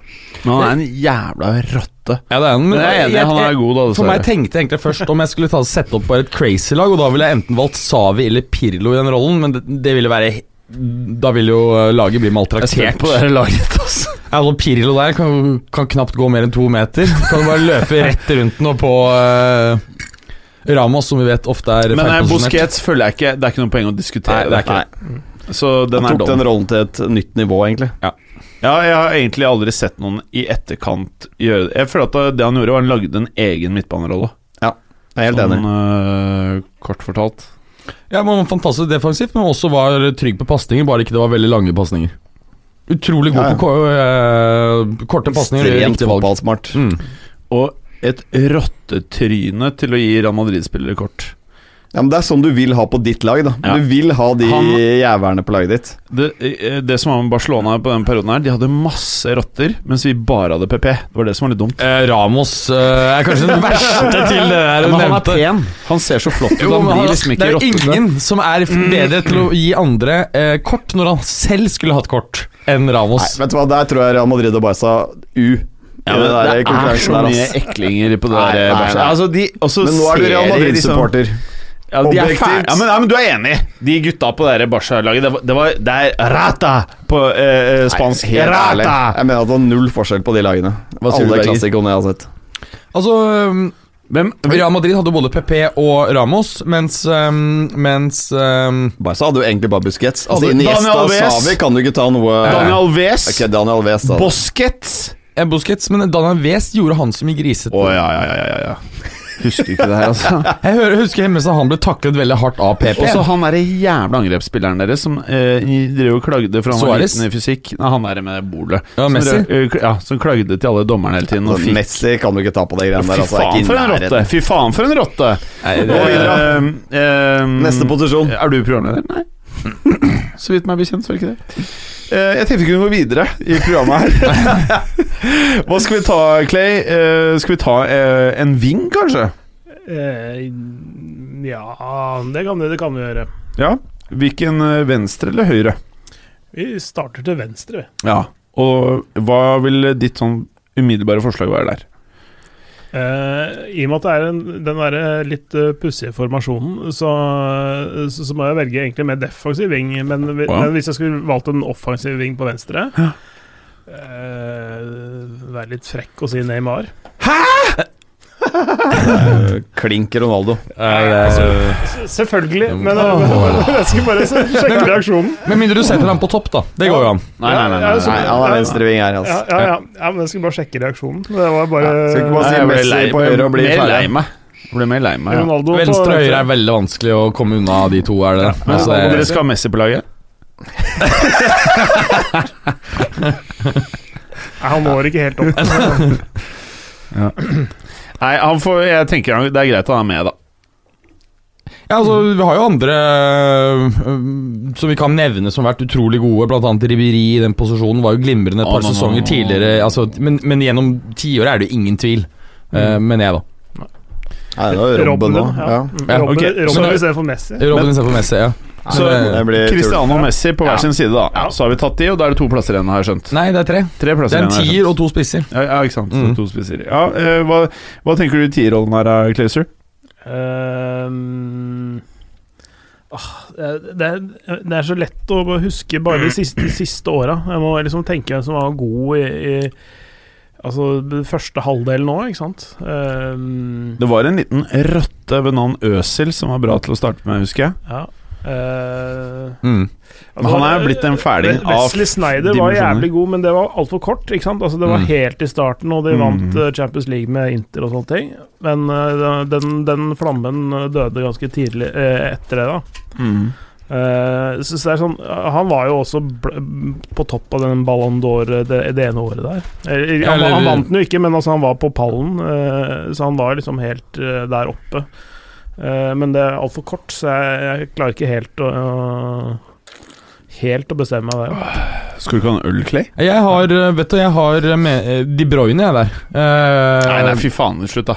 Speaker 4: Men han er en jævla rotte.
Speaker 2: Ja, det er han,
Speaker 4: Men jeg er enig, han er god, da.
Speaker 2: For meg
Speaker 4: dessverre.
Speaker 2: tenkte jeg egentlig først om jeg skulle ta, sette opp bare et crazy lag, og da ville jeg enten valgt Savi eller Pirlo i den rollen, men det, det ville være da vil jo eh, laget bli
Speaker 4: Jeg er spent
Speaker 2: maltraktert.
Speaker 4: på det her laget, altså.
Speaker 2: Ja, og Pirlo der kan, kan knapt gå mer enn to meter. Kan bare løpe rett rundt den og på eh, Ramos, som vi vet ofte er
Speaker 4: Men eh,
Speaker 2: feilposisjonert.
Speaker 4: Busquets føler jeg ikke Det er ikke noe poeng å diskutere.
Speaker 2: Nei, det er ikke det.
Speaker 4: det. Så den
Speaker 3: Han
Speaker 4: er
Speaker 3: tok
Speaker 4: dum.
Speaker 3: den rollen til et nytt nivå, egentlig.
Speaker 4: Ja, jeg har egentlig aldri sett noen i etterkant gjøre det. Jeg føler at det han gjorde, var han lagde en egen midtbanerolle.
Speaker 3: Jeg er helt enig.
Speaker 4: Sånn, eh, kort fortalt.
Speaker 2: Ja, men han var Fantastisk defensivt, men også var trygg på pasninger, bare ikke det var veldig lange pasninger. Utrolig god
Speaker 3: Ja, ja.
Speaker 2: på ko- eh, korte pasninger. gjør
Speaker 3: Ekstremt
Speaker 2: riktig valg.
Speaker 3: fotballsmart.
Speaker 2: Mm.
Speaker 4: Og et rottetryne til å gi Real Madrid-spillere kort.
Speaker 3: Ja, men Det er sånn du vil ha på ditt lag. da
Speaker 4: Ja.
Speaker 3: Du vil ha de
Speaker 4: Han-
Speaker 3: jævlene på laget ditt.
Speaker 4: Det, eh, det som var med Barcelona på den perioden her, de hadde masse rotter, mens vi bare hadde PP. Det var det som var litt dumt.
Speaker 2: Eh, Ramos eh, er kanskje den verste til det der du nevnte.
Speaker 4: pen. Han ser så flott ut.
Speaker 2: Jo,
Speaker 4: Han
Speaker 2: men han-
Speaker 4: blir liksom
Speaker 2: det
Speaker 4: ikke
Speaker 2: er jo
Speaker 4: rottete.
Speaker 2: ingen som er bedre til å gi andre eh, kort når han selv skulle hatt kort, enn
Speaker 3: Nei,
Speaker 2: Ramos.
Speaker 3: vet du hva, Der tror jeg Real Madrid og Barca U.
Speaker 4: Ja,
Speaker 3: i
Speaker 4: men
Speaker 3: der
Speaker 4: det, er
Speaker 3: konkurransen
Speaker 4: så
Speaker 3: der,
Speaker 4: mye
Speaker 3: ass.
Speaker 4: eklinger på det
Speaker 3: Nei,
Speaker 4: der.
Speaker 3: nei,
Speaker 4: bæsjet.
Speaker 3: nei.
Speaker 4: Altså, de, også
Speaker 3: Men nå er du
Speaker 4: ser
Speaker 3: Real
Speaker 4: de liksom-
Speaker 3: Madrid-supporter.
Speaker 4: Ja, de er
Speaker 3: Objektivt.
Speaker 4: fæle. Ja, men, ja, men du er enig. De gutta på det der Barca-laget, det, var- det, var- det er rata på eh, eh, spansk.
Speaker 3: Helt ærlig.
Speaker 4: rata!
Speaker 3: Jeg mener at det var null forskjell på de lagene.
Speaker 4: Hva sier du,
Speaker 3: Alle
Speaker 4: Berger?
Speaker 3: klassikerne jeg har sett.
Speaker 2: Altså, um,
Speaker 4: Hvem,
Speaker 2: Real Madrid hadde både PP og Ramos, mens, um, mens um,
Speaker 3: Barca hadde jo egentlig bare Busquets. Altså,
Speaker 4: Hadde-
Speaker 3: Iniesta
Speaker 4: Daniel
Speaker 3: og
Speaker 4: Alves.
Speaker 3: Savi kan du ikke ta noe
Speaker 4: Daniel Alves,
Speaker 3: Ok, Daniel Alves da.
Speaker 4: Busquets
Speaker 2: eh, Busquets, men Daniel Wes gjorde han som i grisete.
Speaker 4: Å ja, ja, ja, ja, ja. Husker ikke det her, altså.
Speaker 2: Jeg hører, husker Hemmestad han ble taklet veldig hardt av PP.
Speaker 4: Og så han derre jævla angrepsspilleren deres som eh, drev og klagde for han var
Speaker 2: Suarez?
Speaker 4: liten i fysikk. Nei, han derre med bolet.
Speaker 2: Ja,
Speaker 4: Som
Speaker 2: Messi.
Speaker 4: drev- eh, kl- ja, som klagde til alle dommerne hele tiden. Og
Speaker 3: Altså,
Speaker 4: fikk
Speaker 3: Messi kan du ikke ta på de greiene der.
Speaker 4: Fy
Speaker 3: Altså, Jeg er
Speaker 4: faen
Speaker 3: ikke
Speaker 4: for en
Speaker 3: i nærheten.
Speaker 4: rotte! Fy faen for en rotte!
Speaker 3: Gå videre.
Speaker 4: Eh, eh,
Speaker 3: Neste posisjon.
Speaker 4: Er du programleder? Nei. Så vidt meg bekjent, så er det ikke det. Eh, jeg tenkte vi kunne gå videre i programmet her. Hva skal vi ta, Clay? Eh, skal vi ta eh, en ving, kanskje?
Speaker 5: Eh, ja det kan, vi- det kan vi gjøre.
Speaker 4: Ja. Hvilken eh, venstre eller høyre?
Speaker 5: Vi starter til venstre, vi.
Speaker 4: Ja. Og hva vil ditt sånn umiddelbare forslag være der?
Speaker 5: Eh, I og med at det er en, den der litt eh, pussige formasjonen, så, så, så må jeg velge egentlig mer defensiv ving. Men, vi-
Speaker 4: Ja.
Speaker 5: men hvis jeg skulle valgt en offensiv ving på venstre
Speaker 4: Ja.
Speaker 5: eh, Være litt frekk og si Neymar.
Speaker 3: Eh, Klink Ronaldo.
Speaker 5: S- Selvfølgelig, men jeg skulle bare se- sjekke reaksjonen.
Speaker 2: Med mindre du setter han på topp, da. Det går jo an.
Speaker 5: Ja, så-
Speaker 3: Nei, han er venstreving her,
Speaker 5: Ja,
Speaker 3: altså.
Speaker 5: ja, ja, ja, men jeg skulle bare sjekke reaksjonen. Det var bare
Speaker 3: Ja, skal ikke bare si
Speaker 4: Jeg ble
Speaker 3: Messi
Speaker 4: lei,
Speaker 3: på høyre og bli
Speaker 4: mer
Speaker 3: ferdig.
Speaker 4: lei meg. Jeg ble mer lei meg. Ja.
Speaker 5: Ronaldo på
Speaker 2: Venstre og høyre er veldig vanskelig å komme unna de to, er det. Altså,
Speaker 4: Og dere
Speaker 2: det
Speaker 4: skal ha Messi på laget?
Speaker 5: Nei, Han når ikke helt opp.
Speaker 4: Nei, han får, jeg tenker han, det er greit at han er med, da.
Speaker 2: Ja, altså, Vi har jo andre øhm, som vi kan nevne som har vært utrolig gode. Blant annet Ribéry i den posisjonen var jo glimrende et
Speaker 4: Ah,
Speaker 2: par
Speaker 4: nå, nå,
Speaker 2: sesonger
Speaker 4: nå.
Speaker 2: tidligere. Altså, men, men gjennom tiåret er det jo ingen tvil. Eh,
Speaker 4: Mm.
Speaker 2: men jeg, da.
Speaker 3: Nei, det var Robben òg. Ja.
Speaker 2: Ja,
Speaker 5: Robben,
Speaker 4: ok.
Speaker 5: Robben
Speaker 2: Så-
Speaker 5: istedenfor Messi.
Speaker 2: Robin istedenfor Messi, ja.
Speaker 4: Så
Speaker 2: Men, eh,
Speaker 3: Det blir tull.
Speaker 4: Cristiano og Messi på hver sin side, da. Så har vi tatt de, og da er det to plasser igjen, har jeg skjønt.
Speaker 2: Nei, det er tre.
Speaker 4: Tre
Speaker 2: Det
Speaker 4: plasser
Speaker 2: er
Speaker 4: igjen.
Speaker 2: en
Speaker 4: har jeg
Speaker 2: tier og to spisser.
Speaker 4: skjønt. Ja, ja, ikke sant. Så
Speaker 2: Mm.
Speaker 4: To spisser. Ja, eh, hva, hva tenker du i tierrollen her, eh, Clayser?
Speaker 5: Ehm, ah, det, er, det er så lett å bare huske bare
Speaker 4: Mm.
Speaker 5: de siste, de siste åra. Jeg må liksom tenke hvem som var god i, i Altså den første halvdelen nå, ikke sant? Ehm,
Speaker 4: Det var en liten rotte ved navn Øsil som var bra til å starte med, husker jeg.
Speaker 5: ja. Eh,
Speaker 2: Mm.
Speaker 4: Men han er jo blitt en fæling
Speaker 5: Wes-
Speaker 4: av
Speaker 5: Wesley Snyder var
Speaker 4: dimensjoner.
Speaker 5: jævlig god, men det var altfor kort. ikke sant? Altså Det var
Speaker 2: Mm.
Speaker 5: helt i starten, og de
Speaker 4: Mm.
Speaker 5: vant eh, Champions League med Inter og sånne ting. Men eh, den, den flammen eh, døde ganske tidlig eh, etter det, da. Eh, så, så det er sånn eh, Han var jo også bl på topp av den Ballon d'Or eh, det, det ene året der. Eller, han,
Speaker 2: Eller-
Speaker 5: han vant den jo ikke, men altså, han var på pallen, eh, så han var liksom helt eh, der oppe. Eh, men det er altfor kort, så jeg, jeg klarer ikke helt å øh, Helt å bestemme meg
Speaker 3: Ah,
Speaker 5: der.
Speaker 4: Skal du ikke ha en øl, Clay?
Speaker 2: Jeg har eh, vet du, jeg har eh, med, eh, De Bruyne, jeg, der. Eh,
Speaker 4: Nei, nei, fy faen, slutt, da.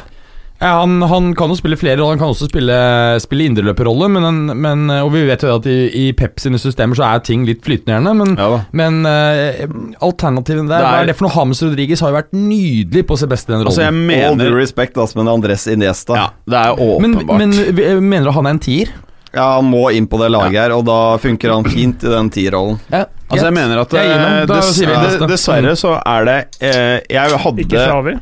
Speaker 2: ja, han, han kan jo spille flere roller. Han kan også spille, spille indreløperrolle, men, han- men, eh, og vi vet jo at i, i Pep sine systemer så er ting litt flytende, gjerne. Men
Speaker 4: Ja da.
Speaker 2: Men eh, alternativene
Speaker 4: Det
Speaker 2: der
Speaker 4: er-
Speaker 2: Hva er det for noe? James Rodriguez har jo vært nydelig på å se best i den rollen.
Speaker 4: Altså, jeg
Speaker 3: All due
Speaker 4: mener
Speaker 3: respect, altså, men Andres Iniesta
Speaker 4: Ja, det er
Speaker 2: men,
Speaker 4: åpenbart.
Speaker 2: men vi- eh, mener du han er en tier?
Speaker 3: Ja, han må inn på det laget her, og da funker han fint i den tierrollen.
Speaker 2: Ja,
Speaker 4: Altså jeg mener at
Speaker 2: Jeg gir meg.
Speaker 4: eh,
Speaker 2: Da
Speaker 4: dess,
Speaker 2: sier vi neste.
Speaker 4: eh, Dessverre så er det eh, Jeg
Speaker 5: Ikke
Speaker 4: hadde
Speaker 5: Shawi.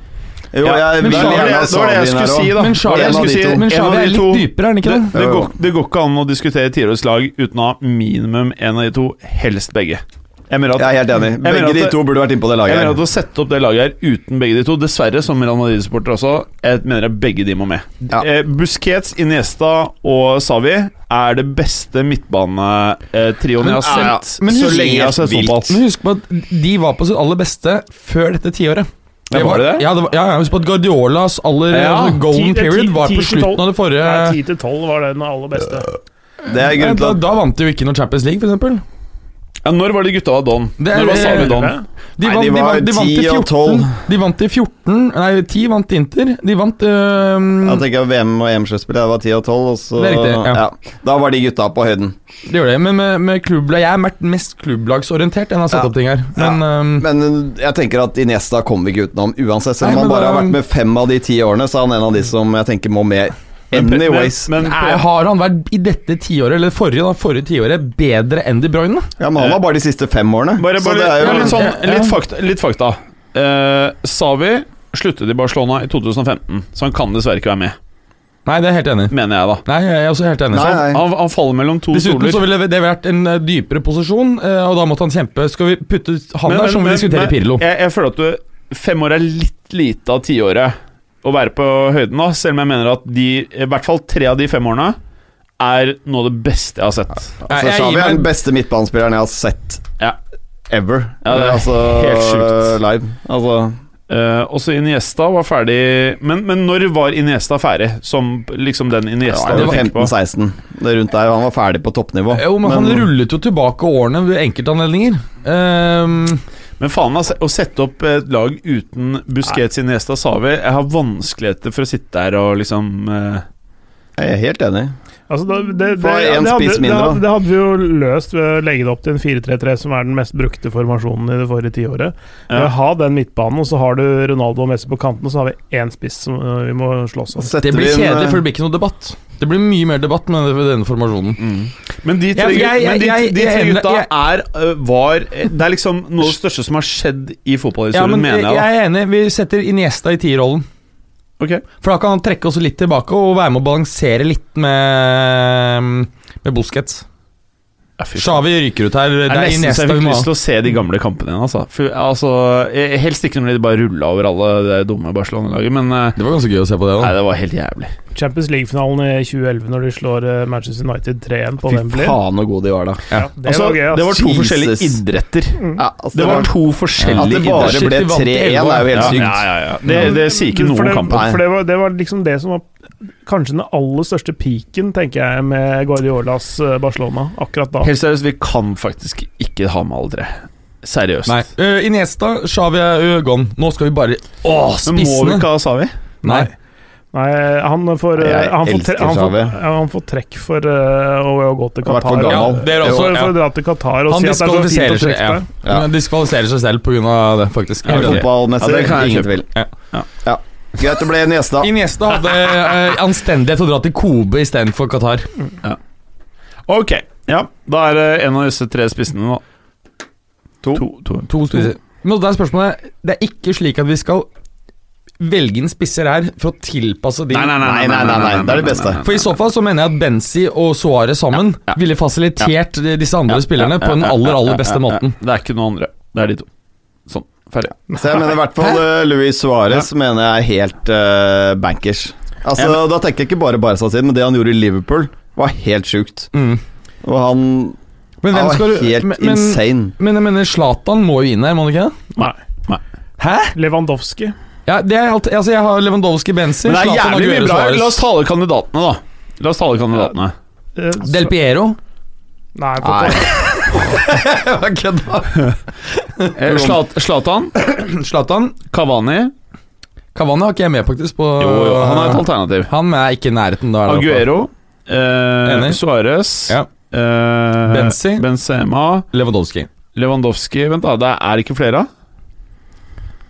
Speaker 3: Jo,
Speaker 4: Ja,
Speaker 3: jeg
Speaker 2: men
Speaker 3: vil gjerne
Speaker 2: Xavi-
Speaker 3: ha
Speaker 4: det var det jeg
Speaker 3: Xavi inn her
Speaker 4: skulle si,
Speaker 3: også.
Speaker 4: da.
Speaker 2: Men Xavi-
Speaker 3: En av de to.
Speaker 2: Men
Speaker 4: En av
Speaker 2: Shavi er
Speaker 4: de
Speaker 2: litt
Speaker 4: to.
Speaker 2: dypere, er han ikke
Speaker 4: det,
Speaker 2: det?
Speaker 4: det, går, det går ikke an å diskutere tiårslag uten å ha minimum én av de to, helst begge. Jeg mener
Speaker 3: Jeg er
Speaker 4: at,
Speaker 3: helt enig.
Speaker 4: mener
Speaker 3: Begge
Speaker 4: at
Speaker 3: de
Speaker 4: det-
Speaker 3: to burde vært inn på det
Speaker 4: jeg
Speaker 3: laget
Speaker 4: mener at
Speaker 3: her.
Speaker 4: å sette opp det laget her uten begge de to, dessverre, som Real Madrid-supporter også, jeg mener at begge de må med.
Speaker 3: Ja.
Speaker 4: Eh, Busquets, Iniesta og Savi er det beste midtbanetrioen jeg har
Speaker 2: Men- ja,
Speaker 4: sett
Speaker 2: men
Speaker 4: så
Speaker 2: husk-
Speaker 4: lenge jeg har sett
Speaker 3: Helt
Speaker 4: fotball.
Speaker 2: Men husk på at de var på sitt aller beste før dette tiåret.
Speaker 4: Ja, var det det?
Speaker 2: Ja, det var, ja, ja, husk på at Guardiolas aller
Speaker 4: Ja.
Speaker 2: altså, golden
Speaker 5: Ti- det er
Speaker 2: period
Speaker 5: ti-
Speaker 2: var
Speaker 5: ti
Speaker 2: på
Speaker 5: til
Speaker 2: slutten
Speaker 5: tolv.
Speaker 2: av det forrige
Speaker 5: Nei, 10 til 12 var den aller beste.
Speaker 3: Det er
Speaker 2: Nei,
Speaker 3: grunnen til
Speaker 2: da,
Speaker 3: at
Speaker 2: da vant de jo ikke noe Champions League, f.eks.
Speaker 4: Ja, når var de gutta av Don?
Speaker 2: Det er-
Speaker 4: Når var Savi Don?
Speaker 2: De,
Speaker 3: Nei,
Speaker 2: vant-
Speaker 3: de var
Speaker 2: vant- vant
Speaker 3: 10
Speaker 2: i
Speaker 3: og
Speaker 2: 14. De vant i 14 Nei, 10 vant Inter. De vant øhm,
Speaker 3: Jeg tenker VM og EM-sluttspill. Jeg var 10 og 12, og så
Speaker 2: Det er riktig, ja.
Speaker 3: ja. Da var de gutta på høyden.
Speaker 2: Det gjør det, men med, med klubblag Jeg er mer- mest klubblagsorientert enn jeg har satt
Speaker 3: Ja.
Speaker 2: opp ting her. Men, ehm, øhm,
Speaker 3: Men uh, jeg tenker at Iniesta kommer vi ikke utenom uansett. Selv
Speaker 2: Nei,
Speaker 3: om han
Speaker 2: men
Speaker 3: bare
Speaker 2: da-
Speaker 3: har vært med fem av de ti årene, så er han en av de som jeg tenker må med.
Speaker 4: Men- men-
Speaker 3: Anyways.
Speaker 4: men-
Speaker 2: er, har han vært i dette tiåret, eller forrige da, forrige tiåret, bedre enn De Bruyne?
Speaker 3: Ja, Men han var bare de siste fem årene.
Speaker 4: Bare,
Speaker 3: så
Speaker 4: bare
Speaker 3: det er
Speaker 4: ja,
Speaker 3: jo
Speaker 4: litt, sånn,
Speaker 2: Ja, ja.
Speaker 4: litt fakta. Litt fakta. Eh, Savi sluttet i Barcelona i 2015, så han kan dessverre ikke være med,
Speaker 2: Nei, det er jeg helt enig i.
Speaker 4: mener jeg da.
Speaker 2: Nei, jeg er også helt enig.
Speaker 3: Nei, nei.
Speaker 4: Han, han faller mellom to
Speaker 2: Dessuten så
Speaker 4: stoler.
Speaker 2: ville det vært en eh, dypere posisjon, eh, og da måtte han kjempe. Skal vi putte ut han
Speaker 4: Men-
Speaker 2: der, så må
Speaker 4: men-
Speaker 2: vi
Speaker 4: men-
Speaker 2: diskutere Pirlo.
Speaker 4: Jeg, jeg føler at du, fem år er litt lite av tiåret å være på høyden da, selv om jeg mener at de, i hvert fall tre av de fem årene er noe av det beste jeg har sett.
Speaker 2: Nei,
Speaker 3: Så
Speaker 2: jeg
Speaker 3: Xavi
Speaker 2: gir
Speaker 3: er
Speaker 2: meg-
Speaker 3: den beste midtbanespilleren jeg har sett
Speaker 4: Ja.
Speaker 3: ever.
Speaker 4: Ja, det er
Speaker 3: altså,
Speaker 4: helt sjukt.
Speaker 3: Live. Altså,
Speaker 4: Eh, også Iniesta var ferdig Men, men når var Iniesta ferdig? Som liksom den Iniesta
Speaker 3: det
Speaker 4: du
Speaker 3: var
Speaker 4: tenker på?
Speaker 3: 15-16, det er rundt der. og Han var ferdig på toppnivå.
Speaker 2: Eh, Jo, men, han rullet jo tilbake årene ved enkeltanledninger. Ehm,
Speaker 4: Men faen, altså, å sette opp et lag uten Busquets Iniesta Savi Jeg har vanskeligheter for å sitte der og liksom eh,
Speaker 3: jeg er helt enig.
Speaker 5: Altså, da, det, det,
Speaker 3: Få en
Speaker 5: det, hadde,
Speaker 3: spiss
Speaker 5: det,
Speaker 3: mindre,
Speaker 5: hadde,
Speaker 3: da.
Speaker 5: det hadde vi jo løst ved å legge det opp til en 4-3-3, som er den mest brukte formasjonen i det forrige tiåret.
Speaker 4: Ja.
Speaker 5: Eh, Ha den midtbanen, og så har du Ronaldo og Messi på kanten, og så har vi én spiss som eh, vi må slåss om.
Speaker 2: det blir
Speaker 3: eh,
Speaker 2: kjedelig, for det blir ikke noe debatt. Det blir mye mer debatt med denne- denne formasjonen.
Speaker 4: Mm. Men de tre,
Speaker 2: Jeg- jeg-
Speaker 4: men de,
Speaker 2: jeg-
Speaker 4: de
Speaker 2: jeg-
Speaker 4: tre
Speaker 2: jeg-
Speaker 4: gutta
Speaker 2: jeg-
Speaker 4: er eh, var eh, Det er liksom noe av det største som har skjedd i
Speaker 2: Ja,
Speaker 4: fotballhistorien,
Speaker 2: men jeg,
Speaker 4: mener jeg, da.
Speaker 2: jeg er enig. Vi setter Iniesta i tierrollen.
Speaker 4: Ok.
Speaker 2: For da kan han trekke oss litt tilbake og være med å balansere litt med, med Busquets.
Speaker 4: Ja, fy faen.
Speaker 2: Shawi ryker ut her. Det
Speaker 4: Det
Speaker 2: er
Speaker 4: er nesten så
Speaker 2: Iniesta
Speaker 4: jeg
Speaker 2: vi
Speaker 4: fikk
Speaker 2: må
Speaker 4: lyst
Speaker 2: ha.
Speaker 4: til å se de gamle kampene igjen, altså. For, altså eh, helst ikke når de bare rulla over alle det dumme Barcelona-laget, men eh,
Speaker 2: Det var ganske gøy å se på det
Speaker 4: Nei,
Speaker 2: òg.
Speaker 4: det var helt jævlig.
Speaker 5: Champions League-finalen i 2011, når de slår eh, Manchester United 3-1 på
Speaker 3: Fy
Speaker 5: Wembley.
Speaker 3: faen så gode de var, da.
Speaker 5: Ja, det
Speaker 4: Altså,
Speaker 5: var gøy, ass.
Speaker 4: det var to
Speaker 3: Jesus.
Speaker 4: forskjellige idretter.
Speaker 3: Ja, altså,
Speaker 4: Det var to
Speaker 3: At
Speaker 4: forskjellige
Speaker 3: det bare
Speaker 4: idretter.
Speaker 2: Shit,
Speaker 3: ble
Speaker 2: vi vant i
Speaker 3: 3-1, er
Speaker 2: elleve.
Speaker 3: jo helt
Speaker 4: Ja,
Speaker 3: sykt.
Speaker 4: ja, ja, ja. Det, det sier ikke
Speaker 5: Mm. for
Speaker 4: noe
Speaker 5: det,
Speaker 4: om kampen.
Speaker 5: For det var, det var liksom det som var kanskje den aller største peaken, tenker jeg, med Guardiolas eh, Barcelona akkurat da.
Speaker 4: Helt seriøst, vi kan faktisk ikke ha med alle tre. Seriøst.
Speaker 2: Nei. Uh, Iniesta, Xavi er gone. Nå skal vi bare Å,
Speaker 4: Men må vi
Speaker 2: spissene!
Speaker 4: ikke ha Savi?
Speaker 2: Nei.
Speaker 5: Nei, han får, eh,
Speaker 3: Nei, jeg
Speaker 5: han får,
Speaker 3: elsker
Speaker 5: tre- han får,
Speaker 3: Xavi.
Speaker 5: ja, han får trekk for eh, å, å gå til
Speaker 3: Han har vært for
Speaker 5: Qatar.
Speaker 2: Ja,
Speaker 3: gammel.
Speaker 2: det er
Speaker 5: For,
Speaker 2: også
Speaker 5: for
Speaker 2: ja.
Speaker 5: å dra til Qatar
Speaker 2: Han
Speaker 5: og si at det er så fint
Speaker 2: diskvalifiserer
Speaker 5: å
Speaker 2: seg,
Speaker 5: trekke
Speaker 2: ja.
Speaker 5: deg.
Speaker 3: Ja.
Speaker 2: Han diskvalifiserer seg selv pga. det, faktisk.
Speaker 3: Ja,
Speaker 4: ok.
Speaker 3: Fotballmessig,
Speaker 4: Ja, det kan jeg
Speaker 3: ingen
Speaker 4: kjøpe.
Speaker 3: tvil.
Speaker 2: Ja.
Speaker 4: Ja.
Speaker 3: Ja. Greit, det ble en gjest, da.
Speaker 2: Iniesta hadde eh, anstendighet til å dra til Kobe istedenfor Qatar.
Speaker 4: Ok. Ja, da er det en av disse tre spissene nå. To. to, to.
Speaker 2: To spisser. Men da er spørsmålet Det er ikke slik at vi skal velge inn spisser her for å tilpasse de
Speaker 3: Nei, nei, nei, nei, det er det beste.
Speaker 2: For i så fall så mener jeg at Benzi og Suárez sammen ville fasilitert disse andre spillerne på den aller, aller beste måten.
Speaker 4: Det er ikke noen andre. Det er de to. Sånn. Ferdig.
Speaker 3: Så jeg mener i hvert fall eh, Luis Suárez mener jeg er helt eh, bankers. Altså,
Speaker 4: Jeg
Speaker 3: Da tenker jeg ikke bare Barca sin, men det han gjorde i Liverpool, var helt sjukt.
Speaker 2: Mm.
Speaker 3: Og han,
Speaker 2: Men
Speaker 3: han
Speaker 2: hvem
Speaker 3: var
Speaker 2: skal du
Speaker 3: helt
Speaker 2: men, men,
Speaker 3: insane.
Speaker 2: men jeg mener Zlatan må jo inn her, må han ikke det?
Speaker 5: Nei.
Speaker 2: Hæ?
Speaker 5: Lewandowski.
Speaker 2: Ja, det er alt, altså jeg har Lewandowski, Benzi,
Speaker 4: Men det er
Speaker 2: Zlatan
Speaker 4: jævlig mye
Speaker 2: Aguero,
Speaker 4: bra. La oss
Speaker 2: Suárez.
Speaker 4: tale kandidatene, da. La oss tale kandidatene.
Speaker 5: Eh, så-
Speaker 2: Del Piero.
Speaker 5: Nei, for
Speaker 4: Eh, Zlat- Zlatan,
Speaker 2: Zlatan.
Speaker 4: Kavani
Speaker 2: Cavani har ikke jeg med, faktisk. På,
Speaker 4: Jo, jo, Eh, han er et alternativ.
Speaker 2: Han er ikke i nærheten da. er det oppe.
Speaker 4: Aguero. Eh,
Speaker 2: Enig.
Speaker 4: Suárez.
Speaker 2: Ja.
Speaker 4: Eh,
Speaker 2: Benzi.
Speaker 4: Benzema.
Speaker 2: Lewandowski.
Speaker 4: Lewandowski Vent, da. Det er ikke flere av?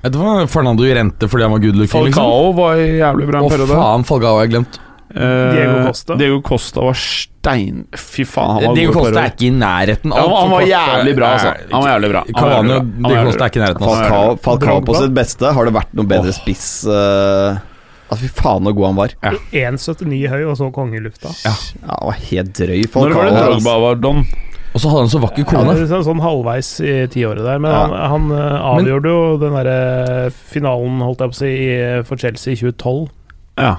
Speaker 2: Vet du hva Fernando Llorente fordi han var good looking? liksom?
Speaker 4: Falcao var jævlig bra
Speaker 2: Å,
Speaker 4: en periode.
Speaker 2: faen, Falcao har jeg glemt.
Speaker 4: Eh,
Speaker 5: Diego Costa.
Speaker 4: Diego Costa var stein... Fy faen, han var
Speaker 2: Diego
Speaker 4: god
Speaker 2: Costa
Speaker 4: periode.
Speaker 2: er ikke i nærheten
Speaker 4: Ja,
Speaker 2: av
Speaker 4: han, han var
Speaker 2: Costa-
Speaker 4: jævlig bra, altså. Han var jævlig bra. Han var
Speaker 2: Cavani
Speaker 4: jævlig bra.
Speaker 2: og
Speaker 4: Han var
Speaker 2: Diego
Speaker 4: jævlig
Speaker 2: Costa er ikke i nærheten. Altså.
Speaker 3: Falcao, Falcao på
Speaker 5: Drogba.
Speaker 3: sitt beste, har det vært noe bedre spiss eh, Altså, Fy faen, så god han var.
Speaker 5: på 1,79 høy og så konge i lufta.
Speaker 3: Ja, han var helt drøy,
Speaker 4: Når
Speaker 3: Falcao.
Speaker 4: var det
Speaker 3: altså.
Speaker 4: Drogba var don?
Speaker 2: Og så hadde han så vakker
Speaker 5: Ja,
Speaker 2: kone.
Speaker 5: det er sånn, sånn halvveis i tiåret der, men
Speaker 3: Ja.
Speaker 5: han, han eh,
Speaker 2: Men-
Speaker 5: avgjorde jo den derre finalen, holdt jeg på å si, i- for Chelsea i 2012.
Speaker 4: Ja.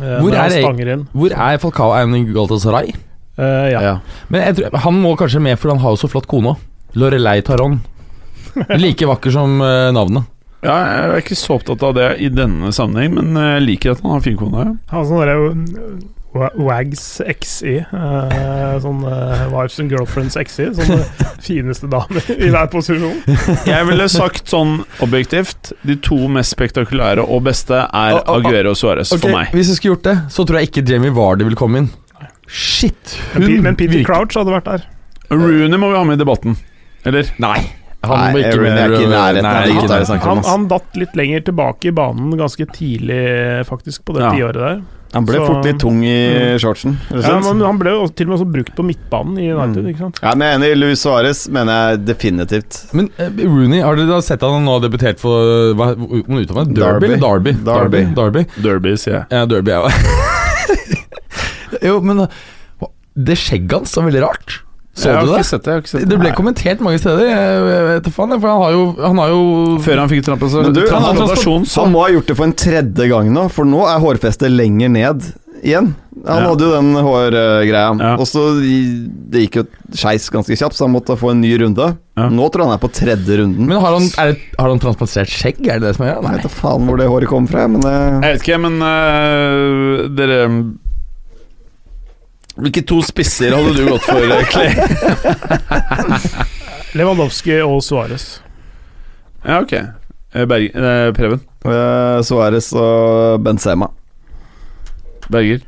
Speaker 5: eh,
Speaker 2: Hvor
Speaker 5: når han
Speaker 2: er det-
Speaker 5: stanger inn.
Speaker 2: Hvor er Falcao er han i Galatasaray?
Speaker 5: Eh, ja.
Speaker 4: Ja.
Speaker 2: Men jeg tror, han må kanskje med, for han har jo så flott kone òg. Lorelei Taron. Like vakker som eh, navnet.
Speaker 4: ja, jeg er ikke så opptatt av det i denne sammenheng, men eh, jeg liker at han har fin kone.
Speaker 5: Han har sånn derre wa- Wags XI. eh, sånn eh, Wives and Girlfriends XI. Sånne eh, fineste damer i hver posisjon.
Speaker 4: Jeg ville sagt sånn objektivt De to mest spektakulære og beste er
Speaker 2: Å, å, å.
Speaker 4: Aguero og Suárez for meg.
Speaker 2: Hvis jeg skulle gjort det, så tror jeg ikke Jamie Vardy vil komme inn. Shit!
Speaker 5: Men, Pe-
Speaker 2: hun
Speaker 5: men Peter
Speaker 2: virker-
Speaker 5: Crouch hadde vært der.
Speaker 4: Rooney må vi ha med i debatten. Eller?
Speaker 2: Nei. Han
Speaker 3: Nei,
Speaker 2: må ikke
Speaker 3: Rooney er ikke i nærheten av de
Speaker 2: ikke i
Speaker 3: gutta vi
Speaker 2: nærheten.
Speaker 3: snakker om.
Speaker 5: Han,
Speaker 3: ass.
Speaker 5: han datt litt lenger tilbake i banen ganske tidlig, faktisk, på det
Speaker 4: Ja.
Speaker 5: tiåret der.
Speaker 3: Han ble
Speaker 5: Så-
Speaker 3: fort litt tung i shortsen. rett og
Speaker 5: Ja,
Speaker 3: slett.
Speaker 5: men han ble jo til og med også brukt på midtbanen i
Speaker 3: Mm.
Speaker 5: United, ikke sant?
Speaker 3: Ja, men jeg er enig. Luis Suárez mener jeg definitivt.
Speaker 2: Men eh, Rooney, har dere da sett han nå har debutert for hva, hvor- hvor uttaler man det? Derby?
Speaker 3: Derby.
Speaker 2: eller Derby.
Speaker 3: Derby.
Speaker 2: Derby. Derby.
Speaker 4: Derby, sier jeg.
Speaker 2: Ja, Derby, jeg òg. jo, men eh, det skjegget hans var veldig rart. Så
Speaker 4: jeg har
Speaker 2: du det?
Speaker 4: ikke sett det. Jeg har ikke sett
Speaker 2: Det ble
Speaker 4: Nei.
Speaker 2: kommentert mange steder. Jeg jeg vet ikke faen, jeg, for han har jo, han har jo
Speaker 4: Før han fikk trampa
Speaker 3: Men du, han har
Speaker 4: transplantasjon, sånn. så
Speaker 3: Han må ha gjort det for en tredje gang nå, for nå er hårfestet lenger ned igjen. Han
Speaker 4: Ja.
Speaker 3: hadde jo den hårgreia.
Speaker 4: Ja.
Speaker 3: Og så i- Det gikk jo skeis ganske kjapt, så han måtte få en ny runde.
Speaker 4: Ja.
Speaker 3: Nå tror jeg han er på tredje runden.
Speaker 2: Men har han, er det, har han transplantert skjegg? Er det det som er greia?
Speaker 3: jeg vet
Speaker 2: Nei.
Speaker 3: da faen hvor det håret kom fra, men eh, det
Speaker 4: Jeg vet ikke, men øh, dere Hvilke to spisser hadde du gått for, Clay?
Speaker 5: Lewandowski og Suárez.
Speaker 4: ja, ok. Eh, Berg, eh, Preben.
Speaker 3: eh, Suárez og Benzema.
Speaker 4: Berger.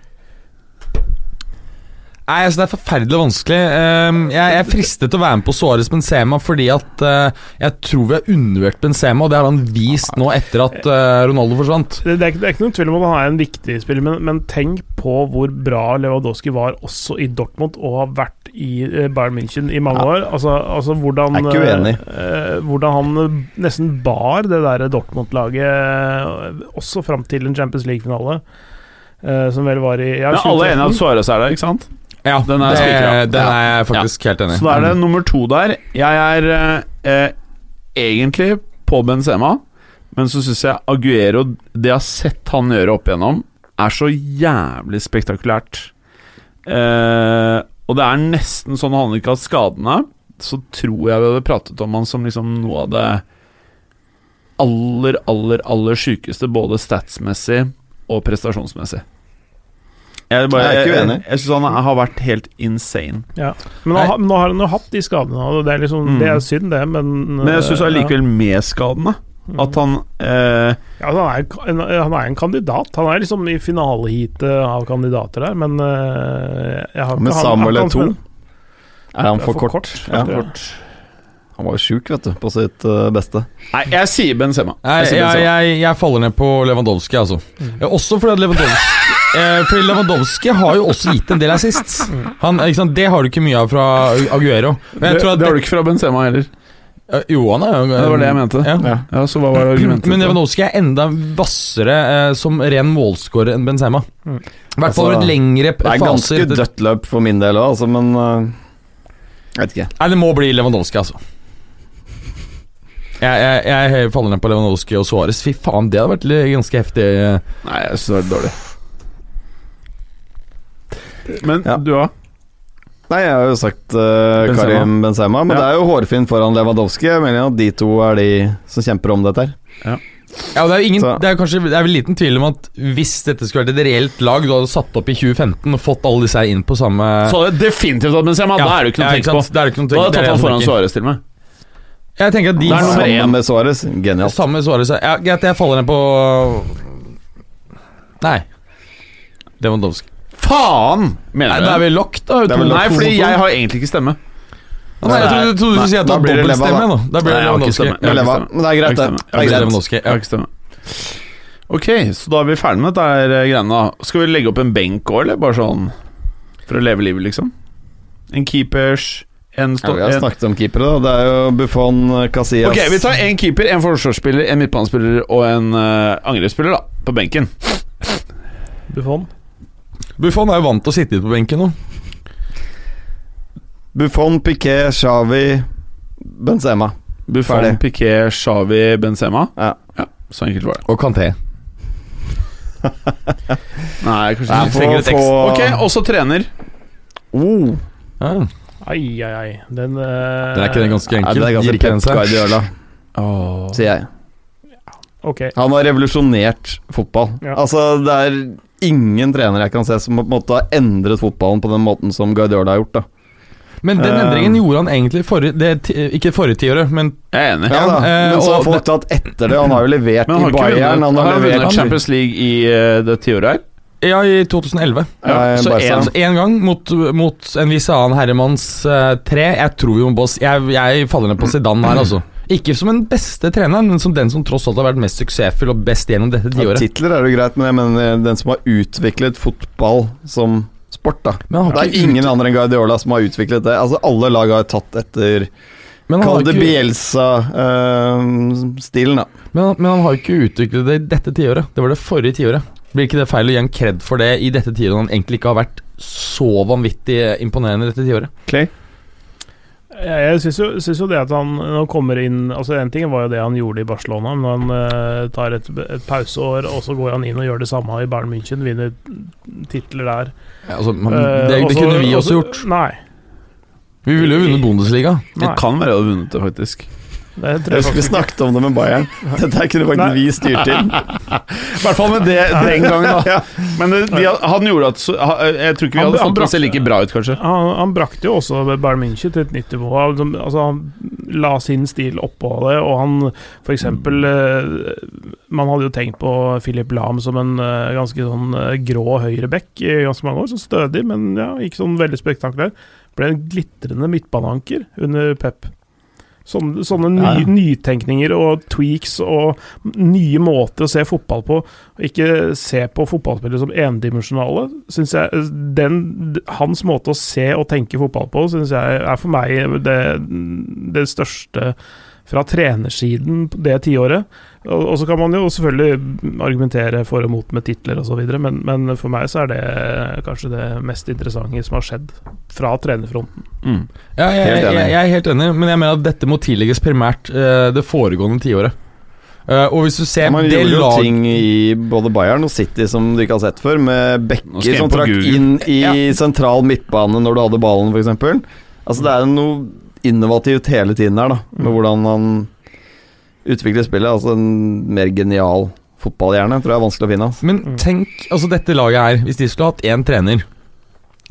Speaker 2: Nei, altså Det er forferdelig vanskelig. Ehm, jeg, jeg er fristet til å være med på Suárez Benzema fordi at eh, jeg tror vi har undervurdert Benzema, og det har han vist nå etter at eh, Ronaldo forsvant.
Speaker 5: Det, det, er ikke, det er ikke noen tvil om at han er en viktig spiller, men, men tenk på hvor bra Lewandowski var også i Dortmund og har vært i eh, Bayern München i mange år. Altså, altså hvordan
Speaker 3: Jeg er ikke uenig.
Speaker 5: eh, eh, hvordan han eh, nesten bar det der Dortmund-laget eh, også fram til en Champions League-finale, eh, som vel var i ja,
Speaker 4: Men alle er enige om at
Speaker 5: 2013.
Speaker 4: Suárez er der, ikke sant?
Speaker 2: Ja,
Speaker 4: Den er
Speaker 2: det-
Speaker 4: spikra.
Speaker 2: Den er jeg faktisk helt enig i.
Speaker 4: Så da er det nummer to der. Jeg er eh, eh, egentlig på Benzema, men så syns jeg Aguero Det jeg har sett han gjøre opp igjennom, er så jævlig spektakulært. Eh, og det er nesten sånn han ikke har skadene. Så tror jeg vi hadde pratet om han som liksom noe av det aller, aller, aller sjukeste, både statsmessig og prestasjonsmessig. Jeg, bare,
Speaker 3: Jeg er
Speaker 4: jeg,
Speaker 3: ikke
Speaker 4: jeg,
Speaker 3: uenig.
Speaker 4: jeg syns han har vært helt insane.
Speaker 5: Men nå, ha- nå har han jo hatt de skadene, og det er liksom
Speaker 4: Mm.
Speaker 5: Det er synd, det, men
Speaker 4: Men jeg syns
Speaker 5: eh,
Speaker 4: allikevel med skadene
Speaker 2: Mm.
Speaker 4: at han eh,
Speaker 5: ja, altså, han, er, jo ka- en- han er en kandidat. Han er liksom i finaleheatet av kandidater der, men eh, jeg har
Speaker 3: Men
Speaker 5: ikke han-
Speaker 3: Samuel
Speaker 5: hatt han
Speaker 3: er to.
Speaker 5: som en-
Speaker 3: Er han
Speaker 5: Ja,
Speaker 3: for
Speaker 5: for
Speaker 3: kort?
Speaker 5: kort.
Speaker 3: Ja.
Speaker 5: Ja.
Speaker 3: Han var jo sjuk, vet du, på sitt eh, beste.
Speaker 4: Nei, jeg sier Benzema.
Speaker 2: Jeg,
Speaker 4: sier
Speaker 2: jeg,
Speaker 4: Benzema.
Speaker 2: jeg, jeg faller ned på Lewandowski, altså. Eh, Også fordi at Lewandowski eh, Fordi Lewandowski har jo også gitt en del assist. Han, eh, ikke sant? Det har du ikke mye av fra Aguero. Men jeg
Speaker 4: det,
Speaker 2: tror at
Speaker 4: det har du ikke fra Benzema heller.
Speaker 2: Eh, Jo, han er jo
Speaker 4: Det var det jeg mente.
Speaker 2: Ja.
Speaker 4: Ja, Så hva var argumentet?
Speaker 2: Men Lewandowski er enda hvassere eh, som ren målskårer enn Benzema. I
Speaker 5: Mm.
Speaker 2: hvert fall over
Speaker 3: Altså,
Speaker 2: et lengre
Speaker 3: Det er ganske
Speaker 2: faser. Det,
Speaker 3: dødt løp for min del òg, altså, men eh, Jeg vet ikke.
Speaker 2: nei, det må bli Lewandowski, altså. Jeg, jeg, jeg faller ned på Lewandowski og Suárez. Fy faen, det hadde vært li- ganske heftig. eh.
Speaker 4: Nei, jeg syns det var dårlig. Men
Speaker 3: Ja.
Speaker 4: du òg?
Speaker 3: Nei, jeg har jo sagt eh,
Speaker 4: Benzema.
Speaker 3: Karim Benzema, men
Speaker 4: Ja.
Speaker 3: det er jo hårfint foran Lewandowski. Jeg mener at de to er de som kjemper om dette her.
Speaker 2: Ja, og det, er jo ingen,
Speaker 3: Så-
Speaker 2: det, er jo kanskje, det er vel liten tvil om at hvis dette skulle vært et reelt lag du hadde satt opp i 2015 og fått alle disse her inn på samme
Speaker 4: Så det definitivt at Benzema,
Speaker 2: Ja,
Speaker 4: da er det jo ikke noe å
Speaker 2: ja,
Speaker 4: tenke på.
Speaker 2: sant? Det er det ikke noe å
Speaker 4: Da
Speaker 2: tenke
Speaker 4: hadde jeg tatt han
Speaker 2: det er det jeg
Speaker 4: foran
Speaker 2: tenker.
Speaker 4: Suárez til meg.
Speaker 2: Jeg tenker at de
Speaker 4: Det er nummer
Speaker 3: Sammen
Speaker 4: én.
Speaker 3: med Suárez. Genialt.
Speaker 2: Samme svaret så ja, Greit, jeg faller ned på Nei. Lewandowski.
Speaker 4: Faen!
Speaker 2: Nei,
Speaker 4: Mener du
Speaker 2: da er vi locked, da.
Speaker 3: Det er vel
Speaker 4: Nei,
Speaker 3: to
Speaker 4: fordi
Speaker 3: mot to.
Speaker 4: jeg har egentlig ikke stemme.
Speaker 2: Nei, jeg trodde, jeg trodde du
Speaker 3: Nei,
Speaker 2: skulle si at
Speaker 3: da
Speaker 2: det var
Speaker 3: blir det
Speaker 2: dobbeltstemme.
Speaker 3: Leva,
Speaker 2: jeg, nå. Da blir
Speaker 4: Nei, jeg
Speaker 2: det
Speaker 4: har ikke
Speaker 2: Lewandowski.
Speaker 4: stemme.
Speaker 2: Ja,
Speaker 3: Men Leva- men det er greit,
Speaker 4: Jeg har
Speaker 3: det.
Speaker 4: ikke
Speaker 3: det
Speaker 2: da
Speaker 3: er
Speaker 2: blir det
Speaker 3: greit.
Speaker 2: Lewandowski.
Speaker 4: Jeg
Speaker 2: Ja.
Speaker 4: har ikke stemme. Ok, så da er vi ferdig med dette her eh, greiene. da Skal vi legge opp en benk òg, eller bare sånn for å leve livet, liksom? En keepers, en
Speaker 3: Ja,
Speaker 4: stå...
Speaker 3: vi har
Speaker 4: en-
Speaker 3: snakket om keepere, da. Det er jo Buffon, Casillas
Speaker 4: ok, vi tar en keeper, en forsvarsspiller, en midtbanespiller og en eh, angrepsspiller, da. På benken.
Speaker 5: Buffon.
Speaker 2: Buffon er jo vant til å sitte ute på benken nå.
Speaker 3: Buffon, Piqué, Xavi, Benzema.
Speaker 4: Buffon,
Speaker 3: Ferdig.
Speaker 4: Piqué, Xavi, Benzema.
Speaker 3: Ja.
Speaker 4: Så enkelt var det.
Speaker 2: Og Kanté.
Speaker 4: Nei, kanskje ikke.
Speaker 3: Nei, for
Speaker 2: trenger
Speaker 3: å
Speaker 2: et ekstra.
Speaker 3: få-
Speaker 4: Ok, også trener.
Speaker 3: Oh,
Speaker 2: Ja.
Speaker 5: Ai, ai, ai. Den,
Speaker 2: Den
Speaker 5: eh,
Speaker 2: er ikke den ganske
Speaker 3: ja,
Speaker 2: enkel?
Speaker 3: det er
Speaker 2: Gir
Speaker 3: ganske
Speaker 2: ikke den
Speaker 3: Pep
Speaker 2: seg?
Speaker 3: Guardiola, sier jeg.
Speaker 5: Ok.
Speaker 3: Han har revolusjonert fotball.
Speaker 5: Ja.
Speaker 3: Altså, det er ingen trener jeg kan se som på en måte har endret fotballen på den måten som Guardiola har gjort. da
Speaker 2: Men den
Speaker 4: Eh,
Speaker 2: endringen gjorde han egentlig forrige det, ti- Ikke forrige tiåret, men
Speaker 4: Jeg er enig.
Speaker 3: Ja, da.
Speaker 2: eh,
Speaker 3: Men så har
Speaker 2: og
Speaker 3: folk tatt etter det. Han har jo levert
Speaker 4: Men han
Speaker 3: i
Speaker 4: har ikke
Speaker 3: Bayern.
Speaker 4: vunnet,
Speaker 3: Han
Speaker 4: han
Speaker 3: har
Speaker 4: har
Speaker 3: levert
Speaker 4: vunnet Champions League i eh, det tiåret her.
Speaker 2: ja, i 2011.
Speaker 3: Ja,
Speaker 4: så
Speaker 3: Barca.
Speaker 4: en,
Speaker 2: Altså, en gang mot, mot en viss annen herremanns eh, tre. Jeg tror vi må boss jeg, jeg faller ned på Zidane her, altså. Ikke som den beste treneren, men som den som tross alt har vært mest suksessfull og best gjennom dette
Speaker 3: Ja,
Speaker 2: tiåret.
Speaker 3: titler er jo greit, men jeg mener den som har utviklet fotball som sport, da.
Speaker 2: Men han
Speaker 3: Det
Speaker 2: har
Speaker 3: er
Speaker 2: ikke,
Speaker 3: ingen andre enn Guardiola som har utviklet det. Altså, alle lag har tatt etter
Speaker 2: men han
Speaker 3: Kall
Speaker 2: har
Speaker 3: det
Speaker 2: ikke,
Speaker 3: Bielsa-stilen, eh, da.
Speaker 2: men, han- men han har ikke utviklet det i dette tiåret. Det var det forrige tiåret. Blir ikke det feil å gi en kred for det i dette tiåret når han egentlig ikke har vært så vanvittig eh, imponerende i dette tiåret?
Speaker 5: Jeg, jeg syns jo, syns jo det at han nå kommer inn Altså En ting var jo det han gjorde i Barcelona, men han eh, tar et, et pauseår, og så går han inn og gjør det samme i Bayern München, vinner titler der.
Speaker 2: Ja, altså, man,
Speaker 5: Eh,
Speaker 2: det, det
Speaker 5: også-
Speaker 2: kunne vi
Speaker 3: altså,
Speaker 2: også
Speaker 5: også-
Speaker 2: gjort.
Speaker 5: Nei.
Speaker 2: Vi ville jo vunnet Bundesliga.
Speaker 4: det
Speaker 5: nei
Speaker 4: kan være jeg hadde vunnet det, faktisk.
Speaker 5: det tror
Speaker 3: Jeg
Speaker 5: jeg
Speaker 3: husker vi
Speaker 5: faktisk ikke.
Speaker 3: snakket om det med Bayern. Dette her kunne faktisk
Speaker 5: Nei.
Speaker 3: vi styrt inn.
Speaker 4: I hvert fall med det den gangen, da. Men det, de, han gjorde at så- ha- eh, Jeg tror ikke vi
Speaker 5: Han-
Speaker 4: hadde
Speaker 5: han
Speaker 4: fått det å se
Speaker 5: brakte-
Speaker 4: like bra ut, kanskje.
Speaker 5: Han, han brakte jo også Bayern München til et nytt nivå. Han- som- Altså, han la sin stil oppå det, og han for eksempel
Speaker 3: Mm.
Speaker 5: eh, Man hadde jo tenkt på Philip Lahm som en eh, ganske sånn eh, grå høyreback i ganske mange år. Så stødig, men ja, ikke sånn veldig spektakulær. Ble en glitrende midtbaneanker under Pep. Sånne, sånne ny,
Speaker 3: Ja, ja.
Speaker 5: nytenkninger og tweaks og nye måter å se fotball på. Og Ikke se på fotballspillere som endimensjonale. Synes jeg, den, hans måte å se og tenke fotball på synes jeg er for meg det, det største fra trenersiden på det tiåret. Og, og så kan man jo selvfølgelig argumentere for og mot med titler osv., men, men for meg så er det kanskje det mest interessante som har skjedd fra trenerfronten.
Speaker 4: Mm.
Speaker 2: Ja, jeg,
Speaker 3: Helt
Speaker 2: jeg,
Speaker 3: enig.
Speaker 2: jeg, jeg er helt enig, men jeg mener at dette må tillegges primært eh, det foregående tiåret. Eh, og hvis du ser
Speaker 3: Man
Speaker 2: det
Speaker 3: gjorde jo
Speaker 2: lag
Speaker 3: ting i både Bayern og City som du ikke har sett før, med
Speaker 4: Nå skal
Speaker 3: bekker
Speaker 4: jeg
Speaker 3: som
Speaker 4: på
Speaker 3: trakk
Speaker 4: Google.
Speaker 3: inn i sentral midtbane når du hadde ballen, f.eks. Altså, det er noe innovativt
Speaker 4: Mm.
Speaker 3: hele tiden her, da, med hvordan han utvikler spillet. Altså en mer genial fotballhjerne tror jeg er vanskelig å finne. Altså.
Speaker 2: Men
Speaker 5: Mm.
Speaker 2: tenk, altså dette laget her, hvis de skulle hatt én trener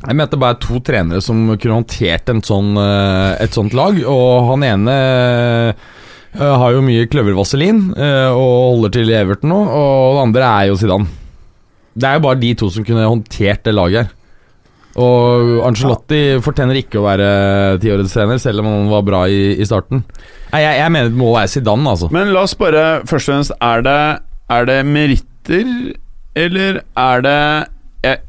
Speaker 2: Jeg mente bare to trenere som kunne håndtert en sånn, eh, et sånt lag, og han ene eh, har jo mye kløvervaselin eh, og holder til i Everton nå, og den andre er jo Zidane. Det er jo bare de to som kunne håndtert det laget her. Og Angelotti fortjener ikke å være tiårets trener, selv om han var bra i, i starten. Nei, jeg, jeg mener det må være Zidane, altså.
Speaker 4: Men la oss bare først og fremst Er det, er det meritter, eller er det Jeg,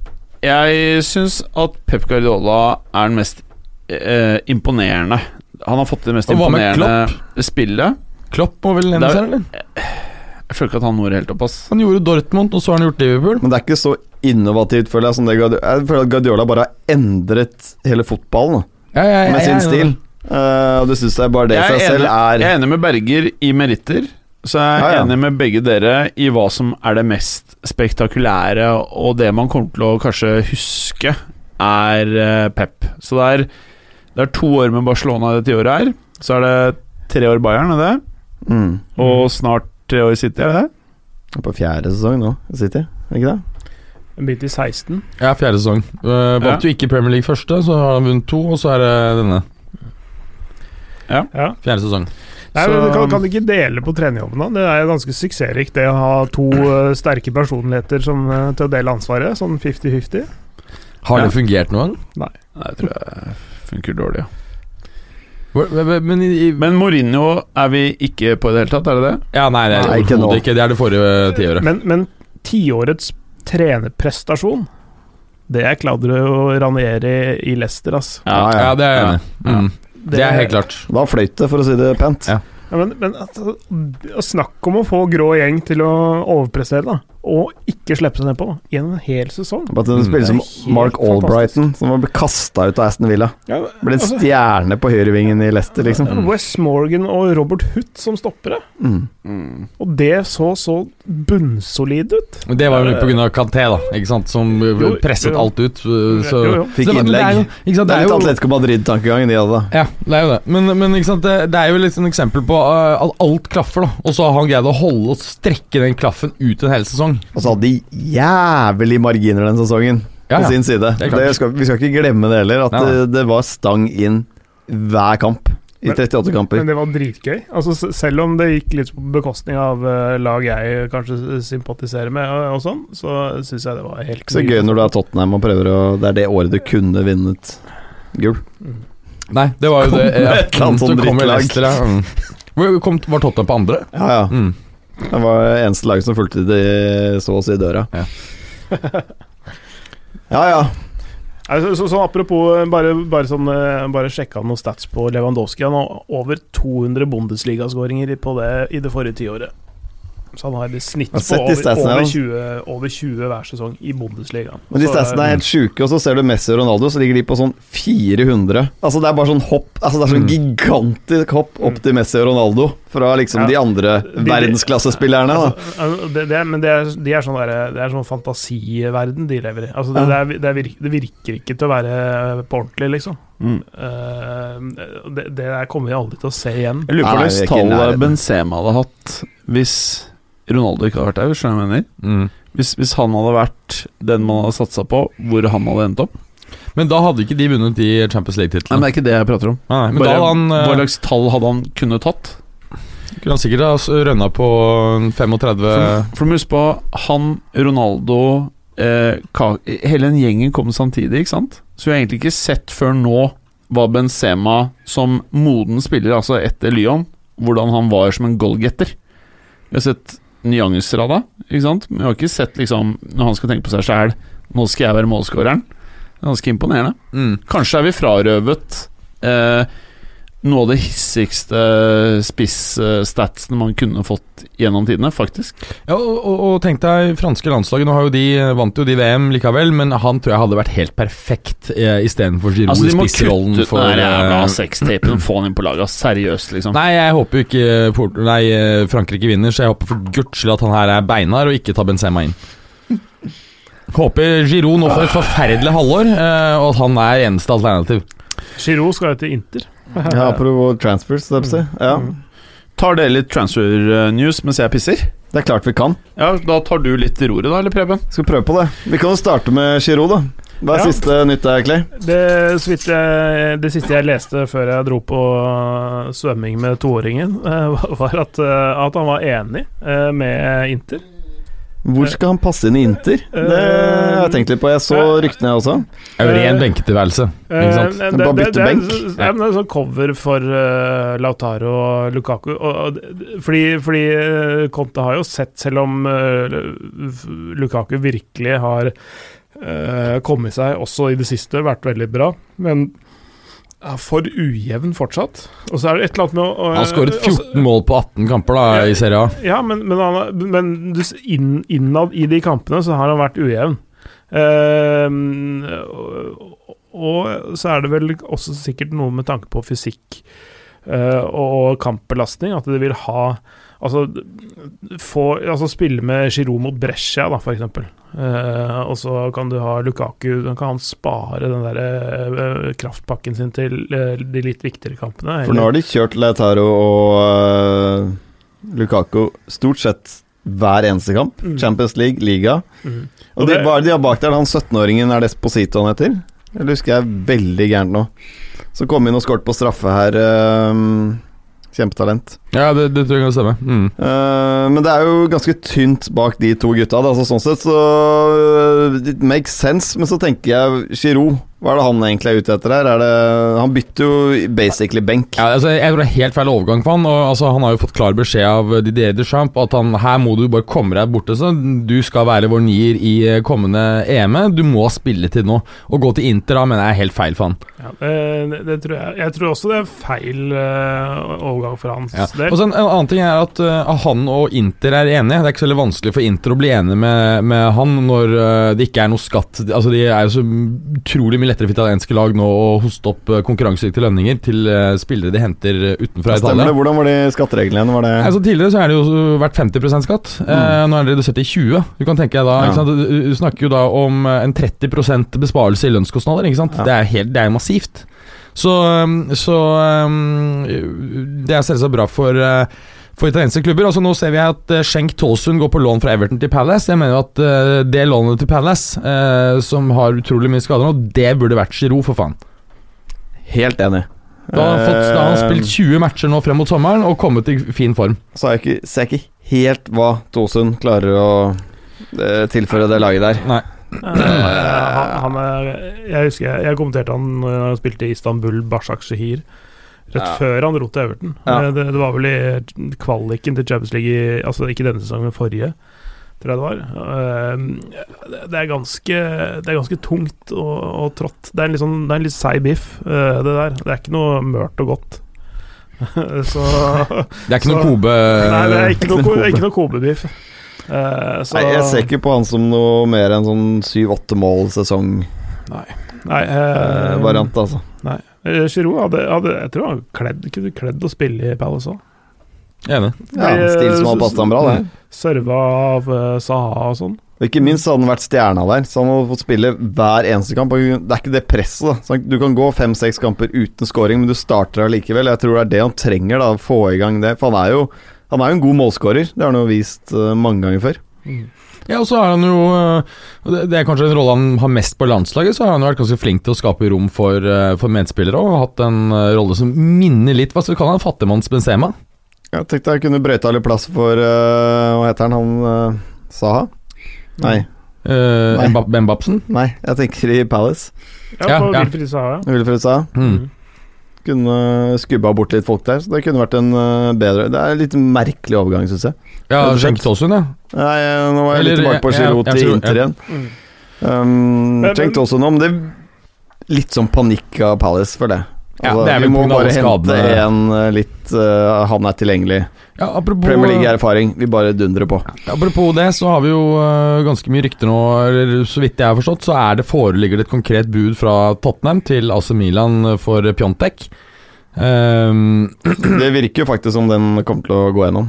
Speaker 4: jeg syns at Pep Guardiola er den mest eh, imponerende. Han har fått det mest
Speaker 2: Og hva med
Speaker 4: imponerende spillet.
Speaker 2: Klopp må vel
Speaker 4: Det
Speaker 2: nevnes
Speaker 4: er-
Speaker 2: her, eller?
Speaker 4: Jeg føler ikke at han når helt opp, ass.
Speaker 2: Han gjorde Dortmund, og så har han gjort Liverpool.
Speaker 3: Men det er ikke så innovativt, føler jeg. Som det Guardiola. Jeg føler at Guardiola bare har endret hele fotballen da,
Speaker 2: Ja, ja, ja,
Speaker 3: med
Speaker 2: ja,
Speaker 3: sin
Speaker 2: ja.
Speaker 3: stil. Eh, og det syns jeg bare det i
Speaker 4: Jeg er
Speaker 3: seg selv
Speaker 4: enig-
Speaker 3: er
Speaker 4: Jeg er enig med Berger i meritter. Så jeg er
Speaker 3: Ja, ja.
Speaker 4: enig med begge dere i hva som er det mest spektakulære, og det man kommer til å kanskje huske, er eh, Pep. Så det er, det er to år med Barcelona dette året her. Så er det tre år Bayern, er det?
Speaker 3: mm,
Speaker 4: Og snart tre år City, er det det?
Speaker 3: er På fjerde sesong nå, City. er Ikke det?
Speaker 5: En bit i 16.
Speaker 2: Ja, fjerde sesong. Uh, vant jo ikke Premier League første, så har han vunnet to, og så er det denne.
Speaker 5: Ja.
Speaker 2: Fjerde sesong.
Speaker 5: Nei,
Speaker 4: Så-
Speaker 5: men kan, kan du ikke dele på trenerjobben, da? Det er jo ganske suksessrikt, det å ha to eh, sterke personligheter som, eh, til å dele ansvaret. Sånn 50-50.
Speaker 2: Har
Speaker 4: Ja.
Speaker 2: det fungert noen gang?
Speaker 4: Nei, jeg tror det funker dårlig. ja.
Speaker 2: Hvor- hvor- hvor- Men i, i
Speaker 4: Men Mourinho er vi ikke på i det hele tatt, er det det?
Speaker 2: Ja, nei, det er
Speaker 3: Nei, ikke nå.
Speaker 2: overhodet ikke. Det er det forrige eh, tiåret.
Speaker 5: Men, men tiårets trenerprestasjon, det er Claudio Ranieri i Leicester, ass.
Speaker 3: Ja, ja.
Speaker 2: Ja, det er jeg enig i.
Speaker 4: Ja.
Speaker 2: Mm. Det er helt klart.
Speaker 3: Da fløyt det, for å si det pent.
Speaker 2: Ja.
Speaker 5: Ja, men, men altså, snakk om å få grå gjeng til å overprestere, da. Og ikke slippe seg nedpå i en hel sesong.
Speaker 3: Bare at hun
Speaker 2: Mm,
Speaker 3: spiller
Speaker 5: det er
Speaker 3: som Mark
Speaker 5: helt
Speaker 3: Albrighton, som ble kasta ut av Aston Villa.
Speaker 5: Ja,
Speaker 3: Ble en
Speaker 5: altså,
Speaker 3: stjerne på høyrevingen i Leicester, liksom.
Speaker 2: Mm.
Speaker 5: Wes Morgan og Robert Huth som stoppere.
Speaker 3: Mm.
Speaker 5: Og det så så bunnsolid ut.
Speaker 2: Men det var jo pga. Kanté, da, ikke sant, som uh,
Speaker 5: Jo,
Speaker 2: presset
Speaker 5: jo.
Speaker 2: alt ut. uh, Så
Speaker 5: Jo, jo.
Speaker 3: Fikk
Speaker 2: Så det var- men det er jo-
Speaker 3: innlegg.
Speaker 2: Ikke sant,
Speaker 3: Det er litt
Speaker 2: jo
Speaker 3: Atletico Madrid-tankegangen de hadde.
Speaker 2: Ja, det er jo det. Men, men ikke sant? Det, det er jo litt sånn eksempel på uh, at alt klaffer, da. Og så har han greid å holde og strekke den klaffen ut en hel sesong.
Speaker 3: Og så hadde de jævlig marginer den sesongen
Speaker 2: Ja,
Speaker 3: på
Speaker 2: ja.
Speaker 3: sin side.
Speaker 2: Det er klart.
Speaker 3: Det skal, vi skal ikke glemme det heller, at
Speaker 2: Nei, nei.
Speaker 3: det, det var stang inn hver kamp. I
Speaker 5: Men-
Speaker 3: 38 kamper.
Speaker 5: Men det var dritgøy. Altså, s- selv om det gikk litt på bekostning av eh, lag jeg kanskje s- sympatiserer med, og, og sånn, så syns jeg det var helt
Speaker 3: Så gøy når du er Tottenham og prøver å Det er det året du kunne vunnet gull.
Speaker 2: Nei, det var jo det.
Speaker 3: Kom med et eller annet
Speaker 2: Så
Speaker 3: sånn
Speaker 2: kommer
Speaker 3: drittlag.
Speaker 2: Leicester, ja. Mm. Hvor Kom, var Tottenham på andre?
Speaker 3: Ja, ja.
Speaker 2: Mm.
Speaker 3: Det var det eneste laget som fulgte de så å si døra.
Speaker 2: Ja.
Speaker 3: ja ja.
Speaker 5: Nei, Så, så, så apropos, eh, bare, bare, sånn, eh, bare sjekka noen stats på Lewandowski. Han har over 200 Bundesliga-skåringer i- på det i det forrige tiåret. Så han har et
Speaker 3: Jeg
Speaker 5: snitt
Speaker 3: har
Speaker 5: på
Speaker 3: sett de
Speaker 5: over,
Speaker 3: statsene,
Speaker 5: over,
Speaker 3: ja.
Speaker 5: 20, over 20 hver sesong i Bundesliga.
Speaker 3: Men de
Speaker 5: Så, eh, mm.
Speaker 3: statsene er helt sjuke, og så ser du Messi og Ronaldo, så ligger de på sånn 400. Altså Det er bare sånn hopp Altså det er
Speaker 4: Mm.
Speaker 3: sånn gigantisk hopp opp til Messi og Ronaldo fra liksom
Speaker 5: Ja.
Speaker 3: de andre
Speaker 5: De- de-
Speaker 3: verdensklassespillerne. da
Speaker 5: Altså, det, det, er- men det er, de er sånn derre- det er sånn fantasiverden de lever i. Altså, det,
Speaker 3: Ja.
Speaker 5: det, er, det, er virker, det virker ikke til å være på ordentlig, liksom.
Speaker 4: Mm.
Speaker 5: Eh, det, det der kommer vi aldri til å se igjen.
Speaker 4: Jeg lurer på
Speaker 3: Nei,
Speaker 4: hva
Speaker 3: vi er
Speaker 4: slags
Speaker 3: ikke i
Speaker 4: tall
Speaker 3: nærheten.
Speaker 4: Benzema hadde hatt hvis Ronaldo ikke hadde vært der. Skjønner du hva jeg mener?
Speaker 2: Mm.
Speaker 4: Hvis, hvis han hadde vært den man hadde satsa på, hvor han hadde endt opp?
Speaker 2: Men da hadde ikke de vunnet de Champions
Speaker 4: Nei, men
Speaker 2: League-titlene.
Speaker 4: Det er ikke det jeg prater om.
Speaker 2: Nei, men
Speaker 4: Bare,
Speaker 2: da hadde han,
Speaker 4: Hva
Speaker 2: eh,
Speaker 4: slags tall hadde han kunnet tatt?
Speaker 2: kunne han sikkert ha rønna på en 35
Speaker 4: For, for husk på, han, Ronaldo eh, Ka- Hele den gjengen kom samtidig, ikke sant? Så vi har egentlig ikke sett før nå hva Benzema som moden spiller, altså etter Lyon, hvordan han var som en goalgetter. Vi har sett nyanser av det, ikke sant? Men vi har ikke sett liksom når han skal tenke på seg sjæl Nå skal jeg være målskåreren. Det er Ganske imponerende.
Speaker 2: mm.
Speaker 4: Kanskje er vi frarøvet eh, noe av det hissigste spiss-statsen man kunne fått gjennom tidene, faktisk.
Speaker 2: Ja, og, og, og tenk deg franske landslaget. Nå har jo de, eh, vant jo de VM likevel, men han tror jeg hadde vært helt perfekt eh, istedenfor Giroud
Speaker 4: Altså,
Speaker 2: i
Speaker 4: de må
Speaker 2: spissrollen.
Speaker 4: kutte ut
Speaker 2: for,
Speaker 4: den der jævla
Speaker 2: eh,
Speaker 4: sextapen, få han inn på laget, seriøst, liksom.
Speaker 2: Nei, jeg håper jo ikke Port nei, eh, Frankrike vinner, så jeg håper for guds skyld at han her er beinar og ikke tar Benzema inn. Håper Giroud nå får et forferdelig halvår, eh, og at han er eneste alternativ.
Speaker 5: Giroud skal jo til Inter.
Speaker 3: Ja, apropos transfers, så å si. Ja.
Speaker 5: Mm.
Speaker 4: Tar dere litt transfer eh, news mens jeg pisser?
Speaker 3: Det er klart vi kan.
Speaker 4: Ja, Da tar du litt roret, da, eller Preben?
Speaker 3: Skal prøve på det. Vi kan jo starte med Giroud, da. Hva er
Speaker 5: Ja.
Speaker 3: siste nytt der, Clay?
Speaker 5: Det, så vidt jeg, det siste jeg leste før jeg dro på øh, svømming med toåringen, øh, var at, øh, at han var enig øh, med Inter.
Speaker 3: Hvor skal han passe inn i Inter? Det
Speaker 5: Eh,
Speaker 3: har jeg tenkt litt på. Jeg så ryktene, jeg også.
Speaker 2: Euren benketilværelse. Ikke sant?
Speaker 5: Eh,
Speaker 3: En bare bytte
Speaker 5: er-
Speaker 3: benk.
Speaker 5: det er- ja, men det er sånn cover for eh, Lautaro og Lukaku. Og, og, det- fordi fordi eh, Conte har jo sett, selv om eh, f- Lukaku virkelig har eh, kommet seg også i det siste, vært veldig bra, men er for ujevn fortsatt. Og så er det et eller annet med å å- eh,
Speaker 2: Han har skåret
Speaker 5: altså-
Speaker 2: 14 mål på 18 kamper da i Serie A.
Speaker 5: ja, men, men, han, men du s- inn, innad i de kampene så har han vært ujevn. Eh, og, og så er det vel også sikkert noe med tanke på fysikk eh, og kampbelastning, at de vil ha Altså, få, altså spille med Giroud mot Brescia, da, for eksempel. Eh, og så kan du ha Lukaku Da kan han spare den der eh, kraftpakken sin til eh, de litt viktigere kampene.
Speaker 3: For nå har de kjørt Lautaro og øh, Lukaku stort sett hver eneste kamp.
Speaker 5: Mm.
Speaker 3: Champions League, liga.
Speaker 5: Mhm.
Speaker 3: Og
Speaker 5: Og
Speaker 3: de,
Speaker 5: det-
Speaker 3: hva er det de har bak der? Han 17-åringen er Desposito han heter? Det husker jeg veldig gærent nå. Så kom inn og skåret på straffe her. øh, kjempetalent.
Speaker 2: Ja, det, det tror jeg kan stemme. Mm.
Speaker 3: Eh, men det er jo ganske tynt bak de to gutta. Da. Altså, sånn sett så øh, It makes sense, men så tenker jeg Giroud. Hva er det han egentlig er ute etter her? Er det, han bytter jo basically benk.
Speaker 2: Ja, altså, jeg tror det er helt feil overgang for han. Og, altså, han har jo fått klar beskjed av eh, Didier Deschamps at han, her må du bare komme deg borte. Så du skal være vår nier i eh, kommende EM. Du må spille til nå. Å gå til Inter da mener jeg er helt feil for han.
Speaker 5: Ja, eh, det, det tror jeg. Jeg tror også det er feil eh, overgang for hans
Speaker 2: Ja.
Speaker 5: del.
Speaker 2: Og så en, en annen ting er at eh, han og Inter er enige. Det er ikke så veldig vanskelig for Inter å bli enige med, med han når eh, det ikke er noe skatt. Altså De er jo så utrolig mye lettere for italienske lag nå å hoste opp uh, konkurransedyktige lønninger til eh, spillere de henter eh, utenfra
Speaker 3: Stemmer
Speaker 2: Italia.
Speaker 3: det? Hvordan var de skattereglene igjen? Var det
Speaker 2: Altså, tidligere så er det jo så- vært 50 skatt.
Speaker 5: Mm.
Speaker 2: Eh, nå er det redusert til 20 Du kan tenke deg da
Speaker 3: Ja.
Speaker 2: ikke sant? Du, du snakker jo da om eh, en 30 besparelse i lønnskostnader. Ikke sant?
Speaker 3: Ja.
Speaker 2: Det, er helt, det er jo massivt. Så, um, så um, Det er selvsagt bra for eh, for italienske klubber, altså Nå ser vi at eh, Schenk Tolsund går på lån fra Everton til Palace. Jeg mener jo at eh, det lånet til Palace, eh, som har utrolig mye skader nå, det burde vært Giroud, for faen.
Speaker 3: Helt enig.
Speaker 2: Da har han, fått, da har han
Speaker 5: Eh.
Speaker 2: spilt 20 matcher nå frem mot sommeren og kommet i fin form.
Speaker 3: Så er jeg ikke, ser jeg ikke helt hva Tosund klarer å eh, tilføre det laget der.
Speaker 5: Eh, han, han er, jeg husker jeg, jeg kommenterte han når han spilte i Istanbul Bashak Shehir. Rett
Speaker 3: Ja.
Speaker 5: før han dro til Everton.
Speaker 3: Ja.
Speaker 5: Eh, Det, det var vel i kvaliken til Champions League, i, altså ikke denne sesongen, men forrige, tror jeg det var. Eh, det- Det er ganske, det er ganske tungt og, og trått. Det er en litt, sånn, det er en litt seig biff, eh, det der. Det er ikke noe mørt og godt. Så
Speaker 2: Det er ikke noe
Speaker 5: Så-
Speaker 2: Kobe
Speaker 5: Nei, det er ikke noe,
Speaker 3: Eh, Kobe.
Speaker 5: ikke noe Kobe-biff. Eh, så-
Speaker 3: Nei, jeg ser ikke på han som noe mer enn sånn syv-åtte mål
Speaker 5: Nei, eh,
Speaker 3: sesong-variant, altså.
Speaker 5: eh, Giroud hadde, hadde Jeg tror han kledd, kunne kledd å spille i Palace òg.
Speaker 2: Enig.
Speaker 3: Ja,
Speaker 5: Nei,
Speaker 3: stil som
Speaker 5: eh,
Speaker 3: hadde passet ham bra, det.
Speaker 5: Serva av eh, Saha og sånn.
Speaker 3: Og ikke minst hadde han vært stjerna der, så han hadde fått spille hver eneste kamp. Og Det er ikke det presset, da. Så Du kan gå fem-seks kamper uten scoring, men du starter allikevel. Jeg tror det er det han trenger, da, å få i gang det. For han er jo, han er jo en god målskårer. Det har han jo vist eh, mange ganger før.
Speaker 2: Ja, og så er han jo øh, og Det det er kanskje den rolle han har mest på landslaget, så har han jo vært ganske flink til å skape rom for, øh, for medspillere og har hatt en øh, rolle som minner litt Hva skal vi kalle han? Fattigmanns Benzema?
Speaker 3: Jeg tenkte jeg kunne brøyta litt plass for eh, Hva heter han? Han uh, Saha? Nei.
Speaker 2: Uh,
Speaker 3: Nei.
Speaker 2: Mbapsen?
Speaker 3: Nei, jeg tenker i Palace.
Speaker 5: Ja,
Speaker 2: Ja,
Speaker 5: på
Speaker 2: ja.
Speaker 5: Wilfried Saha.
Speaker 3: Wilfred Saha.
Speaker 2: Mm.
Speaker 3: Kunne skubba bort litt folk der, så det kunne vært en eh, bedre Det er en litt merkelig overgang, syns jeg.
Speaker 2: Ja,
Speaker 3: Ja, det er
Speaker 2: Schenk Tolsund, ja.
Speaker 3: Nei, eh, nå var jeg litt
Speaker 2: Eller,
Speaker 3: tilbake på
Speaker 2: ja,
Speaker 3: Giroud
Speaker 2: ja,
Speaker 3: til
Speaker 2: Giroud,
Speaker 3: Inter
Speaker 2: ja.
Speaker 3: igjen.
Speaker 5: Mm.
Speaker 3: Um,
Speaker 5: Men-
Speaker 3: tenkte også noe om det Litt sånn panikk av Palace for det.
Speaker 2: Ja, det er
Speaker 3: vi
Speaker 2: vel
Speaker 3: må
Speaker 2: på grunn av
Speaker 3: bare
Speaker 2: alle
Speaker 3: hente
Speaker 2: skadene.
Speaker 3: en eh, litt eh, Han er tilgjengelig.
Speaker 2: ja apropos, eh,
Speaker 3: Premier League-erfaring. Vi bare dundrer på.
Speaker 2: apropos det, så har vi jo øh, ganske mye rykter nå, eller så vidt jeg har forstått, så er det foreligger det et konkret bud fra Tottenham til AC Milan for Pjontek. Um,
Speaker 3: Det virker jo faktisk som den kommer til å gå gjennom.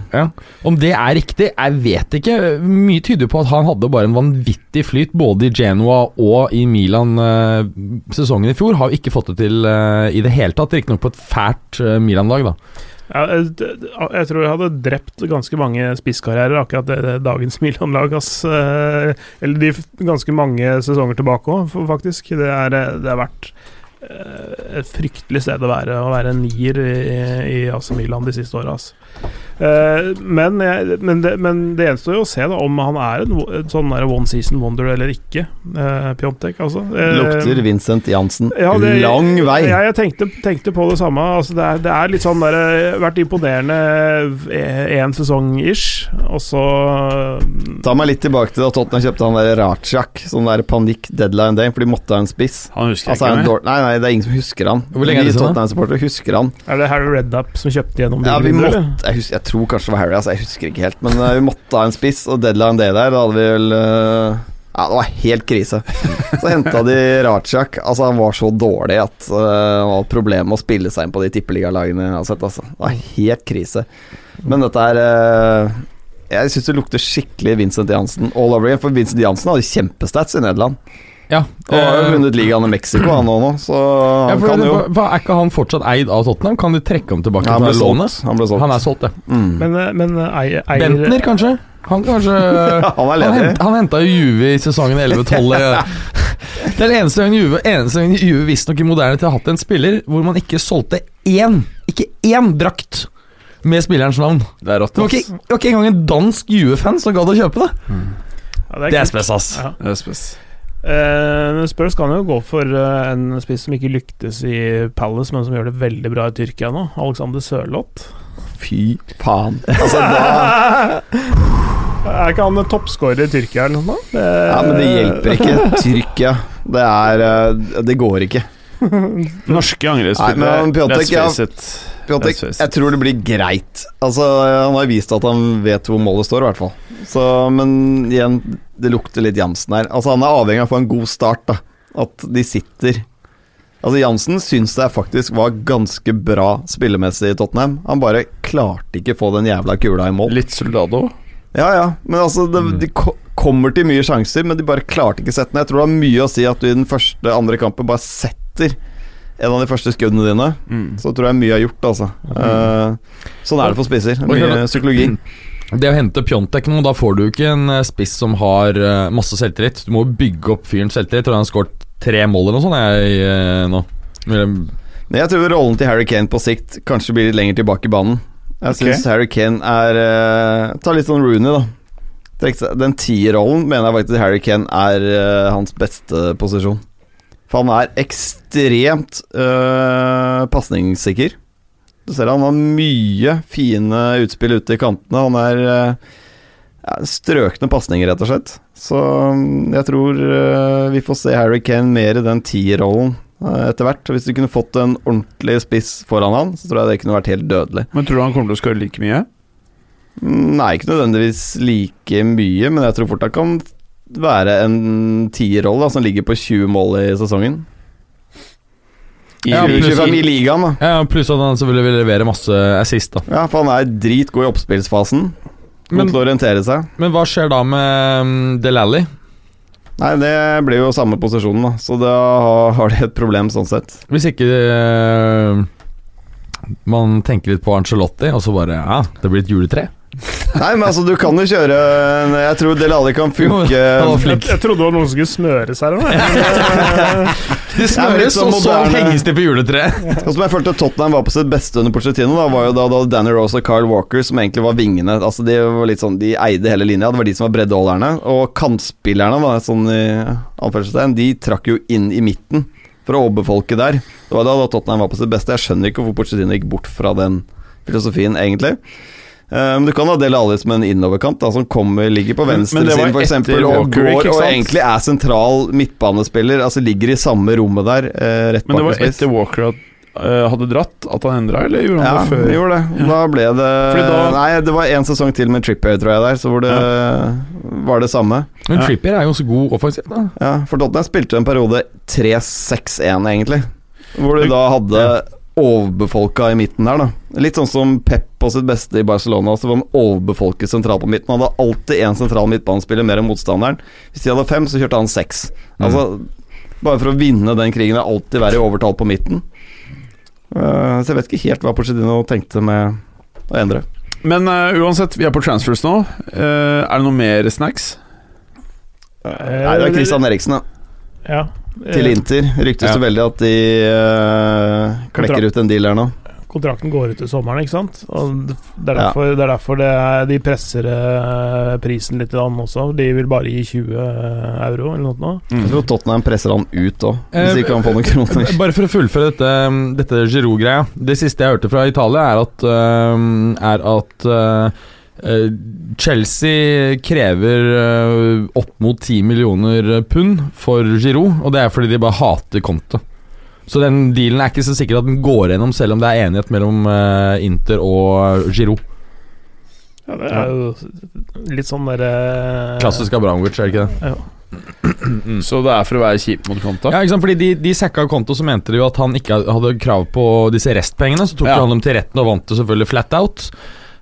Speaker 2: Om det er riktig, jeg vet ikke. Mye tyder på at han hadde bare en vanvittig flyt både i Genoa og i Milan eh, sesongen i fjor. Har jo ikke fått det til eh, i det hele tatt, riktignok på et fælt eh, Milan-lag, da.
Speaker 5: Ja, eh, d- d- jeg tror jeg hadde drept ganske mange spisskarrierer, akkurat det, det dagens Milan-lag. ass. Eh, Eller de f- ganske mange sesonger tilbake òg, faktisk. Det er, eh, det har vært eh, et fryktelig sted å være, å være en nier i, i AC Milan de siste åra. Men, jeg- men, det- men det gjenstår jo å se da om han er en, wo- en sånn der one season wonder eller ikke. eh, Piontek, altså. Eh,
Speaker 3: Lukter Vincent Jansen
Speaker 5: ja, det-
Speaker 3: lang vei.
Speaker 5: ja, jeg tenkte, tenkte på det samme. Altså, det, er, det er litt sånn der, eh, Vært imponerende én sesong ish, og så mm,
Speaker 3: Ta meg litt tilbake til da Tottenham kjøpte han der Rajak, sånn der panikk deadline day, for de måtte ha en spiss.
Speaker 4: Han husker
Speaker 3: Altså,
Speaker 4: jeg
Speaker 3: en
Speaker 4: ikke.
Speaker 3: dår- nei, nei, det er ingen som husker han.
Speaker 2: Hvor lenge er det
Speaker 3: Vi
Speaker 2: siden da?
Speaker 3: Tottenham-supportere husker han.
Speaker 5: eh, Er det Harry Reddup som kjøpte gjennom
Speaker 3: Ja, vi
Speaker 5: vinduet,
Speaker 3: måtte,
Speaker 5: eller?
Speaker 3: jeg, husker, jeg tror kanskje det var Harry, altså, jeg husker ikke helt. Men eh, vi måtte ha en spiss, og deadline day der, da hadde vi vel eh, Ja, det var helt krise. Så henta de Rajak. Altså, han var så dårlig at eh, det var et problem å spille seg inn på de tippeligalagene jeg har sett. Altså. Det var helt krise. Men dette er eh, Jeg syns det lukter skikkelig Vincent Jansen all over again. For Vincent Jansen hadde kjempestats i Nederland.
Speaker 2: Ja,
Speaker 3: Og har jo
Speaker 2: eh,
Speaker 3: vunnet ligaen i Mexico, han òg nå, så han
Speaker 2: ja, for
Speaker 3: kan
Speaker 2: det-
Speaker 3: jo
Speaker 2: hva- hva, Er ikke han fortsatt eid av Tottenham? Kan de trekke ham tilbake
Speaker 3: Han
Speaker 2: fra
Speaker 3: ble
Speaker 2: lånet?
Speaker 3: solgt. Han ble
Speaker 2: Han
Speaker 3: solgt.
Speaker 2: er solgt, det.
Speaker 3: Mm.
Speaker 5: Men, eh, men eh, eier,
Speaker 2: Bentner,
Speaker 5: eier,
Speaker 2: kanskje? Han kanskje
Speaker 3: Han er
Speaker 2: Han,
Speaker 3: ledig.
Speaker 2: hent, han henta jo Juve i sesongen 11-12. i- Det er den eneste gangen Juve, eneste gangen Juve visstnok i moderne tid har hatt en spiller hvor man ikke solgte én, ikke én drakt med spillerens navn.
Speaker 4: Det er rått.
Speaker 2: Det var
Speaker 4: ass.
Speaker 2: ikke, det var ikke engang en dansk Juve-fan som gadd å kjøpe det.
Speaker 5: ja,
Speaker 2: Det
Speaker 5: det er
Speaker 2: er
Speaker 5: kult.
Speaker 2: spes, ass.
Speaker 5: Ja.
Speaker 4: Det er spes.
Speaker 5: Eh, men Spurs kan jo gå for eh, en spiss som ikke lyktes i Palace, men som gjør det veldig bra i Tyrkia nå. Alexander Sørloth.
Speaker 3: Fy faen. Altså, da
Speaker 5: er ikke han toppskårer i Tyrkia eller noe sånt? da? Eh,
Speaker 3: Ja, men det hjelper ikke. Tyrkia, det er eh, Det går ikke.
Speaker 4: Norske
Speaker 3: Nei, men
Speaker 4: angrepsspillere,
Speaker 3: Piontek,
Speaker 4: let's
Speaker 3: ja.
Speaker 4: face it.
Speaker 3: Piontek, jeg tror det blir greit. Altså, han har vist at han vet hvor målet står, i hvert fall. Så, men igjen, det lukter litt Jansen her. Altså, han er avhengig av å få en god start, da. At de sitter Altså, Jansen syns det faktisk var ganske bra spillemessig i Tottenham. Han bare klarte ikke å få den jævla kula i mål.
Speaker 4: Litt soldado.
Speaker 3: Ja, ja. Men altså, det, de ko kommer til mye sjanser, men de bare klarte ikke å sette den. Jeg tror det har mye å si at du i den første, andre kampen bare setter en av de første skuddene dine.
Speaker 4: Mm.
Speaker 3: Så tror jeg mye er gjort, altså. Eh, sånn er det for spisser. Mye psykologi.
Speaker 2: Det å hente Pjontek nå, da får du ikke en eh, spiss som har eh, masse selvtillit. Du må bygge opp fyrens selvtillit. Tror han har skåret tre mål eller noe sånt jeg, eh, nå. Eller-
Speaker 3: Men jeg tror rollen til Harry Kane på sikt kanskje blir litt lenger tilbake i banen. Jeg
Speaker 4: Ok.
Speaker 3: syns Harry Kane er eh, Ta litt sånn Rooney, da. Trekk seg- Den tierrollen mener jeg faktisk Harry Kane er eh, hans beste posisjon. For han er ekstremt uh, pasningssikker. Du ser han har mye fine utspill ute i kantene. Han er eh, ja, strøkne pasninger, rett og slett. Så mm, jeg tror eh, vi får se Harry Kane mer i den tierrollen eh, etter hvert. Hvis du kunne fått en ordentlig spiss foran han, så tror jeg det kunne vært helt dødelig.
Speaker 4: Men tror du han kommer til å skåre like mye?
Speaker 3: Mm, Nei, ikke nødvendigvis like mye, men jeg tror fort han kan være en tierrolle da, som ligger på 20 mål i sesongen. I
Speaker 2: Ja, pluss-
Speaker 3: 25 i ligaen, da.
Speaker 2: Ja, Pluss at han selvfølgelig vil levere masse assist, da.
Speaker 3: Ja, for han er dritgod i oppspillsfasen. God
Speaker 2: Men-
Speaker 3: til å orientere seg.
Speaker 2: Men hva skjer da med mm, Del Alli?
Speaker 3: Nei, det blir jo samme posisjonen, da. Så da har- har de et problem sånn sett.
Speaker 2: Hvis ikke eh, man tenker litt på Angelotti, og så bare Ja, det blir et juletre.
Speaker 3: Nei, men altså, du kan jo kjøre en- Jeg tror Del Alli kan
Speaker 2: Han var
Speaker 3: funke
Speaker 5: jeg,
Speaker 2: flink.
Speaker 5: jeg trodde det var noen som skulle smøres her. eller?
Speaker 2: Det
Speaker 3: Ja, men litt
Speaker 2: smøres,
Speaker 3: sånn
Speaker 2: og så
Speaker 3: moderne-
Speaker 2: henges det på juletreet.
Speaker 3: Og som jeg følte Tottenham var på sitt beste under Pochettino, da var jo da, da Danny Rose og Kyle Walker som egentlig var vingene. Altså De var litt sånn De eide hele linja. Det var de som var breddeholderne. Og kantspillerne, da, sånn i anførselstegn, de trakk jo inn i midten for å overbefolke der. Det var da, da Tottenham var på sitt beste. Jeg skjønner ikke hvorfor Pochettino gikk bort fra den filosofien, egentlig. Eh, Men du kan ha Del Alli som en innoverkant, da, som kommer, ligger på
Speaker 4: Men- men det var
Speaker 3: venstresiden f.eks.
Speaker 4: etter
Speaker 3: Og
Speaker 4: Walker,
Speaker 3: går
Speaker 4: ikke
Speaker 3: og
Speaker 4: sant?
Speaker 3: egentlig er sentral midtbanespiller. Altså ligger i samme rommet der, eh, rett
Speaker 4: Men det
Speaker 3: bak
Speaker 4: var
Speaker 3: i spiss.
Speaker 4: etter Walker at, eh, hadde dratt, at han endra, eller gjorde han
Speaker 3: Ja,
Speaker 4: det før?
Speaker 3: det gjorde det. Da ble det
Speaker 4: Fordi da-
Speaker 3: Nei, det var en sesong til med Trippier, tror jeg, der, så hvor det var det samme.
Speaker 2: Men
Speaker 4: Ja.
Speaker 2: Trippier er jo så god offensivt, da.
Speaker 3: Ja, for Tottenham spilte en periode 3-6-1, egentlig. Hvor du da hadde overbefolka i midten der, da. Litt sånn som Pep på sitt beste i Barcelona, så var han overbefolket sentralt på midten. Han hadde alltid én sentral midtbanespiller mer enn motstanderen. Hvis de hadde fem, så kjørte han seks. Altså, bare for å vinne den krigen, det er alltid være i overtall på midten. Eh, så jeg vet ikke helt hva Porcedino tenkte med å endre.
Speaker 4: Men eh, uansett, vi er på transfers nå. Eh, er det noe mer snacks?
Speaker 5: Eh,
Speaker 3: Nei, det er Christian Eriksen, da.
Speaker 5: Ja. Eh,
Speaker 3: Til Inter. Ryktes det veldig at de eh, klekker ut en deal her nå.
Speaker 5: kontrakten går ut til sommeren, ikke sant? Og det er
Speaker 3: Ja.
Speaker 5: derfor, det er derfor det er, de presser eh, prisen litt grann også. De vil bare gi 20 euro eller noe. sånt nå.
Speaker 3: Jeg
Speaker 4: Mm.
Speaker 3: tror Tottenham presser han ut òg, hvis
Speaker 2: Eh,
Speaker 3: ikke han får noen kroner.
Speaker 2: Bare for å fullføre dette, dette Giroud-greia. Det siste jeg hørte fra Italia, er at, øhm, er at øh, øh, Chelsea krever øh, opp mot 10 millioner pund for Giroud, og det er fordi de bare hater Conte. Så den dealen er ikke så sikker at den går gjennom, selv om det er enighet mellom øh, Inter og Giroud.
Speaker 5: Ja, det er jo litt sånn derre
Speaker 2: Klassisk Abramovic, er det ikke det?
Speaker 4: Så det er for å være kjip mot Konta?
Speaker 2: Ja, ikke sant? Fordi De, de sacka Konto, så mente de jo at han ikke hadde krav på disse restpengene. Så tok
Speaker 4: Ja.
Speaker 2: jo han dem til retten og vant det selvfølgelig flat out.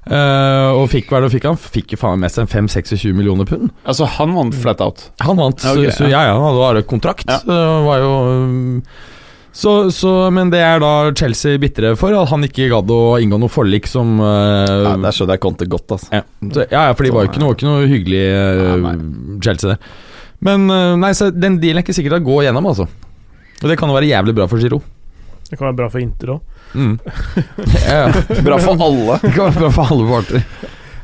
Speaker 2: Eh, og fikk hva er det han fikk? Han fikk jo faen meg mest enn 5-26 millioner pund.
Speaker 4: Altså, han vant flat out.
Speaker 2: Han vant,
Speaker 4: Ja, ok,
Speaker 2: så, så ja, ja, han hadde bare kontrakt.
Speaker 4: Ja.
Speaker 2: Så det var jo um, så, så, Men det er da Chelsea bitre for, at han ikke gadd å inngå noe forlik som eh,
Speaker 3: Ja, der skjønner jeg Conte godt, altså.
Speaker 2: ja.
Speaker 4: sånn.
Speaker 2: Så, ja, ja, for de var jo ikke noe, ikke noe hyggelig eh,
Speaker 4: Nei,
Speaker 2: Chelsea der. Men eh, nei, så den dealen er ikke sikkert å gå gjennom, altså. Og det kan jo være jævlig bra for Giro.
Speaker 5: Det kan være bra for Inter òg.
Speaker 2: Mm. ja, ja.
Speaker 3: Bra for alle.
Speaker 2: Det kan være bra for alle parter.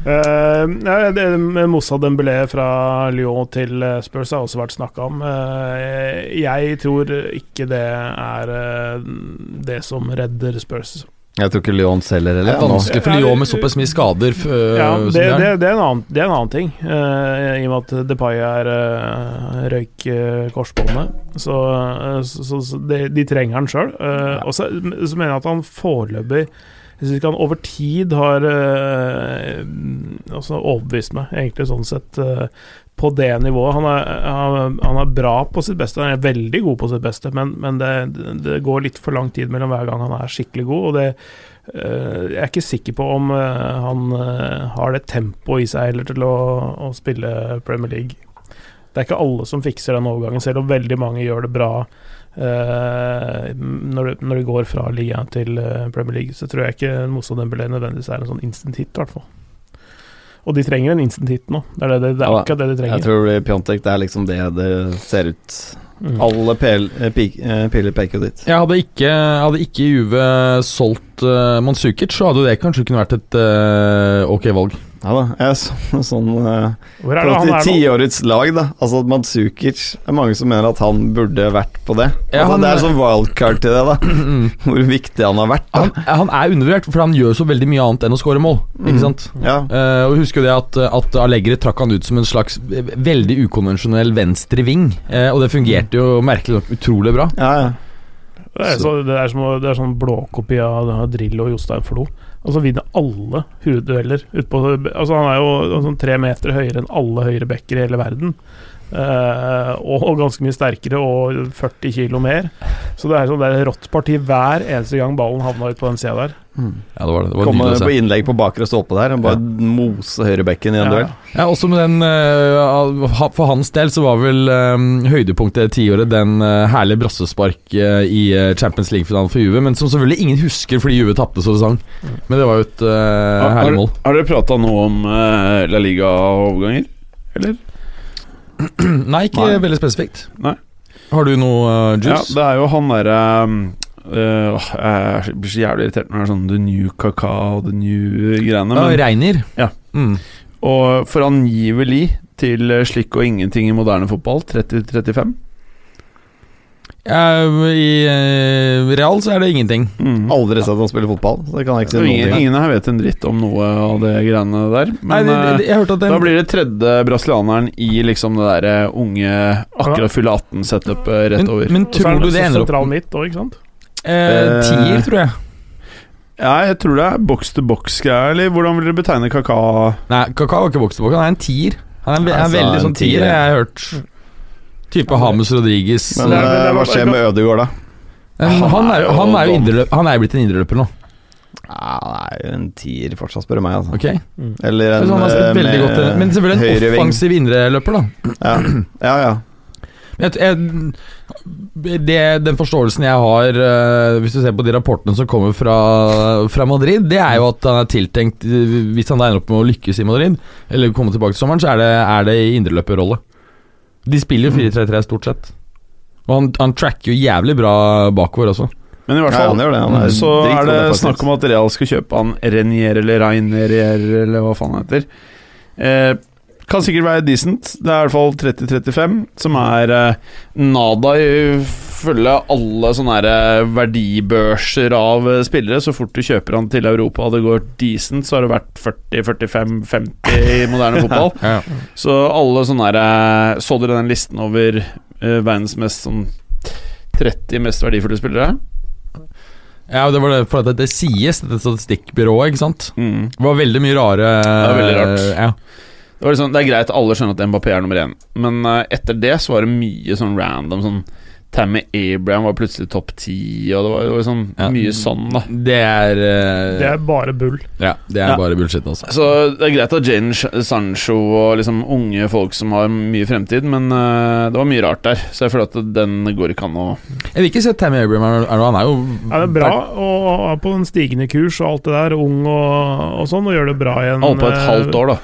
Speaker 5: Eh, Moussa Dembélé fra Lyon til eh, Spurs har også vært snakka om. Eh, jeg tror ikke det er eh, det som redder Spurs.
Speaker 3: Jeg tror ikke Lyon selger
Speaker 2: Det er
Speaker 3: heller.
Speaker 2: vanskelig for Lyon med såpass mye skader. f- øh,
Speaker 5: Ja,
Speaker 2: som
Speaker 5: det,
Speaker 2: de har.
Speaker 5: det, det, er en annen, det er en annen ting. eh, I og med at Depay er uh, røyk eh, korsbåndet. Så, eh, så, så, så de, de trenger han sjøl. og så, så mener jeg at han foreløpig Jeg syns ikke han over tid har eh, altså overbevist meg, egentlig, sånn sett. eh, på det nivået. Han er, han- han er bra på sitt beste, han er veldig god på sitt beste, men, men det, det går litt for lang tid mellom hver gang han er skikkelig god. og det Eh, jeg er ikke sikker på om eh, han eh, har det tempoet i seg heller til å, å spille Premier League. Det er ikke alle som fikser den overgangen, selv om veldig mange gjør det bra eh, når, du- når de går fra ligaen til eh, Premier League. Så tror jeg ikke Moussa Dembélé nødvendigvis er en sånn instant hit, i hvert fall. Og de trenger en instant hit nå. Det er, det, det, det
Speaker 3: Ja
Speaker 5: er
Speaker 3: da.
Speaker 5: akkurat det de
Speaker 3: Jeg
Speaker 5: trenger.
Speaker 3: tror det blir Piontek det er liksom det det ser ut.
Speaker 5: Mm.
Speaker 3: Alle pel, eh, pik, eh, piler peker jo dit.
Speaker 2: Jeg hadde ikke, hadde ikke Juve solgt uh, Manzukic, så hadde det kanskje kunne vært et eh, ok valg.
Speaker 3: Ja da. Jeg så sånn eh,
Speaker 5: Hvor er det han
Speaker 3: Fra
Speaker 5: er nå?
Speaker 3: tiårets lag, da. Altså at Mandzukic Det er mange som mener at han burde vært på det.
Speaker 2: Ja,
Speaker 3: altså,
Speaker 2: han-
Speaker 3: det er sånn wildcard til det, da.
Speaker 2: Mm.
Speaker 3: Hvor viktig han har vært. Da.
Speaker 2: Han, han er undervurdert, for han gjør så veldig mye annet enn å skåre mål. Ikke sant?
Speaker 3: Ja.
Speaker 2: Eh, og Husker jo det at, at Allegri trakk han ut som en slags veldig ukonvensjonell venstre ving. eh, og det fungerte jo merkelig nok utrolig bra.
Speaker 3: Ja, ja.
Speaker 5: Det er, så, det, er som, å- det er sånn blåkopi av Drillo og Jostein Flo. Altså vinner alle hodedueller. ut på- Altså han er jo sånn tre meter høyere enn alle høyre backer i hele verden. Eh, og, og ganske mye sterkere og 40 kilo mer. Så det er sånn det er rått parti hver eneste gang ballen havna ut på den sida der.
Speaker 2: Ja, det var det. det var
Speaker 3: Komme
Speaker 2: nydelig å se.
Speaker 3: på innlegg på bakre stolpe der. Han bare mose høyrebekken i en
Speaker 5: Ja.
Speaker 3: duell.
Speaker 2: Ja, også med den eh, ha- For hans del så var vel eh, høydepunktet i tiåret den eh, herlige brassespark eh, i eh, Champions League-finalen for Juve, men som selvfølgelig ingen husker fordi Juve tapte så det sang. Men det var jo et eh,
Speaker 4: har,
Speaker 2: herlig mål.
Speaker 4: har dere prata noe om eh, La Liga-overganger? Eller?
Speaker 2: Nei, ikke
Speaker 4: Nei.
Speaker 2: veldig spesifikt.
Speaker 4: Nei.
Speaker 2: Har du noe eh,
Speaker 4: Ja,
Speaker 2: juice?
Speaker 4: det er jo han derre Jeg blir så jævlig irritert når det er sånn The New Kaka og The New greiene.
Speaker 2: Ja,
Speaker 4: Men,
Speaker 2: Reiner.
Speaker 4: Ja.
Speaker 2: Mm.
Speaker 4: og for angivelig til eh, slikk og ingenting i moderne fotball, 30-35.
Speaker 2: Ja, I eh, Real så er det ingenting.
Speaker 4: Mm.
Speaker 3: Aldri sett han spille fotball, så det kan jeg ikke si
Speaker 4: Så ingen,
Speaker 3: noe om.
Speaker 4: ingen her vet en dritt om noe av det greiene der.
Speaker 2: Nei,
Speaker 4: Men
Speaker 2: det, det, jeg hørte at
Speaker 4: eh,
Speaker 2: den
Speaker 4: da blir det tredje brasilianeren i liksom det derre unge, akkurat fylle 18-setupet rett
Speaker 2: men,
Speaker 4: over.
Speaker 2: men
Speaker 5: Og så er
Speaker 2: tror
Speaker 5: han
Speaker 2: du det
Speaker 5: så
Speaker 2: ender opp
Speaker 5: sentral midt òg, ikke sant?
Speaker 2: eh, Tier, tror jeg.
Speaker 4: Ja, jeg tror det er box to box-greier, eller hvordan vil dere betegne Kaka?
Speaker 2: Nei, Kaka var ikke vokst han er en tier. Han er en, ve-
Speaker 3: Altså,
Speaker 2: en veldig
Speaker 3: en
Speaker 2: sånn
Speaker 3: tier,
Speaker 2: tier, jeg har hørt. Type Hames Rodriguez.
Speaker 3: Men
Speaker 5: Nei, men det
Speaker 3: eh, hva
Speaker 5: var-
Speaker 3: skjer med Ødegaard, da?
Speaker 2: Men han, er, han er jo indreløp, Han er jo blitt en indreløper nå.
Speaker 3: Ja, det er jo en tier fortsatt, spør du meg. Altså.
Speaker 2: Ok
Speaker 3: Eller
Speaker 2: Så
Speaker 3: en
Speaker 2: han har spilt
Speaker 3: eh,
Speaker 2: veldig godt
Speaker 3: med
Speaker 2: Men selvfølgelig en
Speaker 3: høyreving.
Speaker 2: offensiv indreløper, da.
Speaker 3: Ja, ja. ja.
Speaker 2: Jeg, jeg, det, den forståelsen jeg har, eh, hvis du ser på de rapportene som kommer fra, fra Madrid, det er jo at han er tiltenkt eh, Hvis han da ender opp med å lykkes i Madrid, eller komme tilbake til sommeren, så er det, er det i indreløperrolle. De spiller
Speaker 4: Mm.
Speaker 2: jo 4-3-3 stort sett. Og han, han tracker jo jævlig bra bakover også.
Speaker 4: Men i hvert
Speaker 3: Ja,
Speaker 4: fall
Speaker 3: han gjør det. Han er
Speaker 4: så
Speaker 3: dritgod
Speaker 4: er det
Speaker 3: defensivt.
Speaker 4: snakk om at Real skal kjøpe han Renier eller Reinerier eller hva faen han heter. Eh, kan sikkert være decent. Det er i hvert fall 30-35, som er eh, nada ifølge alle sånne her, eh, verdibørser av eh, spillere. Så fort du kjøper han til Europa og det går decent, så har det vært 40-45-50 i moderne fotball.
Speaker 2: Ja.
Speaker 4: Så alle sånne her, eh, Så dere den listen over eh, verdens mest sånn 30 mest verdifulle spillere?
Speaker 2: Ja, og det var det, for at det, det sies, dette statistikkbyrået, ikke sant?
Speaker 4: Mm.
Speaker 2: Det var veldig mye rare eh,
Speaker 4: Det er veldig rart.
Speaker 2: Ja.
Speaker 4: Det, var liksom, det er greit, alle skjønner at Mbappé er nummer én, men eh, etter det så var det mye sånn random sånn Tammy Abraham var plutselig topp ti, og det var, det var sånn,
Speaker 2: Ja.
Speaker 4: mye sånn, da.
Speaker 2: Det er, eh,
Speaker 5: Det er bare bull.
Speaker 2: Ja, det er
Speaker 4: Ja.
Speaker 2: bare bullshit, altså.
Speaker 4: Så det er greit at Jane Sh- Sancho og liksom unge folk som har mye fremtid, men eh, det var mye rart der, så jeg føler at den går ikke an å
Speaker 2: Jeg vil ikke se Tammy Abraham er, er, Han er jo
Speaker 5: Ja, det er bra og er på en stigende kurs og alt det der, ung og, og sånn, og gjør det bra igjen.
Speaker 4: Han holdt på et
Speaker 5: eh,
Speaker 4: halvt år, da.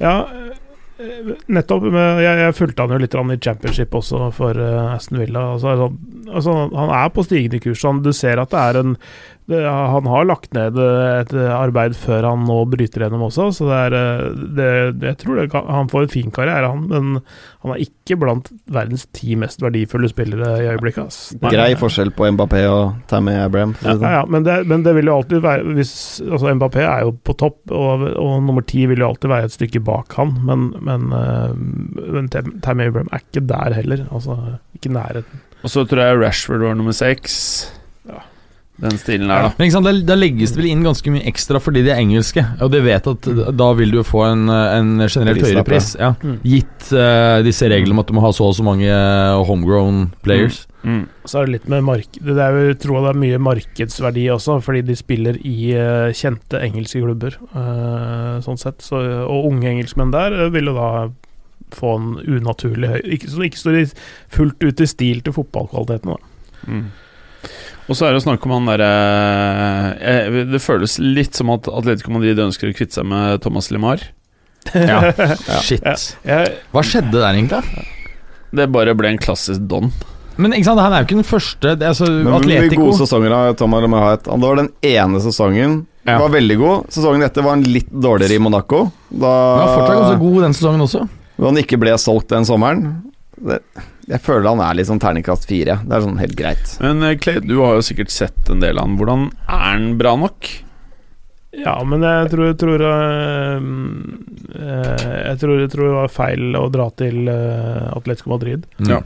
Speaker 5: Ja, eh, nettopp. Men jeg, jeg fulgte han jo litt grann i championship også for eh, Aston Villa. Altså, altså, altså, han er på stigende kurs. Han, du ser at det er en det, Han har lagt ned eh, et arbeid før han nå bryter gjennom også, så det er eh, det, det, Jeg tror det kan, han får en fin karriere, han, men han er ikke blant verdens ti mest verdifulle spillere i øyeblikket. ass. Nei.
Speaker 3: Grei forskjell på Mbappé og Tammy Abraham. for å si det sånn.
Speaker 5: Ja, ja, men, det, men det vil jo alltid være hvis, altså Mbappé er jo på topp, og, og nummer ti vil jo alltid være et stykke bak han. Men, men, eh, men Tam- Tammy Abraham er ikke der heller. Altså, ikke i nærheten.
Speaker 4: Og så tror jeg Rashford var nummer seks.
Speaker 5: Ja.
Speaker 4: Den stilen der, da.
Speaker 2: Men ikke sant, da- Da legges det vel inn ganske mye ekstra fordi de er engelske, og de vet at da vil du få en, en generelt høyere
Speaker 3: Prislapp, ja.
Speaker 2: pris. Ja.
Speaker 5: Mm.
Speaker 2: Gitt eh, disse reglene om at du må ha så og så mange eh, homegrown players.
Speaker 4: Mm.
Speaker 5: Så er det litt med mark det er jo, jeg tror det er mye markedsverdi også, fordi de spiller i eh, kjente engelske klubber. eh, sånn sett. Så, og unge engelskmenn der eh, vil jo da få en unaturlig høy ikke, Som ikke står i fullt ut i stil til fotballkvaliteten. Da.
Speaker 4: Mm. Og så er det snakk om han derre eh, eh, Det føles litt som at Atletico Madrid ønsker å kvitte seg med Thomas Limar.
Speaker 5: Mm.
Speaker 2: Ja. Shit.
Speaker 5: Jeg,
Speaker 2: Hva skjedde der, egentlig?
Speaker 4: Det bare ble en klassisk don.
Speaker 2: Men ikke sant, han er jo ikke den første. Det, er altså,
Speaker 3: Men hvor mye
Speaker 2: Atletico
Speaker 3: gode sesonger har Thomas Lemay hatt? Det var den ene sesongen.
Speaker 2: Ja.
Speaker 3: Var veldig god. Sesongen etter var han litt dårligere i Monaco. Da
Speaker 2: Han var fortsatt ganske god den sesongen også.
Speaker 3: Når han ikke ble solgt den sommeren. Det, jeg føler han er litt sånn terningkast fire. Det er sånn helt greit.
Speaker 4: Men eh, Clay, du har jo sikkert sett en del av han. Hvordan er han bra nok?
Speaker 5: Ja, men jeg tror, tror eh, eh, Jeg tror, jeg tror det var feil å dra til eh, Atletico Madrid.
Speaker 2: Mm.
Speaker 4: Ja.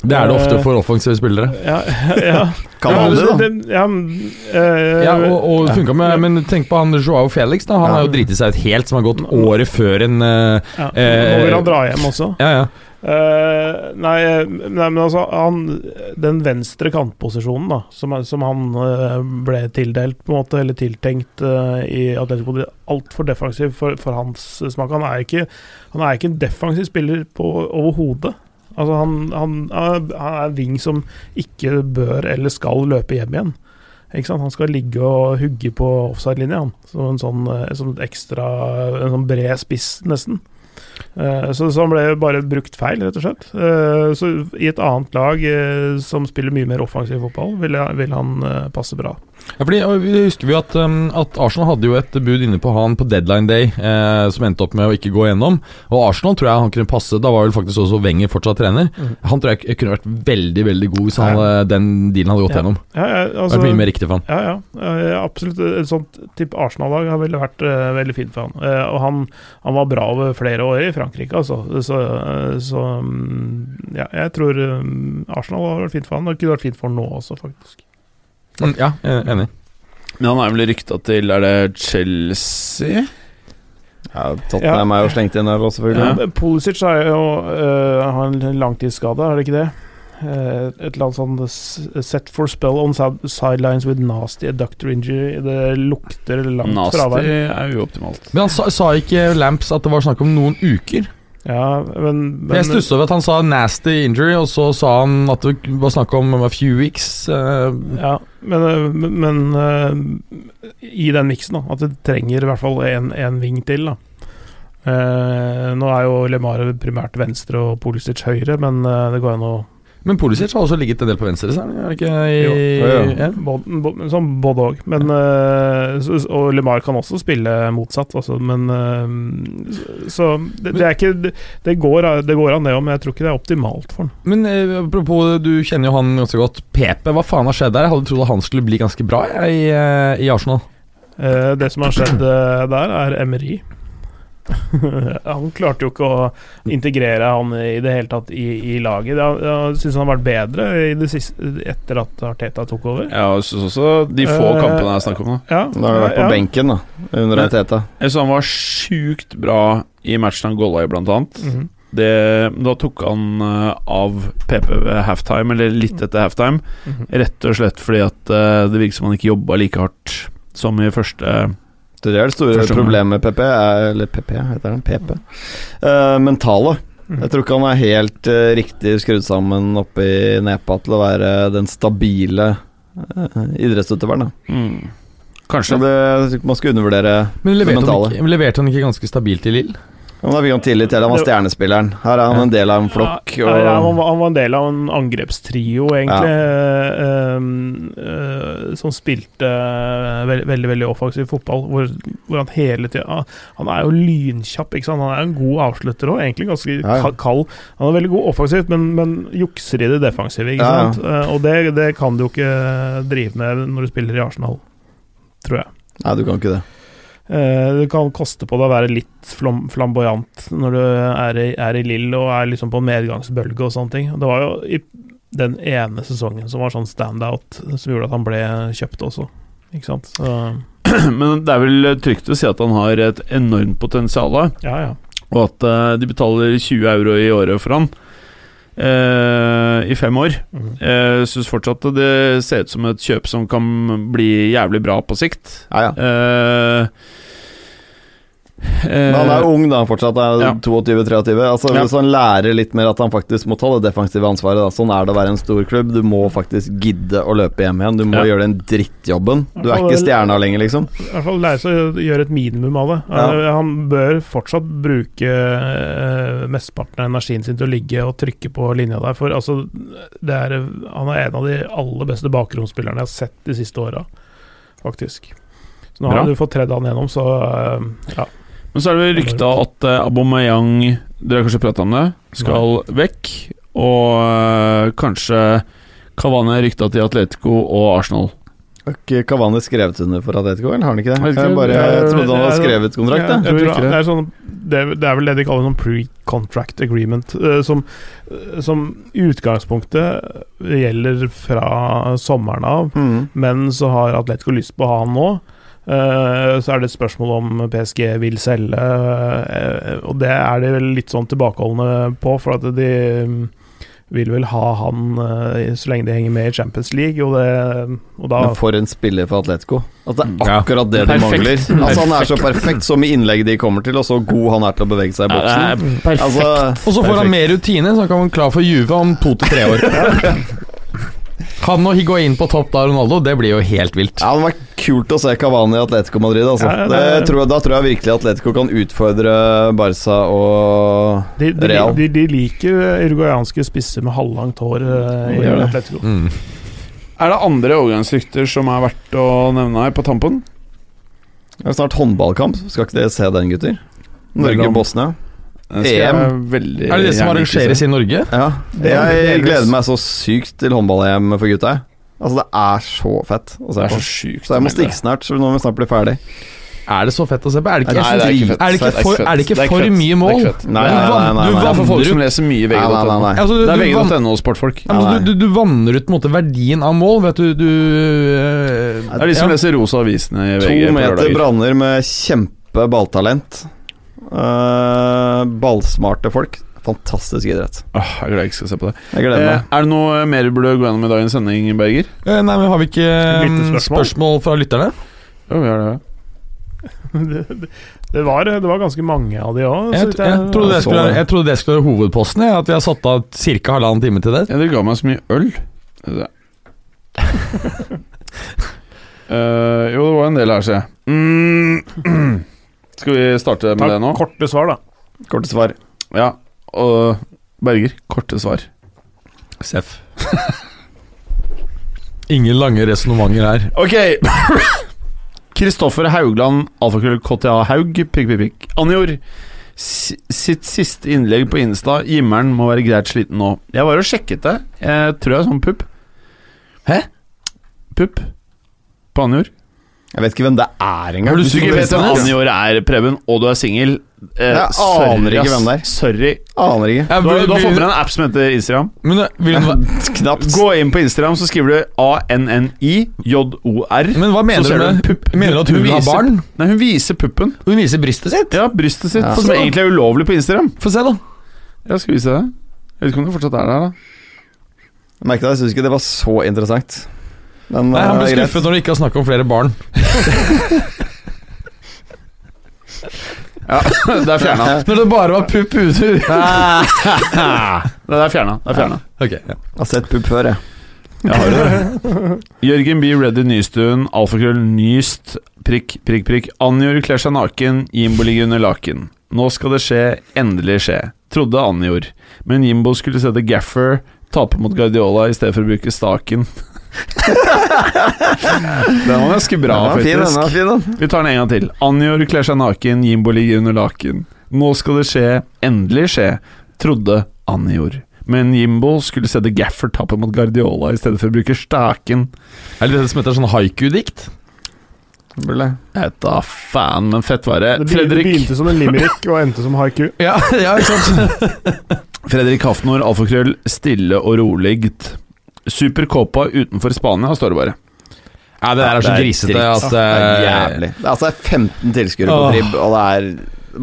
Speaker 2: Det er det
Speaker 5: Eh.
Speaker 2: ofte for offensive spillere.
Speaker 5: Ja, ja.
Speaker 3: Kan han det, da?
Speaker 5: det- Ja, men, eh,
Speaker 2: Ja, og, og det funket med, Men tenk på han Joao Felix. da Han
Speaker 3: Ja.
Speaker 2: har jo driti seg ut helt, som har gått året før en eh,
Speaker 5: ja.
Speaker 2: eh,
Speaker 5: Nå vil han dra hjem også.
Speaker 2: Ja, ja.
Speaker 5: Eh, nei, eh, nei, men altså han, Den venstre kantposisjonen da som, er- som han eh, ble tildelt, på en måte, eller tiltenkt eh, i Atletico Madrid, altfor defensiv for, for hans smak. Han er ikke, han er ikke en defensiv spiller på- overhodet. Altså han, han, han er en ving som ikke bør eller skal løpe hjem igjen. Ikke sant? Han skal ligge og hugge på offside-linja, han. Som en sånn, eh, som et ekstra En sånn bred spiss, nesten. Eh, Så, så han ble jo bare brukt feil, rett og slett. Eh, Så i et annet lag eh, som spiller mye mer offensiv fotball, vil, jeg, vil han eh, passe bra.
Speaker 2: Ja, fordi og vi husker vi at, um, at Arsenal hadde jo et bud inne på han på deadline day, eh, som endte opp med å ikke gå gjennom. Og Arsenal tror jeg han kunne passe, da var vel faktisk også Wenger fortsatt trener.
Speaker 5: Mhm.
Speaker 2: Han tror jeg k- kunne vært veldig veldig god hvis han, hadde- den dealen hadde gått
Speaker 5: Ja,
Speaker 2: gjennom.
Speaker 5: Ja, ja,
Speaker 2: Det
Speaker 5: altså,
Speaker 2: hadde vært mye mer riktig for han.
Speaker 5: ja, ja, Eh, absolutt. Et sånt type Arsenal-lag har vel vært eh, veldig fint for han. Eh, og han, han var bra over flere år i Frankrike, altså. Så, eh, så mm, ja, jeg tror eh, Arsenal har vært fint for han. Det kunne vært fint for han nå også, faktisk.
Speaker 2: Mm, ja, jeg er enig.
Speaker 4: Men han er vel rykta til Er det Chelsea?
Speaker 3: Ja, Tottenham er jo slengt inn her også, selvfølgelig.
Speaker 5: Ja. eh, Pulisic er jo, øh, har en langtidsskade, er det ikke det? Eh, et eller annet sånn s- Set for spell on sad- sidelines with nasty adductor injury. Det lukter langt
Speaker 4: Nasty
Speaker 5: fravær.
Speaker 4: er uoptimalt.
Speaker 2: Men han sa, sa ikke Lamps at det var snakk om noen uker?
Speaker 5: Ja, men, men
Speaker 2: Jeg stussa over at han sa 'nasty injury', og så sa han at det var snakk om a few weeks. eh,
Speaker 5: ja, men, eh, men eh, i den miksen, da. At du trenger i hvert fall én ving til, da. Eh, nå er jo Lemare primært venstre og Pulisic høyre, men eh, det går an å
Speaker 2: Men Pulisic har også ligget en del på venstre, sa han? er det Ikke, i,
Speaker 5: Jo.
Speaker 3: Ja, ja.
Speaker 2: Ja.
Speaker 5: Både- bo- Sånn både òg. Men eh, så- Og LeMar kan også spille motsatt, altså. Men eh, så- Så det, det er ikke det- Det går, det går an, det òg, men jeg tror ikke det er optimalt for han.
Speaker 2: Men eh, apropos, du kjenner jo han ganske godt. Pepe, hva faen har skjedd der? Jeg hadde trodd at han skulle bli ganske bra jeg, i, eh, i Arsenal.
Speaker 5: Eh, Det som har skjedd eh, der, er Emery. han klarte jo ikke å integrere han i det hele tatt i, i laget. Jeg, jeg syns han har vært bedre i det siste, etter at Arteta tok over.
Speaker 4: Ja, jeg synes også de få
Speaker 5: Eh,
Speaker 4: kampene jeg snakker om. da
Speaker 5: Ja,
Speaker 3: Da har vi vært på
Speaker 5: ja.
Speaker 3: benken, da. Under
Speaker 4: Men-
Speaker 3: Arteta.
Speaker 4: Jeg synes han var sjukt bra i matchen han golla i, blant annet.
Speaker 5: Mhm.
Speaker 4: Det, da tok han eh, av PP ved halftime, eller litt etter halftime.
Speaker 5: Mhm.
Speaker 4: Rett og slett fordi at eh, det virker som han ikke jobba like hardt som i første
Speaker 3: Det er det store
Speaker 4: Første gang.
Speaker 3: problemet med PP, er, eller PP heter den, PP. Eh, mentale.
Speaker 5: Mhm.
Speaker 3: Jeg tror ikke han er helt eh, riktig skrudd sammen oppi nepa til å være den stabile eh, idrettsutøveren. Da. Så
Speaker 4: mm, Kanskje.
Speaker 3: det, jeg tror ikke man skal undervurdere
Speaker 2: Men leverte, han
Speaker 3: Mentale.
Speaker 2: ikke, men leverte han ikke ganske stabilt i Lill?
Speaker 3: ja, men Da fikk han tillit til han var stjernespilleren. Her er han en del av en flokk.
Speaker 5: Ja, ja, han,
Speaker 3: Og,
Speaker 5: var, han var en del av en angrepstrio, egentlig, ehm, eh, som spilte veldig, veldig, veldig offensiv fotball, hvor, hvor han hele tida Han er jo lynkjapp, ikke sant? Han er en god avslutter òg, egentlig ganske
Speaker 3: Ja, ja.
Speaker 5: ka- kald. Han er veldig god offensivt, men, men jukser i det defensive, ikke
Speaker 3: Ja, ja.
Speaker 5: sant? Eh, og det, det kan du jo ikke drive med når du spiller i Arsenal, tror jeg.
Speaker 3: nei, du kan ikke det.
Speaker 5: Eh, Det kan koste på deg å være litt flam flamboyant når du er i, er i Lill og er liksom på en medgangsbølge og sånne ting. Det var jo i den ene sesongen som var sånn standout, som gjorde at han ble kjøpt også. Ikke sant? Så,
Speaker 4: Men det er vel trygt å si at han har et enormt potensial. da.
Speaker 5: ja, ja.
Speaker 4: Og at eh, de betaler 20 euro i året for han eh, i fem år.
Speaker 5: Mhm.
Speaker 4: Jeg syns fortsatt at det ser ut som et kjøp som kan bli jævlig bra på sikt.
Speaker 3: Ja, ja.
Speaker 4: Eh, eh,
Speaker 3: Men han er ung da, fortsatt. Er
Speaker 4: Ja.
Speaker 3: 22-23. Altså,
Speaker 4: Ja.
Speaker 3: Hvis han lærer litt mer at han faktisk må ta det defensive ansvaret. Da. Sånn er det å være en stor klubb. Du må faktisk gidde å løpe hjem igjen. Du må
Speaker 4: Ja.
Speaker 3: gjøre den drittjobben. Du er
Speaker 5: Ja,
Speaker 3: ikke
Speaker 5: vel-
Speaker 3: stjerna lenger, liksom.
Speaker 5: I hvert fall lære seg å gjøre et minimum av det.
Speaker 3: Ja.
Speaker 5: Eh, Han bør fortsatt bruke eh, mesteparten av energien sin til å ligge og trykke på linja der. For altså, det er, han er en av de aller beste bakromsspillerne jeg har sett de siste åra, faktisk. Så nå
Speaker 4: Bra.
Speaker 5: har du fått tredd han gjennom, så eh, ja.
Speaker 4: Men så er det vel rykta at eh, Aubameyang Dere har kanskje prata om det? Skal vekk. Og eh, kanskje Cavani er rykta til Atletico og Arsenal.
Speaker 3: Har ikke Kavani skrevet under for Atletico, eller har han ikke det?
Speaker 4: Jeg vet ikke.
Speaker 3: Jeg, bare, jeg
Speaker 5: Det-
Speaker 3: trodde han
Speaker 5: det-
Speaker 3: hadde
Speaker 5: det-
Speaker 3: skrevet kontrakt,
Speaker 5: Ja,
Speaker 3: jeg.
Speaker 5: jeg
Speaker 4: Jeg
Speaker 5: tror
Speaker 4: tror ikke
Speaker 5: det. er sånn, det, er, det er vel det de kaller sånn pre-contract agreement, eh, som, eh, som utgangspunktet gjelder fra sommeren av.
Speaker 3: Mm.
Speaker 5: Men så har Atletico lyst på han nå. Eh, Så er det et spørsmål om PSG vil selge, eh, og det er de vel litt sånn tilbakeholdne på. For at de mm, vil vel ha han eh, så lenge de henger med i Champions League, og, det, og da
Speaker 3: Men for en spiller for Atletico. At det er
Speaker 4: Ja.
Speaker 3: akkurat det de
Speaker 4: Perfekt.
Speaker 3: mangler. Altså Han er så perfekt som i innlegget de kommer til, og så god han er til å bevege seg i boksen.
Speaker 2: Mm,
Speaker 4: perfekt.
Speaker 3: Altså,
Speaker 2: Og så får han
Speaker 3: Perfekt.
Speaker 2: mer rutine, så han kan være klar for Juve om to til tre år. Han og Higuain på topp da, Ronaldo, det blir jo helt vilt.
Speaker 3: Ja, det hadde vært kult å se Cavani i Atletico Madrid. Altså.
Speaker 5: Ja, ja,
Speaker 3: det,
Speaker 5: det-
Speaker 3: tror jeg, da tror jeg virkelig Atletico kan utfordre Barca og
Speaker 5: De, de,
Speaker 3: Real.
Speaker 5: de, de liker uruguayanske spisser med halvlangt hår eh, i
Speaker 3: Gjør det.
Speaker 5: Atletico.
Speaker 2: Mm.
Speaker 4: Er det andre overgangsrykter som er verdt å nevne her på tampen?
Speaker 3: Det er snart håndballkamp. Skal ikke dere se den, gutter?
Speaker 4: Mellom-
Speaker 3: Norge-Bosnia.
Speaker 4: Den skal jeg veldig
Speaker 2: Er det det som
Speaker 4: gjerne ikke
Speaker 2: arrangeres
Speaker 4: se.
Speaker 2: i Norge?
Speaker 3: Ja.
Speaker 5: Det er
Speaker 3: Jeg
Speaker 5: delvis-
Speaker 3: gleder meg så sykt til håndball-EM for gutta. jeg. Altså, det er så fett. å
Speaker 4: Det
Speaker 3: se
Speaker 4: er så
Speaker 3: på.
Speaker 4: sjukt.
Speaker 3: Så jeg må
Speaker 4: å melde.
Speaker 3: stikke snart, så nå må vi snart bli ferdig.
Speaker 2: Er det så fett å se på? Er det ikke,
Speaker 3: Nei, det er ikke fett.
Speaker 2: er det ikke
Speaker 3: Det er ikke
Speaker 2: for, er det
Speaker 4: Det
Speaker 2: ikke
Speaker 4: er
Speaker 2: for
Speaker 4: fett.
Speaker 2: mye mål?
Speaker 4: Det er ikke fett.
Speaker 3: Nei,
Speaker 2: Du
Speaker 3: nei, nei,
Speaker 2: vann-
Speaker 3: nei,
Speaker 2: du
Speaker 3: nei.
Speaker 4: Det er for folk
Speaker 2: vandrer
Speaker 4: som leser mye
Speaker 3: Nei, nei, nei,
Speaker 4: VG.no.
Speaker 3: nei.
Speaker 2: Altså, du,
Speaker 4: Det er
Speaker 2: du, van-
Speaker 4: VG.no og sportfolk.
Speaker 2: ja, men du, du, du vanner ut på en måte verdien av mål, vet du. du øh,
Speaker 4: Det er de som leser rosa avisene i VG.
Speaker 3: To
Speaker 4: på
Speaker 3: meter
Speaker 4: lørdager.
Speaker 3: branner med kjempe balltalent. Eh, ballsmarte folk. Fantastisk idrett.
Speaker 4: Åh, jeg er glad jeg ikke skal se på det.
Speaker 3: Jeg gleder
Speaker 4: Eh,
Speaker 3: meg.
Speaker 4: er det noe mer vi burde gå gjennom i dagens sending, Berger?
Speaker 2: Eh, Nei, men Har vi ikke um,
Speaker 5: Lyttespørsmål?
Speaker 2: eh, spørsmål fra lytterne?
Speaker 4: Ja, vi har det.
Speaker 5: Det- det- Det var, det var ganske mange av de òg.
Speaker 2: Jeg, jeg, trodde det
Speaker 3: så
Speaker 2: skulle,
Speaker 3: det.
Speaker 2: jeg trodde det skulle være hovedposten, jeg, at vi har satt av ca. halvannen time til det.
Speaker 4: Ja, dere ga meg så mye øl. Det. Eh, jo, det var en del her, ser jeg. Mm. Skal vi starte med
Speaker 5: Ta
Speaker 4: det nå?
Speaker 5: korte svar, da.
Speaker 3: Korte svar.
Speaker 4: Ja. Og Berger, korte svar.
Speaker 2: Seff. Ingen lange resonnementer her.
Speaker 4: Ok Kristoffer Haugland Alfakrøll KTA Haug Prikk, prikk, prikk Anjor si- Sitt siste innlegg på Insta Jimmeren må være greit sliten nå Jeg var og sjekket det Jeg tror jeg er sånn pupp
Speaker 2: Hæ?
Speaker 4: Pupp På Anjor
Speaker 3: Jeg vet ikke hvem det er engang.
Speaker 2: Har du
Speaker 4: Hvis du ikke vet hvem
Speaker 2: Johannes?
Speaker 4: Anjor er Preben Og du er single eh,
Speaker 3: Jeg
Speaker 4: sorry,
Speaker 3: aner ikke
Speaker 4: ass.
Speaker 3: hvem det er.
Speaker 4: Sorry
Speaker 3: Aner ikke.
Speaker 4: Du har, du har fått med deg en app som heter Instagram
Speaker 2: Men eh, vil hun,
Speaker 3: Knapt.
Speaker 4: Gå inn på Instagram så skriver du A-N-N-I-J-O-R
Speaker 2: Men hva mener
Speaker 4: Så
Speaker 2: du
Speaker 4: ser
Speaker 2: med-
Speaker 4: en pupp.
Speaker 2: mener du at hun vil ha
Speaker 4: viser-
Speaker 2: barn?
Speaker 4: Nei, hun viser puppen.
Speaker 2: hun viser brystet sitt.
Speaker 4: Ja, brystet sitt,
Speaker 3: Ja.
Speaker 4: som egentlig er ulovlig på Instagram.
Speaker 2: Få se, da.
Speaker 4: Jeg skal vise deg. Jeg vet ikke om det fortsatt er der, da.
Speaker 3: Merket det, jeg syns ikke det var så interessant. Men
Speaker 2: Nei, Han
Speaker 3: eh,
Speaker 2: ble
Speaker 3: greit.
Speaker 2: skuffet når det ikke er snakk om flere barn.
Speaker 4: Det er fjerna.
Speaker 2: Når det bare var pupp ute.
Speaker 4: det er fjerna. Det er fjerna.
Speaker 2: Ok, ja.
Speaker 3: Jeg har sett pupp før, jeg.
Speaker 4: Jørgen B. Reddy Nystuen, alfakrøll nyst, prikk, prikk, prikk. Anjor kler seg naken, Jimbo ligger under laken. Nå skal det skje, endelig skje. Trodde Anjor. Men Jimbo skulle sette Gaffer, tape mot Guardiola i stedet for å bruke staken. den var ganske bra,
Speaker 3: den var fin, den
Speaker 4: faktisk.
Speaker 3: altså. var fin, den.
Speaker 4: Vi tar den en gang til. Anjor kler seg naken, Jimbo ligger under laken. Nå skal det skje, endelig skje, trodde Anjor. Men Jimbo skulle sette Gaffer tape mot Guardiola i stedet for å bruke staken.
Speaker 2: Er det det som heter sånn haiku-dikt?
Speaker 3: Burde.
Speaker 4: Jeg vet da faen, men fett var det.
Speaker 5: Det be-
Speaker 4: Fredrik,
Speaker 5: begynte som en limerick og endte som haiku.
Speaker 2: Ja, ja, ikke sant?
Speaker 4: Fredrik Hafnor, alfakrøll, stille og rolig. Super Copa utenfor Spania, står det bare.
Speaker 2: Ja, det der er så grisete
Speaker 4: dritt.
Speaker 2: at
Speaker 3: Det er
Speaker 2: eh,
Speaker 3: jævlig. Det er altså 15 tilskuere på
Speaker 2: Åh.
Speaker 3: dribb, og det er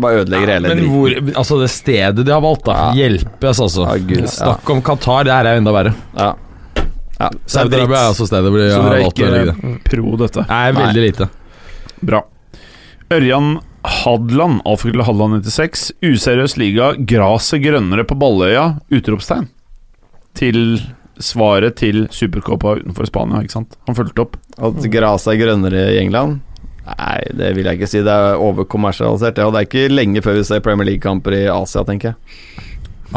Speaker 3: bare ødelegger hele
Speaker 2: Men
Speaker 3: dritten.
Speaker 2: hvor, altså det stedet de har valgt, da.
Speaker 3: Ja.
Speaker 2: Hjelpes, altså.
Speaker 3: Ja, Gud, ja.
Speaker 2: Snakk om Qatar, det her er jo enda verre.
Speaker 3: Ja. Ja,
Speaker 2: Saudi-Arabia er også stedet hvor de
Speaker 4: Så
Speaker 2: har
Speaker 4: dere er
Speaker 2: valgt å legge det.
Speaker 4: ikke pro dette.
Speaker 2: Nei, veldig lite.
Speaker 4: Bra. Ørjan Hadland, alfakrøll Hadland 96. Useriøs liga, graset grønnere på Balløya, utropstegn. Til svaret til Supercopa utenfor Spania, ikke sant? Han fulgte opp.
Speaker 3: At gresset er grønnere i England? Nei, det vil jeg ikke si. Det er overkommersialisert. Ja, og det er ikke lenge før vi ser Premier League-kamper i Asia, tenker jeg.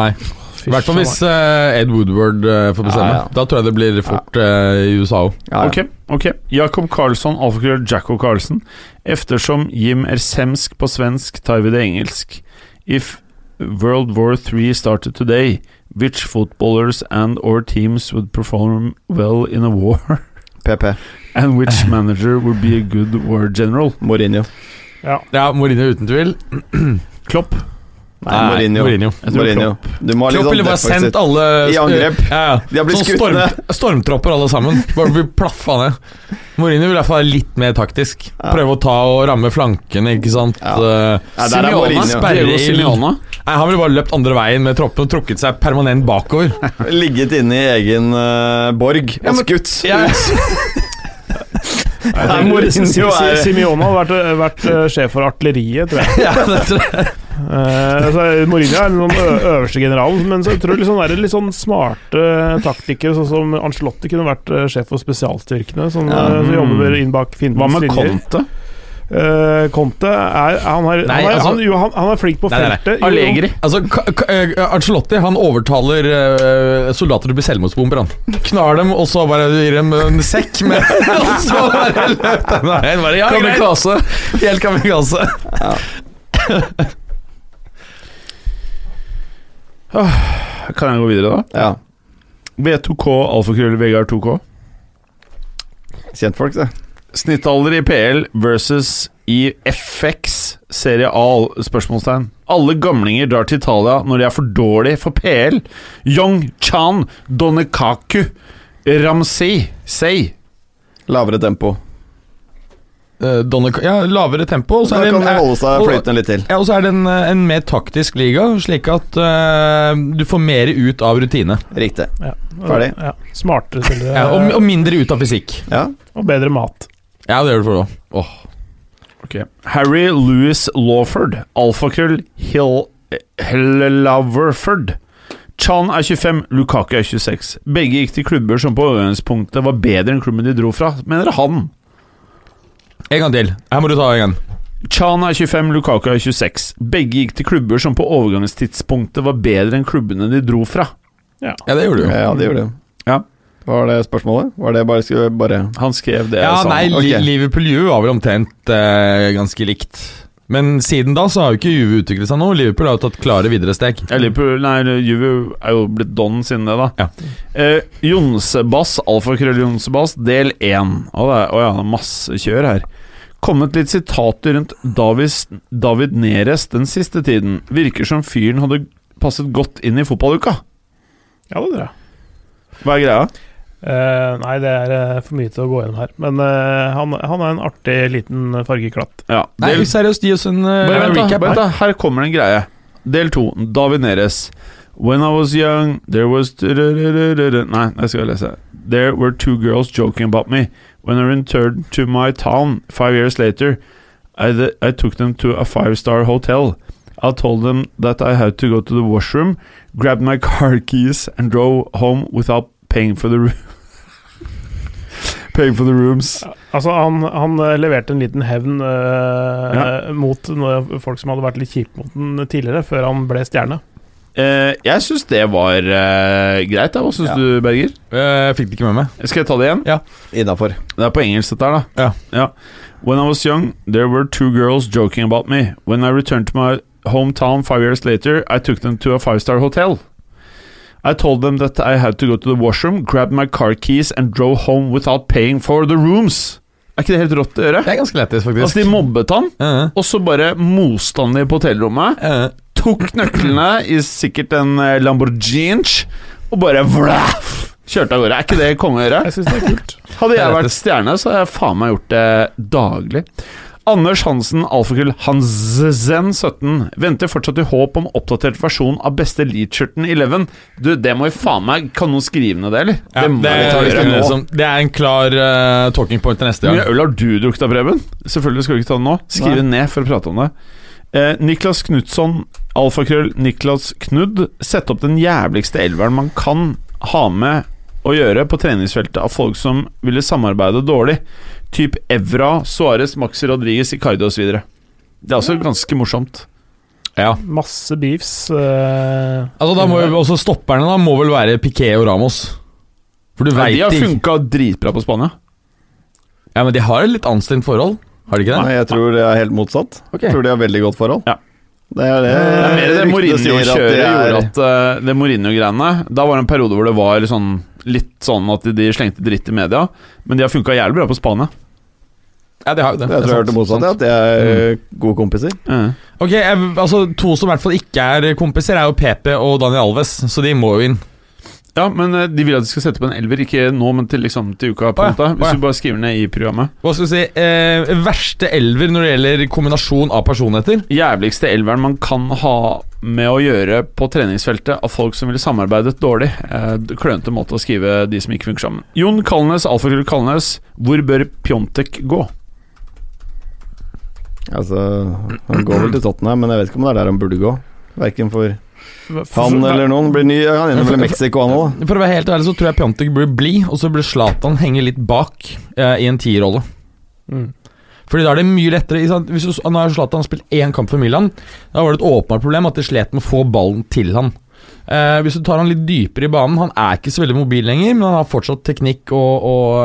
Speaker 2: I hvert fall hvis eh, Ed Woodward eh, får bestemme.
Speaker 3: Ja, ja.
Speaker 2: Da tror jeg det blir fort eh, i USA òg.
Speaker 3: Ja, ja.
Speaker 4: Ok, ok. Jakob Karlsson, alfakrøll Jacko Karlsen. Eftersom Jim er semsk på svensk, tar vi det engelsk. If World War III started today, which footballers and or teams would perform well in a war?
Speaker 3: PP.
Speaker 4: And which manager would be a good war general?
Speaker 3: Mourinho.
Speaker 2: Ja, Mourinho uten tvil.
Speaker 4: Klopp.
Speaker 3: Nei, Mourinho.
Speaker 2: Mourinho.
Speaker 4: Jeg tror
Speaker 3: Mourinho. Du må ha litt
Speaker 2: Klopp
Speaker 3: sånn
Speaker 2: ville bare sendt
Speaker 3: defensivt.
Speaker 2: alle
Speaker 3: I angrep.
Speaker 2: Ja, ja.
Speaker 3: De har blitt
Speaker 2: Sånn
Speaker 3: skutt
Speaker 2: storm,
Speaker 3: ned.
Speaker 2: stormtropper alle sammen. Bare bli plaffa ned. Mourinho vil i hvert fall være litt mer taktisk.
Speaker 3: Ja.
Speaker 2: Prøve å ta og ramme flankene, ikke sant.
Speaker 3: Ja.
Speaker 2: Eh,
Speaker 3: Ja, der er
Speaker 2: Simeone
Speaker 3: Mourinho.
Speaker 2: sperrer
Speaker 4: Diego
Speaker 2: ild.
Speaker 4: Simeone.
Speaker 2: Nei, Han ville bare løpt andre veien med troppen og trukket seg permanent bakover.
Speaker 3: Ligget inne i egen eh, borg og skutt.
Speaker 2: Jeg,
Speaker 3: Det er Mourinho
Speaker 5: Si-
Speaker 3: er
Speaker 5: Simeone hadde vært, vært eh, sjef for artilleriet, tror jeg.
Speaker 2: ja, det tror jeg.
Speaker 5: Eh, altså, Mourinho er den ø- øverste generalen, men så tror jeg liksom det er litt sånn smarte taktikere, sånn som Ancelotti kunne vært eh, sjef for spesialstyrkene, som,
Speaker 3: Ja.
Speaker 5: eh, som jobber inn
Speaker 4: Mm.
Speaker 5: bak
Speaker 4: Hva
Speaker 5: Finnmarks
Speaker 4: med
Speaker 5: linjer.
Speaker 4: Conte?
Speaker 5: Eh, Conte er han er,
Speaker 2: Nei,
Speaker 5: han, er,
Speaker 2: altså-
Speaker 5: han, jo, han, han er flink på
Speaker 2: Nei, nei, nei.
Speaker 5: feltet. Jo, jo.
Speaker 4: Allegri.
Speaker 2: Altså, Ka- Ka- eh, Ancelotti han overtaler eh, soldater til å bli selvmordsbomber. Han knar dem, og så bare gir dem en sekk med Og så bare løp den veien. Bare, ja, kamikaze. Helt kamikaze.
Speaker 4: Kan jeg gå videre, da?
Speaker 3: Ja.
Speaker 4: V2K, alfakrøll Vegard 2K.
Speaker 3: Kjentfolk, det.
Speaker 4: Snittalder i PL versus i FX Serie A? Spørsmålstegn. Alle gamlinger drar til Italia når de er for dårlige for PL. Young Chan Donekaku Ramsey Say.
Speaker 3: Lavere tempo.
Speaker 2: Eh, Donne, ja, lavere tempo. og så
Speaker 3: Da
Speaker 2: er det en-
Speaker 3: kan de holde seg flytende litt til.
Speaker 2: Ja, og så er det en, eh, en mer taktisk liga, slik at eh, du får mer ut av rutine. Eh,
Speaker 3: Riktig.
Speaker 5: Ja.
Speaker 3: Ferdig.
Speaker 5: Eh, Ja. Smartere spillere
Speaker 2: Ja, og, og mindre ut av fysikk.
Speaker 3: Ja.
Speaker 5: og bedre mat.
Speaker 2: Ja, det gjør du for det òg.
Speaker 4: Ok. Harry Louis Lawford, alfakrøll Hill Hillaverford. Chan er 25, Lukaku er 26. Begge gikk til klubber som på overgangspunktet var bedre enn klubben de dro fra, mener han.
Speaker 2: En gang til. Her må du ta en gang.
Speaker 4: Chan er 25, Lukaku er 26. Begge gikk til klubber som på overgangstidspunktet var bedre enn klubbene de dro fra.
Speaker 2: Ja, det gjorde du.
Speaker 3: Ja, det gjorde det.
Speaker 4: Ja.
Speaker 3: Var det spørsmålet? Var det bare, skulle bare
Speaker 4: Han skrev det.
Speaker 2: Ja,
Speaker 4: sa han.
Speaker 2: nei, Li-
Speaker 3: ok.
Speaker 2: Liverpool Juve var vel omtrent eh, ganske likt. Men siden da så har jo ikke Juve utviklet seg noe. Liverpool har jo tatt klare videre steg.
Speaker 4: Ja, Liverpool, nei, Juve er jo blitt don siden det, da.
Speaker 2: Ja.
Speaker 4: Eh, Jonsebass, alfakrøll Jonsebass, del 1. Å det er- å ja, det er masse kjør her. Kommet litt sitater rundt Davis, David Neres den siste tiden. Virker som fyren hadde passet godt inn i fotballuka.
Speaker 5: Ja, det tror jeg.
Speaker 4: Hva er greia?
Speaker 5: Eh, nei, det er eh, for mye til å gå gjennom her. Men eh, han, han er en artig liten fargeklatt.
Speaker 4: Ja,
Speaker 2: Nei,
Speaker 4: del,
Speaker 2: seriøst, gi oss en eh,
Speaker 4: bare vent, da.
Speaker 2: recap.
Speaker 4: Bare vent, da. Her kommer det en greie. Del 2. David Neres. When I was young, there was Nei, jeg skal lese. There were two girls joking about me. When I returned to my town five years later, I, th- I took them to a five star hotel. I told them that I had to go to the washroom, grabbed my car keys, and drove home without paying for the room. paying for the rooms.
Speaker 5: Altså, han, han eh, leverte en liten hevn eh, mot noe- folk som hadde vært litt kjipe mot den tidligere, før han ble stjerne.
Speaker 4: Eh, jeg syns det var eh, greit. da. Hva syns
Speaker 3: Ja.
Speaker 4: du, Berger?
Speaker 2: Eh, fikk det ikke med meg.
Speaker 4: Skal jeg ta det igjen?
Speaker 3: Innafor.
Speaker 4: Det er på engelsk dette her, da.
Speaker 2: Ja.
Speaker 4: When I was young, there were two girls joking about me. When I returned to my hometown five years later, I took them to a five-star hotel. I told them that I had to go to the washroom, grabbed my car keys and drove home without paying for the rooms. Er ikke det helt rått å gjøre?
Speaker 2: Det er ganske lettest, faktisk.
Speaker 4: Altså, de mobbet han,
Speaker 2: Ja, ja.
Speaker 4: og så bare moste han dem på hotellrommet,
Speaker 2: Ja, ja.
Speaker 4: tok nøklene i sikkert en eh, Lamborghini, og bare vlaff, kjørte av gårde. Er ikke det konge å gjøre?
Speaker 5: Jeg syns det er kult.
Speaker 4: Hadde
Speaker 2: Det
Speaker 4: jeg
Speaker 2: er
Speaker 4: vært
Speaker 2: lettest.
Speaker 4: stjerne, så hadde jeg faen meg gjort det daglig. Anders Hansen, alfakull Hansen17, venter fortsatt i håp om oppdatert versjon av beste Leach-skjorten i Leven. Du, det må jo faen meg Kan noen skrive ned det, eller?
Speaker 2: Ja,
Speaker 4: må
Speaker 2: det,
Speaker 4: vi
Speaker 2: er,
Speaker 4: ta
Speaker 2: det,
Speaker 4: videre
Speaker 2: er
Speaker 4: nå.
Speaker 2: liksom, det er en klar eh, talking point til neste
Speaker 4: Hvor
Speaker 2: gang.
Speaker 4: mye øl har du drukket av, Preben? Selvfølgelig skal du ikke ta det nå. Skriv det ned for å prate om det. Eh, Niklas Knutson, alfakrøll Niklas Knudd, sett opp den jævligste elveren man kan ha med å gjøre på treningsfeltet av folk som ville samarbeide dårlig. Typ Evra, Suárez, Maxi Rodriguez, Icardi osv. Det er også ganske morsomt.
Speaker 2: Ja.
Speaker 5: Masse beefs. eh,
Speaker 2: Altså, da må jo også Stopperne da må vel være Piqué og Ramos. For du
Speaker 4: Nei,
Speaker 2: veit
Speaker 4: de har
Speaker 2: ikke
Speaker 4: funka dritbra på Spania.
Speaker 2: Ja, Men de har et litt anstrengt forhold, har de ikke det?
Speaker 3: Nei, jeg tror det er helt motsatt.
Speaker 2: Ok.
Speaker 3: Jeg tror de har veldig godt forhold.
Speaker 4: Ja.
Speaker 3: Det er det,
Speaker 4: Det er mer det
Speaker 3: ryktene Eh, sier at
Speaker 4: Mourinho-kjøret
Speaker 3: de er-
Speaker 4: gjorde at eh, Det Mourinho-greiene Da var det en periode hvor det var sånn, litt sånn at de, de slengte dritt i media, men de har funka jævlig bra på Spania.
Speaker 2: Ja, de har jo det.
Speaker 3: Jeg tror jeg hørte motsatt, ja, at de er gode kompiser.
Speaker 4: Eh.
Speaker 2: Ok, jeg, altså To som i hvert fall ikke er kompiser, er jo PP og Daniel Alves, så de må jo inn.
Speaker 4: Ja, men eh, de vil at de skal sette på en elver, ikke nå, men til, liksom, til uka. på
Speaker 2: Å
Speaker 4: en
Speaker 2: ja,
Speaker 4: måte
Speaker 2: å ja.
Speaker 4: Hvis du bare skriver ned i programmet.
Speaker 2: Hva skal vi si eh, Verste elver når det gjelder kombinasjon av personligheter?
Speaker 4: Jævligste elveren man kan ha med å gjøre på treningsfeltet av folk som ville samarbeidet dårlig. Eh, Klønete måte å skrive de som ikke funker sammen. Jon Kalnes, alfakrøll Kalnes, hvor bør Pjontek gå?
Speaker 3: Altså, han går vel til Tottenham, men jeg vet ikke om det er der han burde gå. Verken for han eller noen. Blir ny, han ender vel i Mexico, han òg.
Speaker 2: For å være helt ærlig så tror jeg Pjontek blir blid, og så blir Zlatan henge litt bak eh, i en tierrolle.
Speaker 5: Mm.
Speaker 2: Fordi da er det mye lettere ikke sant? Hvis du, Nå har Zlatan spilt én kamp for Milan. Da var det et åpenbart problem at de slet med å få ballen til han. Eh, hvis du tar han litt dypere i banen Han er ikke så veldig mobil lenger, men han har fortsatt teknikk og, og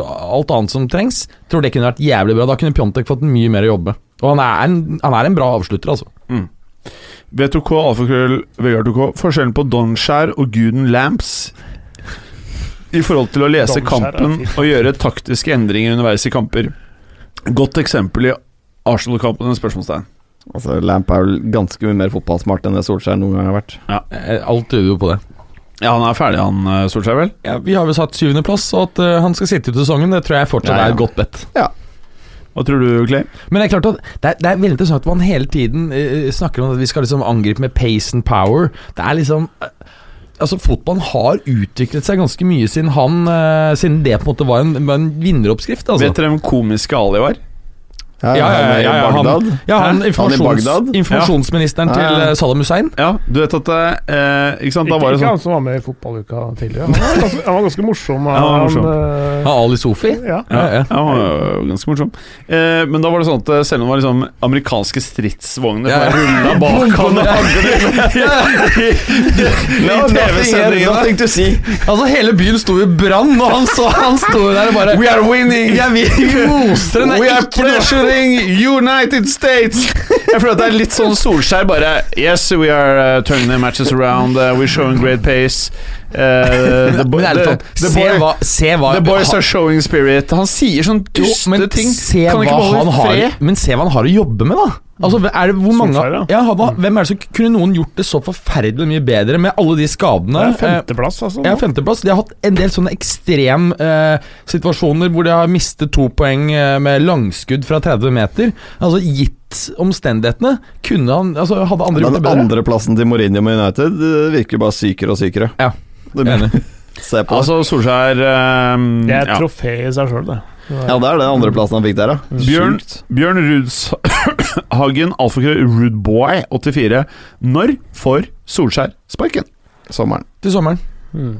Speaker 2: eh, alt annet som trengs. Tror det kunne vært jævlig bra. Da kunne Pjontek fått mye mer å jobbe med. Og han er en, han er en bra avslutter, altså.
Speaker 4: V2K, alfakrøll, Vegard 2K. Forskjellen på Donskjær og Guden Lamps i forhold til å lese
Speaker 5: Donskjær er
Speaker 4: kampen
Speaker 5: fint.
Speaker 4: og gjøre taktiske endringer underveis i kamper. Godt eksempel i Arsenal-kampen. en Spørsmålstegn.
Speaker 3: Altså, Lamp er vel ganske mye mer fotballsmart enn det Solskjær noen gang har vært.
Speaker 2: Eh, alt tyder jo på det.
Speaker 4: Ja, han er ferdig, han eh, Solskjær, vel?
Speaker 2: Ja, vi har jo satt syvendeplass, og at eh, han skal sitte ut sesongen, det tror jeg fortsatt
Speaker 3: Ja, ja.
Speaker 2: er et godt bet.
Speaker 4: Hva tror du, Clay?
Speaker 2: Men det er klart at det er, det er veldig interessant at man hele tiden eh, snakker om at vi skal liksom angripe med pace and power. Det er liksom eh, Altså Fotballen har utviklet seg ganske mye siden han eh, Siden det på en måte var en, var en vinneroppskrift. Altså.
Speaker 4: Vet dere hvem komiske Ali var?
Speaker 3: Ja,
Speaker 2: Ja, ja,
Speaker 3: han er i
Speaker 2: ja, ja, han-
Speaker 3: Bagdad.
Speaker 2: Ja, han,
Speaker 3: i
Speaker 2: informasjons,
Speaker 3: Bagdad?
Speaker 2: informasjonsministeren
Speaker 3: Ja.
Speaker 2: til
Speaker 3: Ja.
Speaker 2: eh, Saddam Hussein.
Speaker 4: Ja, du vet at eh, Ikke sant, da
Speaker 5: Ikke,
Speaker 4: var det
Speaker 5: ikke
Speaker 4: sånn
Speaker 5: han som var med i fotballuka tidligere. Han var ganske, han var ganske morsom.
Speaker 4: Ja, han var morsom.
Speaker 5: eh,
Speaker 2: Av Ali Sofi.
Speaker 5: ja.
Speaker 2: Ja, ja.
Speaker 4: Ja, han var jo ganske morsom. Eh, men da var det sånn at eh, selv om det var liksom amerikanske stridsvogner
Speaker 2: Ja.
Speaker 4: som rulla bak han og I
Speaker 3: No, nothing, here,
Speaker 4: TV-sendingene
Speaker 3: nothing to see.
Speaker 2: Altså, hele byen sto i brann, og han, så, han sto der og bare
Speaker 4: We are winning!
Speaker 2: Ja, vi vi moser den. det er
Speaker 4: We are
Speaker 2: ikke noe-
Speaker 4: pressuring United States! Jeg føler at det er litt sånn Solskjær, bare Yes, we are uh, turning the matches around. Uh, we're showing great pace. Uh, the, bo
Speaker 2: Men ærlig
Speaker 4: the,
Speaker 2: talt,
Speaker 4: the,
Speaker 2: se
Speaker 4: boy,
Speaker 2: hva, se hva
Speaker 4: the boys
Speaker 2: ha-
Speaker 4: are showing spirit. Han sier sånn
Speaker 2: Jo,
Speaker 4: duste
Speaker 2: men
Speaker 4: ting.
Speaker 2: Se
Speaker 4: Kan
Speaker 2: hva
Speaker 4: ikke beholde
Speaker 2: han
Speaker 4: i
Speaker 2: har,
Speaker 4: fred?
Speaker 2: men se hva han har å jobbe med, da. Altså, er det hvor mange
Speaker 5: Solskjær, ja.
Speaker 2: ja, hva, Hvem er det som kunne noen gjort det så forferdelig mye bedre med alle de skadene?
Speaker 5: Det er
Speaker 2: Eh,
Speaker 5: femteplass, altså.
Speaker 2: Ja, femteplass. De har hatt en del sånne ekstrem eh, situasjoner hvor de har mistet to poeng eh, med langskudd fra 30 meter. Altså Gitt omstendighetene, kunne han altså, Hadde andre gjort det
Speaker 3: Den
Speaker 2: bedre?
Speaker 3: andreplassen til Mourinho med United eh, virker bare sykere og sykere.
Speaker 2: Ja,
Speaker 3: Det-
Speaker 2: enig.
Speaker 3: Se på det.
Speaker 4: Altså, Solskjær eh,
Speaker 2: um,
Speaker 5: Det er
Speaker 4: ja.
Speaker 5: et trofé i seg sjøl, det.
Speaker 3: Ja, det er den andreplassen han fikk der, da.
Speaker 4: Bjørn-
Speaker 3: Sjukt.
Speaker 4: Bjørn Rudshagen, alfakrøll Rudeboy84. Når får Solskjær sparken?
Speaker 3: Sommeren.
Speaker 2: Til sommeren.
Speaker 5: Mm.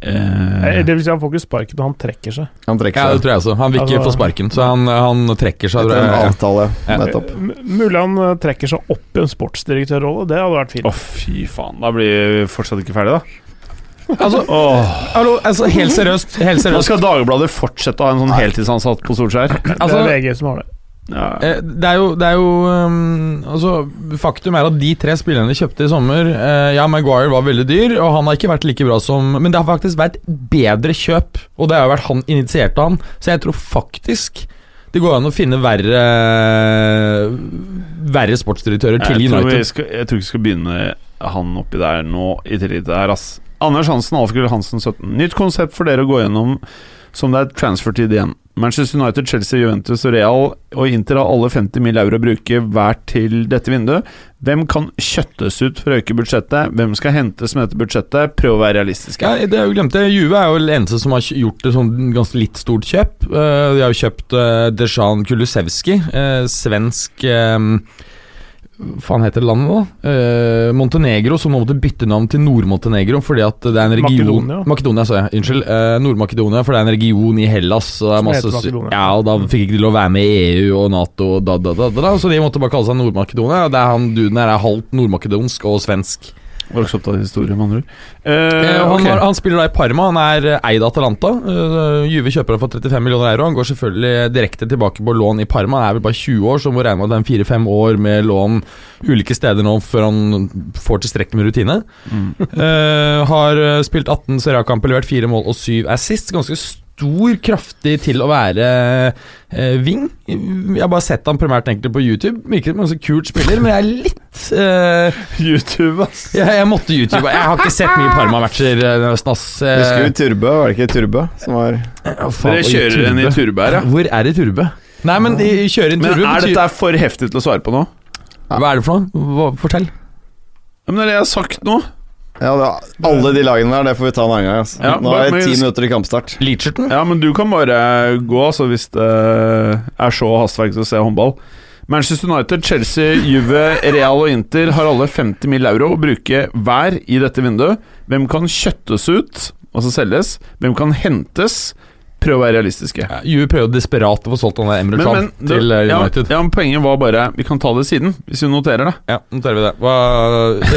Speaker 5: Eh, Det vil si, han får ikke sparken når han trekker seg.
Speaker 3: Han trekker
Speaker 2: Ja, det
Speaker 3: seg.
Speaker 2: tror jeg også. Han vil ikke
Speaker 5: Altså-
Speaker 2: få sparken, så han, han trekker seg.
Speaker 3: Etter
Speaker 2: Tror
Speaker 3: en
Speaker 2: jeg.
Speaker 3: avtale,
Speaker 2: Ja.
Speaker 3: nettopp.
Speaker 5: M- Mulig han eh, trekker seg opp i en sportsdirektørrolle, det hadde vært fint.
Speaker 4: Å, fy faen. Da blir vi fortsatt ikke ferdig, da.
Speaker 2: Altså,
Speaker 4: Åh.
Speaker 2: hallo, altså, helt seriøst. Helt
Speaker 4: Nå
Speaker 2: seriøst.
Speaker 4: skal Dagbladet fortsette å ha en sånn heltidsansatt på Solskjær.
Speaker 5: det
Speaker 2: Altså,
Speaker 5: er VG som har det.
Speaker 4: Ja.
Speaker 2: Eh, Det er jo, det er jo ehm, altså, Faktum er at de tre spillerne de kjøpte i sommer eh, Ja, Maguire var veldig dyr, og han har ikke vært like bra som Men det har faktisk vært bedre kjøp, og det har jo vært han initierte han. Så jeg tror faktisk det går an å finne verre Verre sportsdirektører til
Speaker 4: Jeg, tror vi
Speaker 2: United.
Speaker 4: skal, jeg tror ikke vi skal begynne med han oppi der nå, i tillegg til det her, ass. Anders Hansen, Alfakrøll Hansen 17. Nytt konsept for dere å gå gjennom som det er transfertid igjen. Manchester United, Chelsea, Juventus og Real og Inter har alle 50 mill. euro å bruke hver til dette vinduet. Hvem kan kjøttes ut for å øke budsjettet? Hvem skal hentes med dette budsjettet? Prøv å være realistisk.
Speaker 2: Ja,
Speaker 4: her.
Speaker 2: det har jeg jo glemt det. Juve er jo den eneste som har gjort et sånn ganske litt stort kjøp. Eh, de har jo kjøpt uh, Dejan Kulusevski, eh, svensk eh, Hva faen heter landet, da? Eh, Montenegro, som nå måtte bytte navn til Nord-Montenegro fordi at det er en region
Speaker 5: Makedonia.
Speaker 2: Makedonia, sa jeg. Unnskyld. Eh, Nord-Makedonia, for det er en region i Hellas. Så det er
Speaker 5: Som
Speaker 2: masse
Speaker 5: heter
Speaker 2: sy-
Speaker 5: Makedonia.
Speaker 2: Ja, og da fikk ikke de lov å være med i EU og Nato og da, da, da, da, da. Så de måtte bare kalle seg Nord-Makedonia. og Det er han duden her er halvt nordmakedonsk og svensk.
Speaker 4: Var ikke så opptatt av historie, med andre ord.
Speaker 2: Eh,
Speaker 4: Eh,
Speaker 2: han,
Speaker 4: ok.
Speaker 2: har, han spiller da i Parma, han er eh, eid av Atalanta. Eh, Juve kjøper han for 35 millioner euro. Han går selvfølgelig eh, direkte tilbake på lån i Parma. Han er vel bare 20 år, så må regne med at det er en 4-5 år med lån ulike steder nå før han får tilstrekkelig med rutine.
Speaker 4: Mm.
Speaker 2: Eh, har eh, spilt 18 seriekamper, levert 4 mål og 7 assist. Ganske stor, kraftig til å være eh, wing. Jeg har bare sett han primært egentlig på YouTube. Virker som en ganske kult spiller, men jeg er litt eh,
Speaker 4: YouTube, ass.
Speaker 2: jeg, jeg måtte YouTube. Jeg har ikke sett mye Parma-matcher eh, denne høsten, ass. Eh,
Speaker 3: Husker du Turbø, var det ikke Turbø som var
Speaker 2: ja, faen,
Speaker 4: Dere
Speaker 2: og i
Speaker 4: kjører en i
Speaker 2: Turbø.
Speaker 4: turbær, ja.
Speaker 2: Hvor er det Turbø? Nei, men de kjører inn
Speaker 4: Men
Speaker 2: Turbø
Speaker 4: er
Speaker 2: betyr-
Speaker 4: dette for heftig til å svare på nå?
Speaker 2: Hva er det for noe? Hva, fortell.
Speaker 4: Ja, men det er det jeg har sagt nå.
Speaker 3: Ja, det var, alle de lagene der, det får vi ta en annen gang. Altså.
Speaker 4: Ja,
Speaker 3: Nå
Speaker 4: bare-
Speaker 3: er det ti
Speaker 4: men-
Speaker 3: minutter til kampstart.
Speaker 2: Leacherton?
Speaker 4: Ja, men du kan bare gå altså, hvis det er så hastverk til å se håndball. Manchester United, Chelsea, Juve, Real og Inter har alle 50 mill. euro å bruke hver i dette vinduet. Hvem kan kjøttes ut, altså selges? Hvem kan hentes? Prøv å være realistiske.
Speaker 2: Ja, Juve prøver jo desperat å få solgt han der Emre Chan
Speaker 4: det-
Speaker 2: til eh, United.
Speaker 4: Ja, ja, men poenget var bare Vi kan ta det siden, hvis vi noterer det.
Speaker 2: Ja, nå tar vi det. Hva,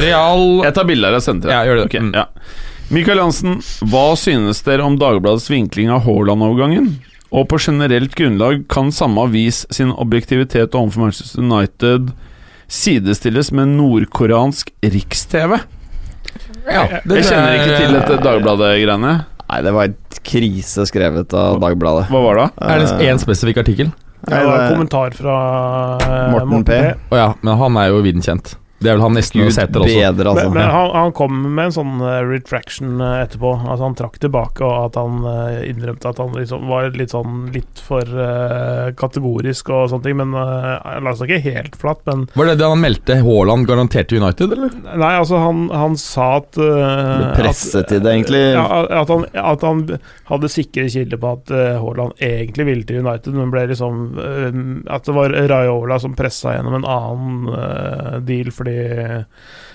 Speaker 2: Real
Speaker 4: Jeg tar bilde her og sender til deg.
Speaker 2: Ja, gjør det.
Speaker 4: Ok,
Speaker 2: Mm.
Speaker 4: ja. Mikael Jansen, hva synes dere om Dagbladets vinkling av Haaland-overgangen? Og på generelt grunnlag, kan samme avis sin objektivitet overfor Manchester United sidestilles med nordkoreansk riks-TV?
Speaker 2: ja, det
Speaker 4: Jeg kjenner ikke til dette Dagbladet-greiene.
Speaker 3: Nei, det var et krise skrevet av Dagbladet. Eh,
Speaker 4: Hva var det?
Speaker 2: Er det én spesifikk artikkel?
Speaker 5: Det var en
Speaker 3: Nei, det-
Speaker 5: kommentar fra eh,
Speaker 3: Morten P.
Speaker 2: Å ja, men han er jo viden kjent. Det er vel han nesten og
Speaker 3: Gud
Speaker 2: Sæter også.
Speaker 3: bedre, altså.
Speaker 5: Men, men han, han kom med en sånn eh, retraction eh, etterpå. Altså Han trakk tilbake, og at han eh, innrømte at han liksom var litt sånn litt for eh, kategorisk og sånne ting. Men eh, la oss ikke helt flatt, men
Speaker 2: Var det det han meldte Haaland garantert til United, eller?
Speaker 5: Nei, altså, han, han sa at
Speaker 3: Ble
Speaker 5: eh,
Speaker 3: presset
Speaker 5: at-
Speaker 3: til det, egentlig.
Speaker 5: Ja, at han, at han hadde sikre kilder på at eh, Haaland egentlig ville til United, men ble liksom eh, At det var Raiola som pressa gjennom en annen eh, deal fordi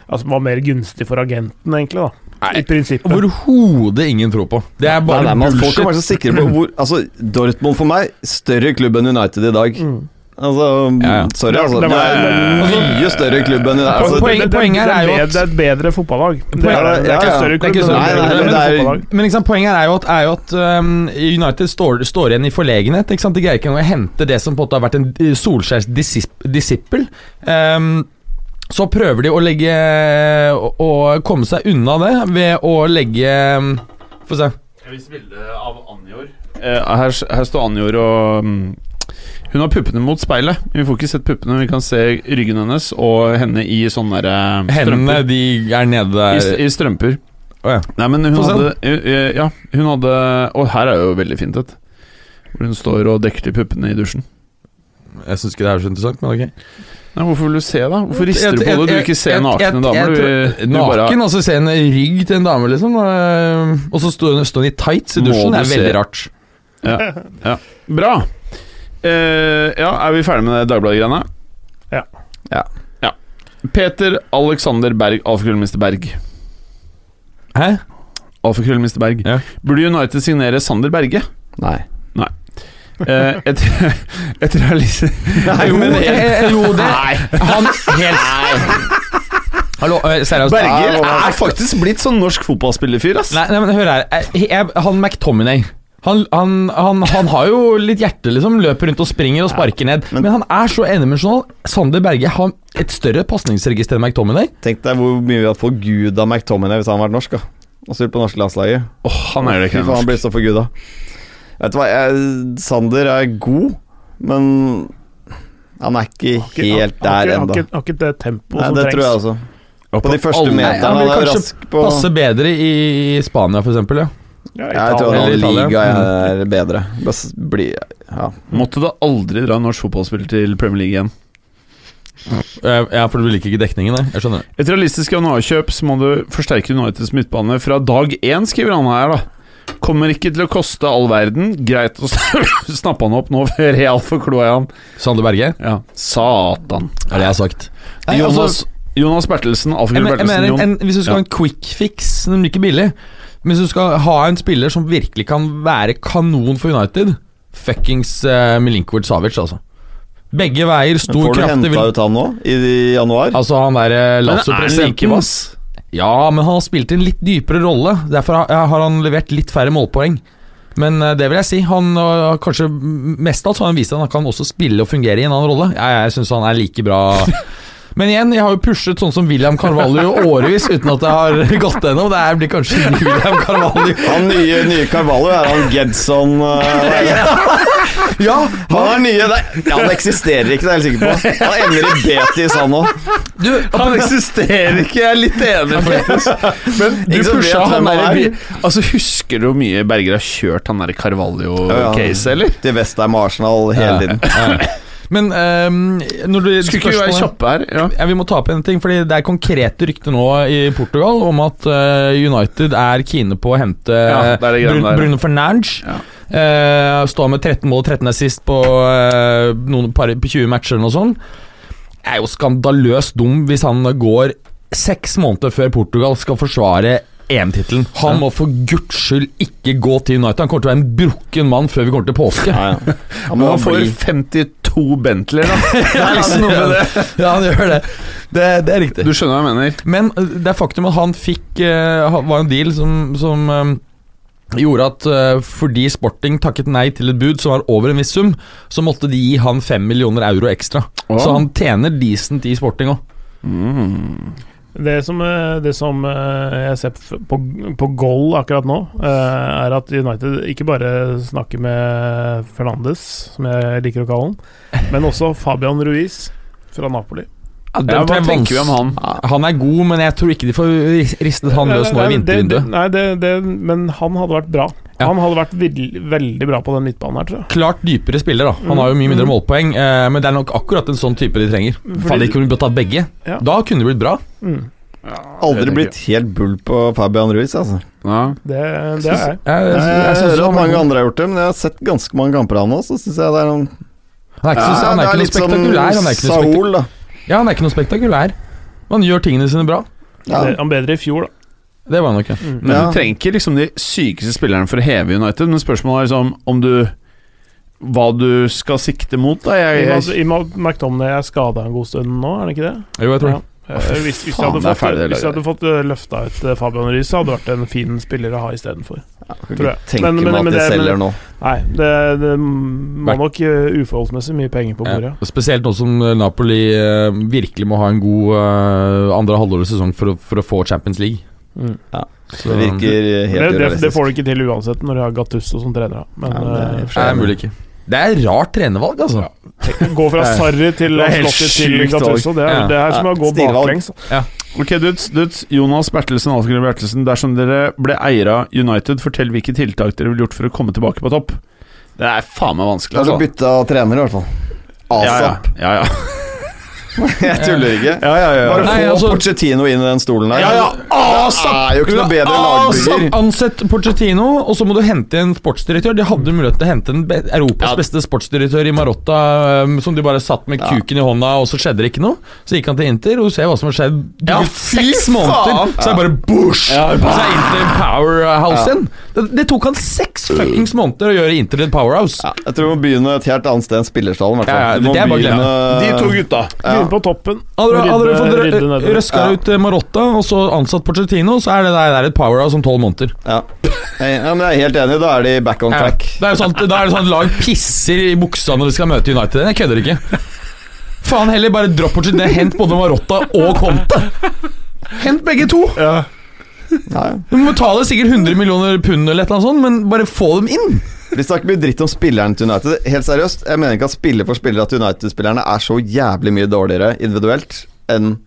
Speaker 5: Altså var mer gunstig for agenten, egentlig, da. I prinsippet.
Speaker 2: Overhodet ingen tro på. Det er
Speaker 3: Nei,
Speaker 2: bare
Speaker 3: nei, men folk
Speaker 2: bullshit.
Speaker 3: kan være så sikre på hvor Altså, Dortmund for meg, større klubb enn United i dag.
Speaker 5: Mm.
Speaker 3: Altså,
Speaker 2: Ja, ja.
Speaker 3: sorry, altså.
Speaker 5: Det
Speaker 3: Det
Speaker 5: var-
Speaker 3: er mye større klubb enn United. Altså,
Speaker 2: Poeng-
Speaker 5: Det- det-
Speaker 2: poenget her er jo
Speaker 5: det
Speaker 2: at-
Speaker 5: Det er et bedre fotballag. Det er,
Speaker 3: Ja,
Speaker 5: det. det er
Speaker 3: ja,
Speaker 5: ikke en større
Speaker 2: ja. Det er
Speaker 5: klubb,
Speaker 2: ikke
Speaker 5: men
Speaker 2: så-
Speaker 5: det er
Speaker 2: Nei,
Speaker 5: et
Speaker 2: nei,
Speaker 5: bedre
Speaker 3: det er-
Speaker 5: fotballag.
Speaker 2: Men ikke sant, poenget her er jo at, er jo at øhm, United står, står igjen i forlegenhet. Ikke sant? De greier ikke engang å hente det som på en måte har vært en eh, Solskjærs disip- disippel. Ehm, så prøver de å legge å, å komme seg unna det ved å legge ehm, Få se.
Speaker 4: Jeg viste bilde av Anjor. Eh, her, s- her står Anjor og mm, Hun har puppene mot speilet. Vi får ikke sett puppene, vi kan se ryggen hennes og henne i sånne der, eh,
Speaker 2: Hendene
Speaker 4: strømper.
Speaker 2: de er
Speaker 4: I,
Speaker 2: nede der.
Speaker 4: s- I strømper.
Speaker 2: Å ja.
Speaker 4: Nei, men hun
Speaker 2: Få se
Speaker 4: hadde eh, eh, Ja, hun hadde Og her er jo veldig fint et. Hvor hun står og dekker til puppene i dusjen.
Speaker 2: Jeg syns ikke det er så interessant, men ok.
Speaker 4: Nei, Hvorfor vil du se, da? Hvorfor rister du på det? Du
Speaker 2: Jeg-
Speaker 4: vil
Speaker 2: jeg-
Speaker 4: ikke se
Speaker 2: jeg-
Speaker 4: nakne
Speaker 2: jeg-
Speaker 4: damer?
Speaker 2: jeg
Speaker 4: Du, vil-
Speaker 2: tror-
Speaker 4: du bare
Speaker 2: Naken, altså se en rygg til en dame, liksom. øh, Og så står hun- står hun i tights i
Speaker 4: Må
Speaker 2: dusjen. Det
Speaker 4: du
Speaker 2: er
Speaker 4: se-
Speaker 2: veldig rart.
Speaker 4: Bra! Eh, ja, er vi ferdige med det Dagbladet-greiene?
Speaker 5: Ja.
Speaker 3: Ja.
Speaker 4: Ja. Peter Alexander Berg, alfakrøllminister Berg.
Speaker 2: Hæ?
Speaker 4: Alfakrøllminister Berg.
Speaker 2: Ja.
Speaker 4: Burde United signere Sander Berge?
Speaker 3: nei.
Speaker 4: Eh, etter, etter Alice
Speaker 3: Nei,
Speaker 2: Jo,
Speaker 3: men
Speaker 2: eh,
Speaker 3: helt-
Speaker 2: eh, jo det Han helt Hallo, eh, seriøst.
Speaker 4: Berger
Speaker 3: Ja,
Speaker 4: er faktisk blitt sånn norsk fotballspillerfyr, ass.
Speaker 2: Nei, nei, men hør her. Eh, Jeg, han McTominay han, han, han, han har jo litt hjerte, liksom. Løper rundt og springer og sparker ned.
Speaker 3: men-
Speaker 2: Men, han er så endimensjonal. Sander Berge har et større pasningsregister enn McTominay.
Speaker 3: Tenk deg hvor mye vi hadde forguda McTominay hvis han hadde vært norsk. da Og spilt på norske landslaget.
Speaker 4: Åh, han altså. er det
Speaker 3: Fy
Speaker 4: ikke.
Speaker 3: faen, han
Speaker 4: norsk.
Speaker 3: blir så forguda. Vet du hva, jeg, Sander er god, men han er ikke helt
Speaker 5: Har ikke-
Speaker 3: der
Speaker 5: har
Speaker 3: ennå.
Speaker 5: ikke- Har ikke det tempoet
Speaker 3: Nei,
Speaker 5: som
Speaker 3: det
Speaker 5: trengs.
Speaker 3: tror jeg også. På de første
Speaker 2: alle-
Speaker 3: meterne.
Speaker 2: Nei, han vil
Speaker 3: Han er
Speaker 2: kanskje
Speaker 3: rask på
Speaker 2: Passer bedre i Spania, for eksempel. Ja.
Speaker 5: Ja,
Speaker 3: Ja, Jeg tror
Speaker 5: Italia.
Speaker 3: han
Speaker 2: Eller Italia.
Speaker 3: liga er bedre. Bare s- bli Ja.
Speaker 4: Måtte da aldri dra en norsk fotballspiller til Premier League igjen.
Speaker 2: Eh, ja, for du liker ikke dekningen, nei. Jeg skjønner. det.
Speaker 4: Et realistisk januarkjøp så må du forsterke Uniteds midtbane fra dag én, skriver han her, da. Kommer ikke til å koste all verden. Greit å snappe han opp nå før Real får kloa i han.
Speaker 2: Sander Berge,
Speaker 4: Ja, satan.
Speaker 2: er det jeg har sagt. Nei, altså-
Speaker 4: Jonas, Jonas Bertelsen,
Speaker 2: Jeg,
Speaker 4: Alfhild
Speaker 2: men, jeg
Speaker 4: Bertelsen,
Speaker 2: mener,
Speaker 4: Jon.
Speaker 2: en, Hvis du skal
Speaker 4: Ja.
Speaker 2: ha en quick fix, den blir ikke billig Men hvis du skal ha en spiller som virkelig kan være kanon for United Fuckings eh, Milinkovic Savic, altså. Begge veier,
Speaker 3: Men
Speaker 2: stor
Speaker 3: får du
Speaker 2: kraft
Speaker 3: henta ut han nå, i i januar?
Speaker 2: Altså han der
Speaker 4: Men
Speaker 2: eh,
Speaker 4: er han like
Speaker 2: Lazio-presidenten
Speaker 4: vass?
Speaker 2: Ja, men han har spilt en litt dypere rolle. Derfor har- har han levert litt færre målpoeng. Men eh, det vil jeg si. Han eh, kanskje mest av alt så har han vist at han kan også spille og fungere i en annen rolle. Jeg, jeg syns han er like bra Men igjen, jeg har jo pushet sånn som William Carvalho i årevis uten at det har gått gjennom. Det her blir kanskje ny William Carvalho.
Speaker 3: Han nye, nye Carvalho er han Gedson eh,
Speaker 2: Ja,
Speaker 3: Han er nye det, Ja, det eksisterer ikke, det er jeg helt sikker på. Han ender i Betis, han òg.
Speaker 2: du,
Speaker 4: Han eksisterer ikke, jeg er litt enig, faktisk. Men du
Speaker 3: Ikke så
Speaker 4: pusha han
Speaker 3: vet hvem
Speaker 4: der
Speaker 3: han
Speaker 4: i
Speaker 3: er.
Speaker 4: bi- Altså, husker du hvor mye Berger har kjørt han der
Speaker 3: Ja, ja.
Speaker 4: Carvalho-case, eller?
Speaker 3: Til Vestheim og Arsenal hele tiden.
Speaker 2: Men eh, når du
Speaker 4: Skulle ikke vi være
Speaker 2: spørsmålet-
Speaker 4: kjappe her? Ja.
Speaker 2: Ja, Vi må ta opp en ting, fordi det er konkrete rykter nå i Portugal om at eh, United er kine på å hente eh,
Speaker 4: Ja, det er det greiene
Speaker 2: Bru-
Speaker 4: der.
Speaker 2: Bruno Fernandes.
Speaker 4: Ja.
Speaker 2: Eh, står med 13 mål og 13 assist på eh, noen par, på 20 matcher eller noe sånt. Er jo skandaløst dum hvis han går seks måneder før Portugal skal forsvare EM-tittelen. Han må for guds skyld ikke gå til United. Han kommer til å være en brukken mann før vi kommer til påske.
Speaker 3: Ja, ja. Han
Speaker 4: Men
Speaker 3: må
Speaker 4: han får
Speaker 3: bli
Speaker 4: 52 Bentleyer, da. Det er liksom noe med det.
Speaker 2: ja, han gjør det. det. Det er riktig.
Speaker 4: Du skjønner hva jeg mener?
Speaker 2: Men eh, det er faktum at han fikk eh, ha- var en deal som, som eh, gjorde at eh, fordi Sporting takket nei til et bud som var over en viss sum, så måtte de gi han fem millioner euro ekstra. Så han tjener decent i Sporting òg.
Speaker 3: Mm.
Speaker 5: Det som, eh, det som eh, jeg ser f- på, på goal akkurat nå, eh, er at United ikke bare snakker med Fernandes, som jeg liker å kalle han, men også Fabian Ruiz fra Napoli.
Speaker 2: den
Speaker 4: Ja,
Speaker 2: tror
Speaker 4: hva
Speaker 2: jeg
Speaker 4: tenker vi
Speaker 2: vans-
Speaker 4: om han?
Speaker 2: Han er god, men jeg tror ikke de får ris- ristet han løs nå i
Speaker 5: Nei, det- det-
Speaker 2: vintervinduet.
Speaker 5: Nei, det, det, men han hadde vært bra.
Speaker 2: Ja.
Speaker 5: Han hadde vært vil- veldig bra på den midtbanen her, tror jeg.
Speaker 2: Klart dypere spiller, da. Han har jo mye mindre målpoeng, eh, men det er nok akkurat en sånn type de trenger. Faen, de kunne tatt begge.
Speaker 5: Ja.
Speaker 2: Da kunne det blitt bra.
Speaker 5: Mm,
Speaker 3: Aldri blitt helt bull på Fabian Ruiz, altså.
Speaker 4: Ja.
Speaker 5: Det, det er jeg.
Speaker 2: Jeg,
Speaker 3: Jeg,
Speaker 2: synes
Speaker 3: hører
Speaker 2: han
Speaker 3: at
Speaker 2: er
Speaker 3: mange
Speaker 2: god.
Speaker 3: andre har gjort det, men jeg har sett ganske mange kamper av han også, så syns jeg det er noen
Speaker 2: Han er ikke, så, han er ikke noe
Speaker 3: sånn
Speaker 2: spektakulær. Han er ikke noe spektak
Speaker 3: Saul, da.
Speaker 2: ja, han er ikke noe spektakulær. Han gjør tingene sine bra.
Speaker 3: Ja.
Speaker 5: Be- Han bedre i fjor, da.
Speaker 2: Det var han nok. ja.
Speaker 4: Men
Speaker 3: Ja.
Speaker 4: du trenger ikke liksom de sykeste spillerne for å heve United, men spørsmålet er liksom om du Hva du skal sikte mot, da. Jeg, altså,
Speaker 5: I
Speaker 4: jeg,
Speaker 5: og med- altså, I og med at McTominay er skada en god stund nå, er han ikke det?
Speaker 2: Jo, jeg tror det.
Speaker 5: Eh, Hvis, hvis, jeg
Speaker 4: faen,
Speaker 5: hadde
Speaker 4: det er
Speaker 5: fått,
Speaker 4: ferdig, det
Speaker 5: hvis jeg hadde fått eh, løfta ut eh, Fabian Riis, hadde det vært en fin spiller å ha istedenfor. tror jeg.
Speaker 3: Tenker
Speaker 5: Men- men-
Speaker 3: meg
Speaker 5: men
Speaker 3: at de
Speaker 5: det- men-
Speaker 3: selger nå.
Speaker 5: Nei, det, det må nok eh, uforholdsmessig mye penger på bordet.
Speaker 2: Ja, Spesielt nå som eh, Napoli eh, virkelig må ha en god eh, andre halvår av sesong for å, for å få Champions League.
Speaker 5: Mm.
Speaker 2: Så,
Speaker 3: Det virker helt
Speaker 5: Det, det,
Speaker 3: urealistisk.
Speaker 5: det får du ikke til uansett når du har Gattusso som trener. da. Men
Speaker 3: Ja, men det er i og
Speaker 5: eh,
Speaker 3: for
Speaker 2: Nei,
Speaker 3: seg-
Speaker 2: mulig ikke. Det er rart trenervalg, altså.
Speaker 5: gå fra Sarri til
Speaker 4: Det er helt
Speaker 5: Slotti til
Speaker 4: sjukt
Speaker 5: Gattusso, det er,
Speaker 2: Ja.
Speaker 5: det er som
Speaker 3: Ja,
Speaker 5: å gå
Speaker 3: stilvalg.
Speaker 5: baklengs.
Speaker 4: ok, dudes, dudes. Jonas Bertelsen, Alfred Bertelsen. Dersom dere ble eier av United, fortell hvilke tiltak dere ville gjort for å komme tilbake på topp. Det er faen meg vanskelig.
Speaker 3: Altså
Speaker 4: Altså.
Speaker 3: bytte av trener, i hvert fall.
Speaker 4: Ja, ja,
Speaker 3: ASAP.
Speaker 4: ja, ja.
Speaker 3: Jeg tuller ikke.
Speaker 4: ja, ja, ja.
Speaker 3: Bare
Speaker 2: Nei,
Speaker 3: få
Speaker 2: altså-
Speaker 3: Pochettino inn i den stolen der.
Speaker 4: Ja, ja, Ah,
Speaker 3: Det er jo ikke noe bedre lagbygger.
Speaker 2: Altså, Ansett Porcettino, og så må du hente en sportsdirektør. De hadde mulighet til å hente en be Europas beste sportsdirektør i Marotta, um, som de bare satt med kuken i hånda, og så skjedde det ikke noe. Så gikk han til Inter, og du ser hva som har skjedd. Det
Speaker 4: Ja,
Speaker 2: gikk
Speaker 4: fy
Speaker 2: seks
Speaker 4: faen!
Speaker 2: måneder, så er det bare boosh!
Speaker 4: Ja,
Speaker 2: så er Inter powerhouse igjen. Det, det tok han seks fuckings måneder å gjøre Inter til et powerhouse.
Speaker 3: Ja, jeg tror vi må begynne et helt annet sted enn spillerstallen. i hvert fall.
Speaker 2: Ja, ja,
Speaker 3: Du må eh,
Speaker 2: det er bare å glemme.
Speaker 4: De to
Speaker 3: begynne-
Speaker 4: gutta.
Speaker 5: Begynne på toppen.
Speaker 2: Hadde du- hadde du fått
Speaker 5: rydde
Speaker 2: rø-
Speaker 5: nedover.
Speaker 2: røska
Speaker 3: Ja.
Speaker 2: ut eh, Marotta og så ansatt Porcettino, så er det der, der et powerhouse om tolv måneder.
Speaker 3: Ja. ja, men Jeg er helt enig. Da er de back on
Speaker 2: Ja.
Speaker 3: track.
Speaker 2: Det er jo sånn, da er det sånn at lag pisser i buksa når de skal møte United. Jeg kødder ikke. Faen heller, bare dropp bort det. Hent både Marotta og Conte. Hent begge to.
Speaker 3: Ja, ja.
Speaker 2: Du må betale sikkert 100 millioner pund, eller et eller annet sånt, men bare få dem inn.
Speaker 3: Vi snakker mye dritt om spillerne til United. Helt seriøst, Jeg mener ikke at spiller for spiller at United-spillerne er så jævlig mye dårligere individuelt enn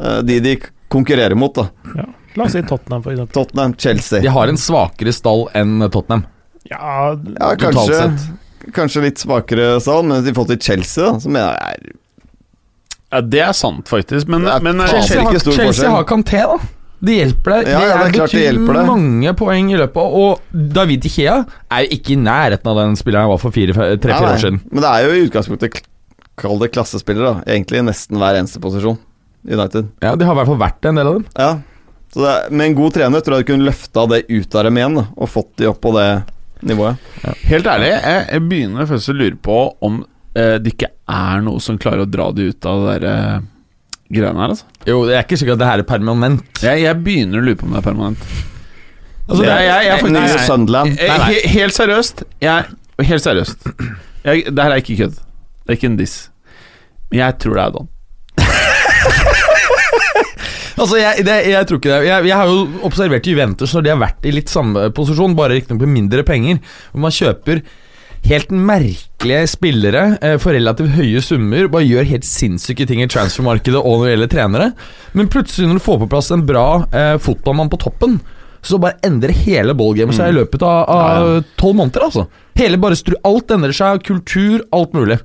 Speaker 3: eh, de de konkurrerer mot. da
Speaker 5: Ja. La oss si Tottenham, for eksempel.
Speaker 3: Tottenham, Chelsea.
Speaker 2: De har en svakere stall enn Tottenham.
Speaker 5: Ja,
Speaker 3: Ja,
Speaker 2: Totalt
Speaker 3: kanskje,
Speaker 2: sett.
Speaker 3: kanskje litt svakere stall, men i forhold til Chelsea, da, som jeg er
Speaker 4: Ja, det er sant, faktisk. Men,
Speaker 3: Det er
Speaker 4: men eh,
Speaker 3: faen.
Speaker 2: Chelsea
Speaker 3: ikke
Speaker 2: har,
Speaker 3: stor
Speaker 2: Chelsea
Speaker 3: forskjell.
Speaker 2: har Kanté, da. Det hjelper deg.
Speaker 3: Ja, ja, det er klart det hjelper deg.
Speaker 2: mange poeng i løpet av Og David Ikea er jo ikke i nærheten av den spilleren han var for
Speaker 3: Nei,
Speaker 2: tre-fire
Speaker 3: nei.
Speaker 2: år siden.
Speaker 3: Men det er jo i utgangspunktet kl- Kall det klassespillere, da. Egentlig i nesten hver eneste posisjon. United.
Speaker 2: Ja, De har i hvert fall vært en del av dem.
Speaker 3: Ja. Så det er, med en god trener tror jeg du kunne løfta det ut av dem igjen, da, og fått de opp på det nivået.
Speaker 4: Helt ærlig, jeg, jeg begynner faktisk å lure på om eh, det ikke er noe som klarer å dra de ut av det der eh, greiene her, altså.
Speaker 2: Jo, Det er ikke sikkert at det her er permanent.
Speaker 4: Jeg, jeg begynner å lure på om det er permanent.
Speaker 2: Altså, det er, jeg, jeg, er sånn-
Speaker 3: Nye
Speaker 2: faktisk-
Speaker 3: Sunderland.
Speaker 4: Eh, he- Helt seriøst, jeg, helt seriøst. Jeg, det her er ikke kødd. Det er ikke en diss. Men jeg tror det er Don.
Speaker 2: Altså, jeg, det, jeg tror ikke det. Jeg, jeg har jo observert Juventus når de har vært i litt samme posisjon, bare riktignok med mindre penger. Hvor man kjøper helt merkelige spillere eh, for relativt høye summer. Bare gjør helt sinnssyke ting i transfermarkedet og når det gjelder trenere. Men plutselig, når du får på plass en bra eh, fotballmann på toppen, så bare endrer hele ballgamet seg i løpet av av tolv måneder, altså. Hele bare stru, alt endrer seg. Kultur, alt mulig.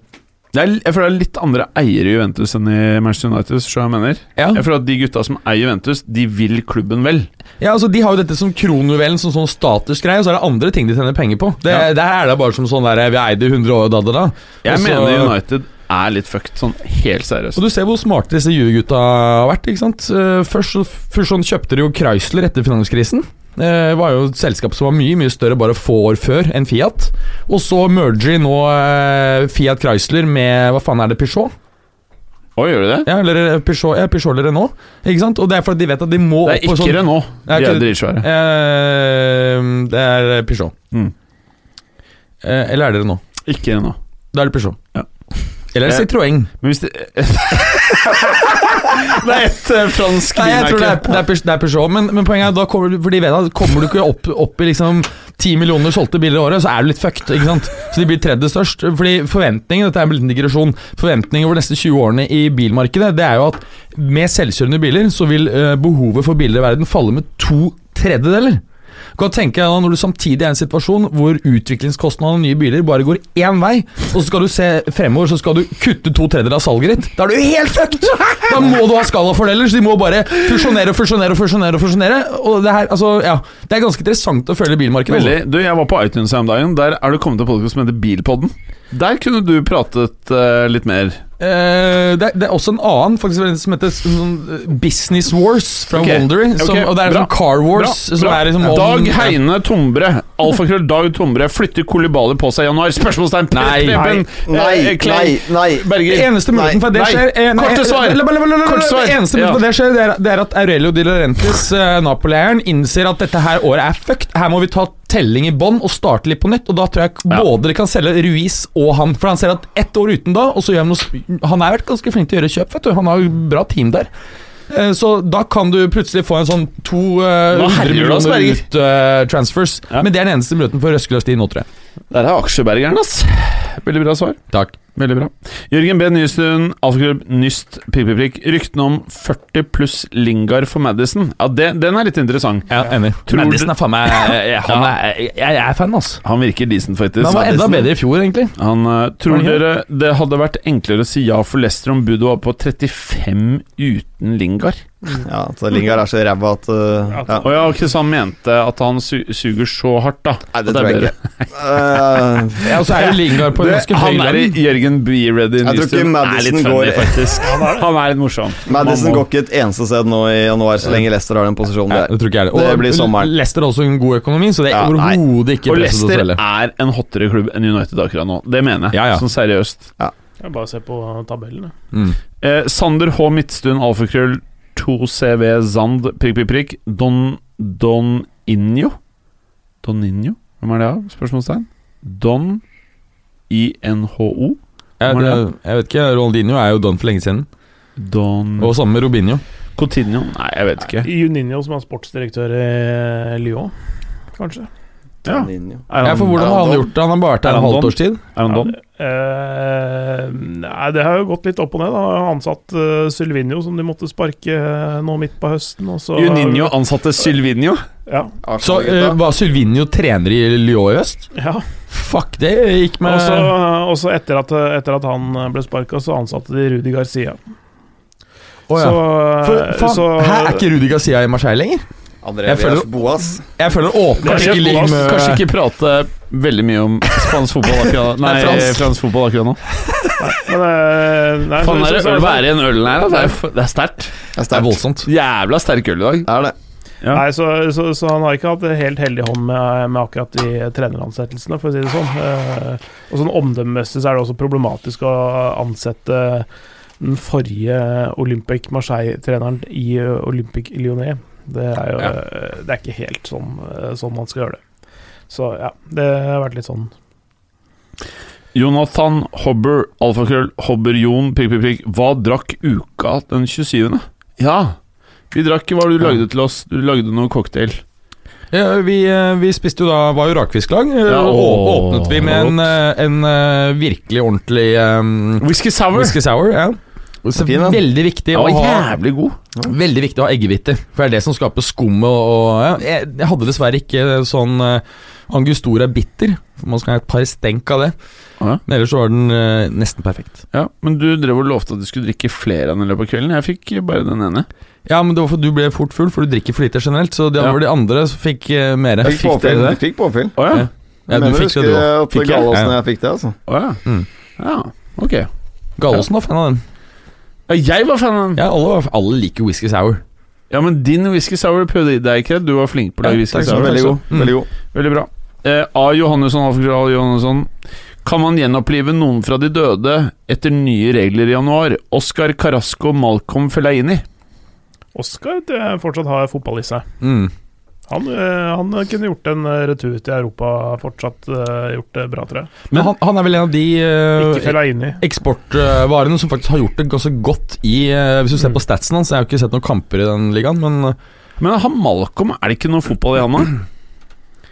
Speaker 4: Det er, jeg føler det er litt andre eiere i Juventus enn i Manchester United. Så jeg mener
Speaker 2: Ja.
Speaker 4: Jeg føler at De gutta som eier Juventus, de vil klubben vel.
Speaker 2: Ja, altså De har jo dette som kronjuvelen, som sånn statusgreie, og så er det andre ting de tjener penger på. Det,
Speaker 4: Ja.
Speaker 2: Der er det bare som sånn der Vi eide 100 år, da, da, da.
Speaker 4: Jeg
Speaker 2: Og så-
Speaker 4: mener United er litt fucked, sånn helt seriøst.
Speaker 2: Og du ser hvor smarte disse Juve-gutta har vært. ikke sant? Eh, Først, så- først sånn kjøpte de jo Chrysler etter finanskrisen. Det var jo et selskap som var mye mye større bare få år før enn Fiat. Og så merger de nå eh, Fiat Chrysler med Hva faen er det? Peugeot?
Speaker 4: Å, gjør du det?
Speaker 2: Ja, eller eh, Peugeot, ja, Peugeot eller Renault. Ikke sant? Og det er fordi de vet at de må
Speaker 4: Det er
Speaker 2: opp på
Speaker 4: ikke
Speaker 2: sånn
Speaker 4: Renault.
Speaker 2: Det er
Speaker 4: De
Speaker 2: ikke-
Speaker 4: er dritsvære.
Speaker 2: Eh, det er Peugeot.
Speaker 4: Mm.
Speaker 2: Eh, eller er det Renault?
Speaker 4: Ikke Renault.
Speaker 2: Da er det Peugeot.
Speaker 4: Ja.
Speaker 2: Eller
Speaker 4: Eh,
Speaker 2: Citroën.
Speaker 4: Men hvis det Det er et eh, fransk
Speaker 2: Nei, jeg tror det er,
Speaker 4: bilmerke.
Speaker 2: det er, Peugeot- det er Peugeot, men, men poenget er da kommer du, for de vet at kommer du ikke opp, opp i liksom 10 millioner solgte biler i året, så er du litt fucked. ikke sant? Så de blir tredje størst. Fordi forventningen, dette er en liten digresjon, forventningen over de neste 20 årene i bilmarkedet, det er jo at med selvkjørende biler så vil eh, behovet for biler i verden falle med to tredjedeler. Kan du tenke deg da Når du samtidig er i en situasjon hvor utviklingskostnadene av nye biler bare går én vei, og så skal du se fremover, så skal du kutte to tredjedeler av salget ditt. Da er du helt fucked! Da må du ha skalafordeler, så de må bare fusjonere og fusjonere og fusjonere. Og fusjonere Og det her, altså, ja Det er ganske interessant å følge bilmarkedet. altså.
Speaker 4: Veldig. Du, jeg var på iTunes her om dagen. Der er det kommet en podkast som heter Bilpodden. Der kunne du pratet eh, litt mer.
Speaker 2: Eh, det, er, det er også en annen faktisk som heter sånn Business Wars fra
Speaker 4: Ok.
Speaker 2: Wondery. Som,
Speaker 4: Ok,
Speaker 2: og det er
Speaker 4: bra.
Speaker 2: sånn Car Wars
Speaker 4: Bra,
Speaker 2: som
Speaker 4: bra.
Speaker 2: er liksom om-
Speaker 4: Dag Heine Tombre. Alfakrøll Dag Tombre. Flytter Kolibali på seg i januar? Spørsmålstegn. Pre-
Speaker 2: Nei.
Speaker 4: Preben, eh,
Speaker 3: Nei,
Speaker 4: eh, Clay,
Speaker 3: nei, nei.
Speaker 2: Det
Speaker 4: Berger.
Speaker 2: eneste muligheten for at det
Speaker 4: Nei.
Speaker 2: skjer eh, nei,
Speaker 4: Korte svar.
Speaker 2: eh, la- la- la- la- la-
Speaker 4: Korte svar.
Speaker 2: Det eneste muligheten for at det skjer, det er, det er at Aurelio Di Laurentiis, eh, Napoli-eieren, innser at dette her året er fucked. Her må vi ta telling i bånn og starte litt på nytt. Og da tror jeg
Speaker 4: Ja.
Speaker 2: både dere kan selge Ruiz og han. For han ser at ett år uten da, og så gjør han noe s- Han har vært ganske flink til å gjøre kjøp, vet du. Han har jo bra team der. Eh, Så da kan du plutselig få en sånn to eh,
Speaker 4: Nå
Speaker 2: 100
Speaker 4: herjer du oss,
Speaker 2: millioner
Speaker 4: Berger.
Speaker 2: ut eh, transfers.
Speaker 4: Ja.
Speaker 2: Men det er den eneste muligheten for Røskeløs tid nå, tror jeg.
Speaker 4: Der er aksjebergeren, ass. Veldig bra svar.
Speaker 2: Takk.
Speaker 4: Veldig bra. Jørgen B. Nystuen, alfaklubb Nyst, prikk, prikk, prikk. Ryktene om 40 pluss Lingard for Madison. Ja, det, den er litt interessant.
Speaker 2: Ja, enig.
Speaker 4: Tror
Speaker 2: Madison er faen meg eh, han er, jeg, jeg er fan, altså.
Speaker 4: Han virker decent, faktisk.
Speaker 2: Men han var enda bedre i fjor, egentlig.
Speaker 4: Han, eh, tror
Speaker 2: Var det
Speaker 4: dere det hadde vært enklere å si ja for Leicester om budet var på 35 uten Lingard?
Speaker 3: Ja, så Lingard er så ræva at uh, ja.
Speaker 4: Å ja, ok, så han mente at han su suger så hardt, da.
Speaker 3: Nei, det
Speaker 4: At
Speaker 3: tror jeg
Speaker 4: er
Speaker 3: ikke. Uh,
Speaker 2: Ja, og så er jo Lingard på en
Speaker 4: bedre.
Speaker 2: ganske
Speaker 4: Det,
Speaker 2: høy
Speaker 4: han er i
Speaker 2: lønn.
Speaker 4: Jørgen B. Ready
Speaker 3: Jeg tror ikke
Speaker 4: Nystuen er
Speaker 3: Madison
Speaker 4: litt funny,
Speaker 3: går-
Speaker 4: faktisk. Han er litt morsom.
Speaker 3: Madison går ikke et eneste sted nå i januar, så lenge Leicester har den posisjonen
Speaker 2: Det
Speaker 3: der.
Speaker 2: tror ikke jeg det.
Speaker 3: Det blir sommeren.
Speaker 2: Leicester har også en god økonomi, så det er
Speaker 3: Ja, nei.
Speaker 2: overhodet ikke
Speaker 4: Og
Speaker 2: presset å
Speaker 4: Leicester
Speaker 2: selge.
Speaker 4: er en hottere klubb enn United akkurat nå. Det mener jeg,
Speaker 2: Ja, ja.
Speaker 4: sånn seriøst.
Speaker 5: Jeg bare se på tabellen. jeg.
Speaker 2: Mm.
Speaker 4: Eh, Sander H. Midtstuen, alfakrøll, 2CV Zand, prikk, prikk, prikk. Don Don Injo? Don Injo? Hvem er det av? Spørsmålstegn. Don INHO?
Speaker 2: Ja,
Speaker 4: Hva er
Speaker 2: det,
Speaker 4: det?
Speaker 2: jeg vet ikke, Ronaldinho er jo done for lenge siden.
Speaker 4: Don
Speaker 2: Og sammen med Robinho.
Speaker 4: Coutinho? Nei, jeg vet ikke.
Speaker 5: Juninho, som er sportsdirektør i Lyon, kanskje.
Speaker 4: Ja.
Speaker 3: Linje.
Speaker 4: Er
Speaker 2: Ja,
Speaker 4: han,
Speaker 2: for Hvordan har han
Speaker 3: Don?
Speaker 2: gjort det? Han har bare vært
Speaker 4: Er
Speaker 2: der
Speaker 4: han
Speaker 2: et halvt
Speaker 4: Don?
Speaker 2: års tid.
Speaker 4: er han Don?
Speaker 5: Eh, nei, det har jo gått litt opp og ned. Da. Jeg har Ansatt eh, Sylvinio, som de måtte sparke eh, nå midt på høsten. og så-
Speaker 4: Juninho ansatte Sylvinio.
Speaker 5: Ja.
Speaker 2: Så eh,
Speaker 3: Arsenal-gutta.
Speaker 2: var Sylvinio trener i Lyon i øst?
Speaker 5: ja.
Speaker 2: Fuck, det gikk med
Speaker 5: Og så og så etter, at- etter at han eh, ble sparka, så ansatte de Rudi Garcia.
Speaker 2: Å, ja.
Speaker 5: Så, eh,
Speaker 2: for, faen,
Speaker 5: så
Speaker 2: her er ikke Rudi Garcia i Marseille lenger?
Speaker 3: André
Speaker 2: Jeg
Speaker 3: Villas
Speaker 2: føler-
Speaker 3: Boas.
Speaker 2: Jeg føler åpenbart
Speaker 5: Kanskje
Speaker 2: ikke ligger med
Speaker 4: Kanskje ikke prate veldig mye om spansk fotball akkurat Nei,
Speaker 2: Nei, fransk.
Speaker 4: fransk fotball akkurat nå.
Speaker 5: men, eh, nei,
Speaker 4: Faen,
Speaker 5: så-
Speaker 4: er det
Speaker 5: så- så-
Speaker 4: øl å være i den ølen her? da? Det er f- Det er sterkt.
Speaker 3: Det er
Speaker 2: Det er
Speaker 3: sterkt.
Speaker 2: voldsomt.
Speaker 4: Jævla sterk øl i dag.
Speaker 3: Det er det.
Speaker 5: Nei, så, så, så han har ikke hatt en helt heldig hånd med, med akkurat de treneransettelsene, for å si det sånn. Eh, og sånn omdømmemessig så er det også problematisk å ansette den forrige Olympic Marseille-treneren i eh, Olympic Lyonnais. Det er jo
Speaker 2: Ja.
Speaker 5: eh, Det er ikke helt sånn, eh, sånn man skal gjøre det. Så ja, det har vært litt sånn
Speaker 4: Jonathan Hobber, alfakrøll, Hobber Jon, prikk, prikk, prikk. Hva drakk uka den 27.? Ja, vi drakk hva du lagde til oss. Du lagde noe cocktail.
Speaker 2: Ja, vi, eh, vi spiste jo da var jo rakfisklag, eh,
Speaker 4: Ja,
Speaker 2: og
Speaker 4: åh,
Speaker 2: åpnet vi med en, eh, en eh, virkelig ordentlig um,
Speaker 4: Whisky sour.
Speaker 2: whisky sour. Ja. Så
Speaker 3: Fin, da.
Speaker 2: veldig, viktig
Speaker 4: Den
Speaker 2: å
Speaker 4: var
Speaker 2: ha,
Speaker 4: jævlig god.
Speaker 2: veldig viktig å ha eggehvite, for det er det som skaper skummet. Og, og, ja. jeg, jeg hadde dessverre ikke sånn eh, angustora bitter, for man skal ha et par stenk av det.
Speaker 4: Ja.
Speaker 2: Men ellers så var den eh, nesten perfekt.
Speaker 4: Ja, men du drev og lovte at du skulle drikke flere enn i løpet av kvelden. Jeg fikk bare den ene.
Speaker 2: Ja, men det var for du ble fort full, for du drikker for lite generelt. Så de,
Speaker 4: Ja.
Speaker 2: var de andre som fikk eh, mer.
Speaker 3: Fikk påfyll.
Speaker 2: dere
Speaker 3: Du fikk påfyll.
Speaker 4: Å ja.
Speaker 2: Ja, du
Speaker 3: Mener
Speaker 2: fikk det,
Speaker 3: husker eh,
Speaker 2: du òg.
Speaker 3: at
Speaker 2: Fikk jeg?
Speaker 3: Gallosen og
Speaker 2: Ja.
Speaker 3: jeg fikk det, altså.
Speaker 4: Å ja.
Speaker 2: Mm.
Speaker 4: ja. Ok.
Speaker 2: Gallosen var fan av den.
Speaker 4: Ja, jeg var fan av den.
Speaker 2: Ja, alle, var- alle liker whisky sour.
Speaker 4: Ja, men din whisky sour prøvde deg ikke. Du var flink på å
Speaker 2: Ja,
Speaker 4: lage whisky
Speaker 2: takk skal
Speaker 4: sour.
Speaker 2: du ha.
Speaker 3: Veldig
Speaker 2: så-
Speaker 3: god.
Speaker 2: Mm.
Speaker 3: Veldig god.
Speaker 4: Veldig bra. Eh, A. Johannesson, alfakrøll, A. Johannesson. Kan man gjenopplive noen fra de døde etter nye regler i januar? Oscar Carasco, Malcolm Fellaini.
Speaker 5: Oskar det fortsatt har eh, fotball i seg.
Speaker 2: Mm.
Speaker 5: Han, eh, han kunne gjort en eh, retur til Europa fortsatt eh, gjort det bra, tror jeg.
Speaker 2: Men han, han er vel en av de eh,
Speaker 5: Ikke fella inni.
Speaker 2: eksportvarene som faktisk har gjort det ganske godt i eh, Hvis du ser
Speaker 5: Mm.
Speaker 2: på statsen hans, jeg har jo ikke sett noen kamper i den ligaen, men eh,
Speaker 4: Men han Malcolm, er det ikke noe fotball i han, da?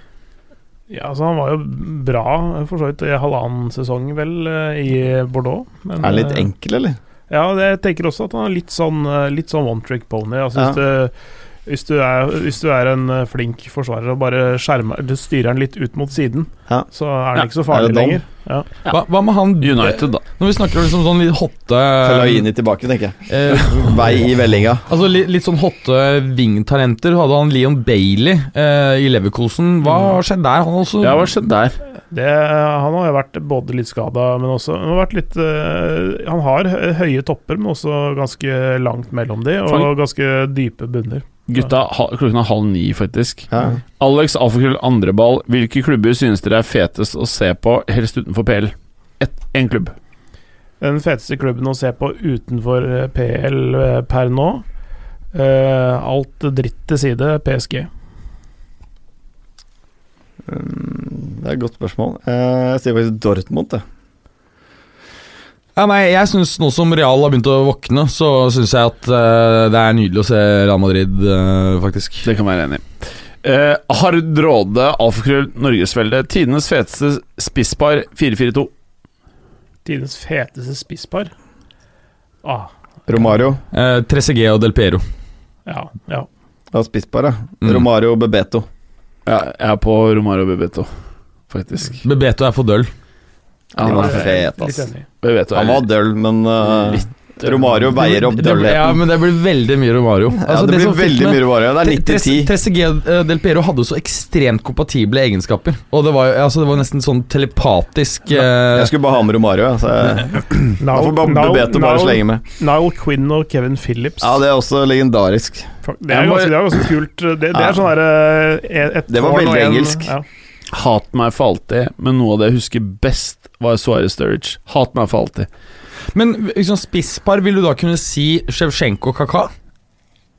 Speaker 5: Ja, altså, han var jo bra eh, for så vidt i halvannen sesong, vel, eh, i Bordeaux. Men,
Speaker 3: Er han litt
Speaker 5: eh,
Speaker 3: enkel, eller?
Speaker 5: Ja, det- jeg tenker også at han er litt sånn, eh, litt sånn one trick pony. Altså,
Speaker 3: Ja.
Speaker 5: hvis, du, hvis, du er, hvis du er en eh, flink forsvarer og bare skjermer, du styrer han litt ut mot siden,
Speaker 3: Ja.
Speaker 5: så er han
Speaker 4: Ja,
Speaker 5: ikke
Speaker 3: er
Speaker 5: så
Speaker 3: det
Speaker 5: farlig
Speaker 3: dom?
Speaker 5: lenger. Ja.
Speaker 2: hva, hva med han
Speaker 4: United, da.
Speaker 2: Når vi snakker om liksom sånn litt hotte
Speaker 3: Fellaini tilbake, tenker jeg.
Speaker 2: eh,
Speaker 3: Vei i vellinga.
Speaker 2: Altså litt, litt sånn hotte vingtalenter. Hadde han Leon Bailey eh, i Leverkosen. Hva har skjedd der? Han også
Speaker 4: Ja, hva skjedde der?
Speaker 5: Det, eh, han har jo vært både litt skada, men også Han har, vært litt, eh, han har hø- høye topper, men også ganske langt mellom de, og
Speaker 4: Fang-
Speaker 5: ganske dype bunner.
Speaker 4: Gutta, ha, klokken er halv ni, faktisk.
Speaker 3: Ja.
Speaker 4: Alex Alfakrøll Andreball, hvilke klubber synes dere er fetest å se på, helst utenfor PL? Ett, en klubb.
Speaker 5: Den feteste klubben å se på utenfor eh, PL eh, per nå eh, Alt dritt til side, PSG.
Speaker 3: Mm, Det er et godt spørsmål. Eh, Jeg sier faktisk Dortmund, jeg.
Speaker 2: Ja, nei, jeg synes Nå som Real har begynt å våkne, så syns jeg at eh, det er nydelig å se Real Madrid, eh, faktisk.
Speaker 4: Det kan være enig i. Eh, Hard Råde, Alfakrøll Norgesfelde, tidenes feteste spisspar 442.
Speaker 5: Tidens feteste spisspar. Ah,
Speaker 3: Romario.
Speaker 2: Eh, 3CG og Del Piero.
Speaker 5: ja, ja.
Speaker 3: Ja, spissbar, ja.
Speaker 2: Mm.
Speaker 3: Romario og Bebeto.
Speaker 4: Ja, jeg er på Romario Bebeto, faktisk.
Speaker 2: Bebeto er for døll.
Speaker 4: Ja,
Speaker 3: De
Speaker 4: han
Speaker 3: var
Speaker 4: er-
Speaker 3: fet,
Speaker 5: Litt
Speaker 3: ass.
Speaker 5: enig.
Speaker 4: Bebeto er
Speaker 3: Han var døll, men
Speaker 2: Mm.
Speaker 3: eh, Romario veier opp
Speaker 2: Det- det- Ja,
Speaker 3: døllheten.
Speaker 2: men det blir veldig mye Romario.
Speaker 3: Ja,
Speaker 2: Altså,
Speaker 3: det blir
Speaker 2: som fikk
Speaker 3: veldig
Speaker 2: med-
Speaker 3: mye Romario. Det er 90-10.
Speaker 2: 3CG og Del Piero hadde jo så ekstremt kompatible egenskaper. Og det var jo altså, det var nesten sånn telepatisk eh,
Speaker 3: Jeg skulle bare ha med Romario. ja, Så jeg, da får bare Bebeto bare slenge med.
Speaker 5: Niall Quinn og Kevin Phillips.
Speaker 3: Ja, Det er også legendarisk.
Speaker 5: Fuck, Det er ganske, det er ganske kult. Det, det
Speaker 3: Ja.
Speaker 5: er sånn derre et
Speaker 3: Det var
Speaker 5: tårn og
Speaker 3: veldig
Speaker 5: en-
Speaker 3: engelsk.
Speaker 5: Ja.
Speaker 4: Hat meg for alltid, men noe av det jeg husker best, var Suarez Sturridge. Hat meg for alltid.
Speaker 2: Men liksom, spisspar vil du da kunne si Sjevsjenko og Kaka?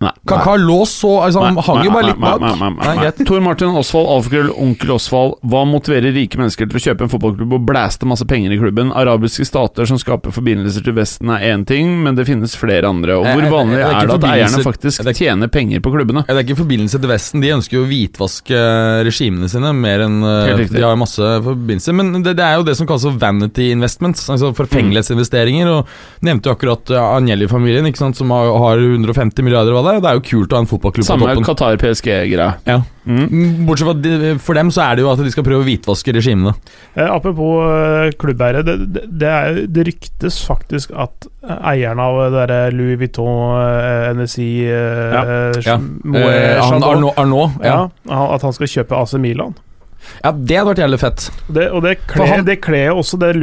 Speaker 4: Nei.
Speaker 2: Kaka lå så altså, Han
Speaker 4: Nei,
Speaker 2: hang jo
Speaker 4: nei,
Speaker 2: bare
Speaker 4: nei,
Speaker 2: litt
Speaker 4: nei,
Speaker 2: bak.
Speaker 4: nei, nei, nei,
Speaker 2: Nei,
Speaker 4: nei.
Speaker 2: greit.
Speaker 4: Tor Martin Osvald, alfakrøll, onkel Osvald. Hva motiverer rike mennesker til å kjøpe en fotballklubb og blæste masse penger i klubben? Arabiske stater som skaper forbindelser til Vesten er én ting, men det finnes flere andre. Og
Speaker 2: Nei,
Speaker 4: hvor
Speaker 2: nei,
Speaker 4: vanlig
Speaker 2: Eh, det er ikke
Speaker 4: er det at eierne
Speaker 2: forbindelser-
Speaker 4: faktisk
Speaker 2: det er ikke-
Speaker 4: tjener penger på klubbene?
Speaker 2: Ja, Det er ikke i forbindelse til Vesten. De ønsker jo å hvitvaske eh, regimene sine. mer enn eh,
Speaker 4: Helt riktig.
Speaker 2: De har jo masse forbindelser. Men det, det er jo det som kalles for vanity investments. altså Forfengelighetsinvesteringer. Og Nevnte jo akkurat eh, Agnelli-familien, ikke sant, som har, har 150 milliarder. og Hva det, er. det er jo kult å ha en fotballklubb
Speaker 4: Samme
Speaker 2: på toppen.
Speaker 4: Qatar-PSG-greia.
Speaker 2: Ja.
Speaker 4: Mm.
Speaker 2: Mm, Bortsett fra at de, for dem så er det jo at de skal prøve å hvitvaske regimene.
Speaker 5: Eh, apropos eh, klubbeiere. Det, det, det, er, det ryktes faktisk at eh, eierne av det derre Louis Vuitton, eh, NSI eh,
Speaker 4: Ja.
Speaker 5: eh,
Speaker 2: Ja.
Speaker 5: Moët
Speaker 2: Eh, han
Speaker 5: Chandon,
Speaker 2: Arnaud, Arnaud ja.
Speaker 5: ja. han- At han skal kjøpe AC Milan.
Speaker 2: ja, det hadde vært jævlig fett.
Speaker 5: Det, og det
Speaker 2: For han-
Speaker 5: kler det kler jo også det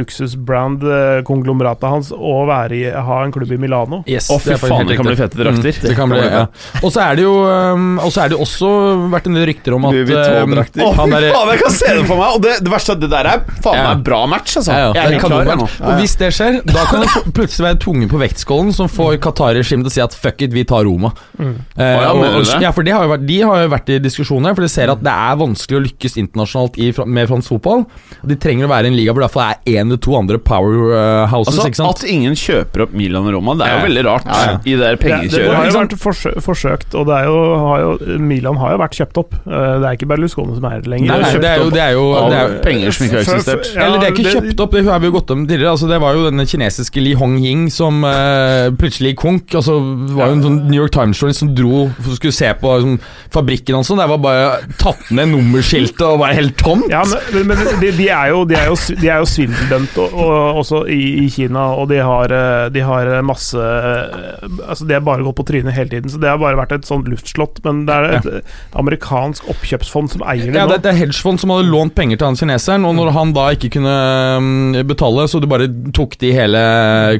Speaker 5: luksusbrand-konglomeratet hans å være i, ha en klubb i Milano.
Speaker 2: Yes,
Speaker 4: Å, fy faen, det kan bli fete drakter.
Speaker 2: det kan bli, ja. Og så er det jo um, Og så er det jo også vært en del rykter om at
Speaker 3: Louis
Speaker 2: um,
Speaker 3: Vuitton-drakter.
Speaker 2: han
Speaker 4: Fy
Speaker 2: derre-
Speaker 4: faen, jeg kan se det for meg! Og det, det verste er at det der er faen
Speaker 2: Ja.
Speaker 4: meg bra match, altså.
Speaker 2: Ja, ja.
Speaker 4: Jeg
Speaker 2: Det
Speaker 4: er helt
Speaker 2: kan
Speaker 4: klar
Speaker 2: være.
Speaker 4: jeg, nå.
Speaker 2: Og hvis det skjer, da kan det pl- plutselig være tunge på vektskålen som får Qatar-regimet til å si at fuck it, vi tar Roma. Eh,
Speaker 4: Å, ja,
Speaker 2: og,
Speaker 4: mener du
Speaker 2: og,
Speaker 4: det?
Speaker 2: ja, for de har, jo vært, de har jo vært i diskusjoner, for de ser at det er vanskelig å lykkes internasjonalt i, fra- med fransk fotball. Og De trenger å være i en liga hvor det i hvert fall er én eller to andre powerhouses.
Speaker 4: Altså,
Speaker 2: ikke sant?
Speaker 4: at ingen kjøper opp Milan og Roma, det er jo
Speaker 2: Ja.
Speaker 4: veldig rart
Speaker 3: Ja, ja.
Speaker 4: i det der
Speaker 5: Det, det har
Speaker 4: pengekjøret.
Speaker 5: jo
Speaker 4: ikke sant?
Speaker 5: vært forsø forsøkt, og det er jo, har jo, Milan har jo vært kjøpt opp. Eh, Det er ikke Berlusconi som er det lenger.
Speaker 2: Nei, nei, det er jo, det er jo,
Speaker 4: Av
Speaker 2: det er jo
Speaker 4: penger som ikke har
Speaker 5: Før-
Speaker 4: eksistert.
Speaker 5: før- ja,
Speaker 2: Eller det er ikke kjøpt opp, det har vi jo gått om tidligere. Altså, det var jo denne kinesiske Li Hong-ying som eh, plutselig gikk konk. Altså, det var jo en sånn New York Times-journalist som dro for skulle se på liksom, fabrikken hans, og der var bare tatt ned nummerskiltet og bare helt tomt.
Speaker 5: Ja, men, men de, de er jo, de er jo, sv- de er jo svindeldømt og, og, også i, i Kina, og de har, eh, de har masse eh, Altså, de har bare gått på trynet hele tiden, så det har bare vært et sånt luftslott. Men det er et eh, amerikansk oppkjøpsfond som eier det
Speaker 2: Ja, det
Speaker 5: nå.
Speaker 2: det er et hedgefond som hadde lånt penger til han kineseren, og når han da ikke kunne mm, betale, så de bare tok de hele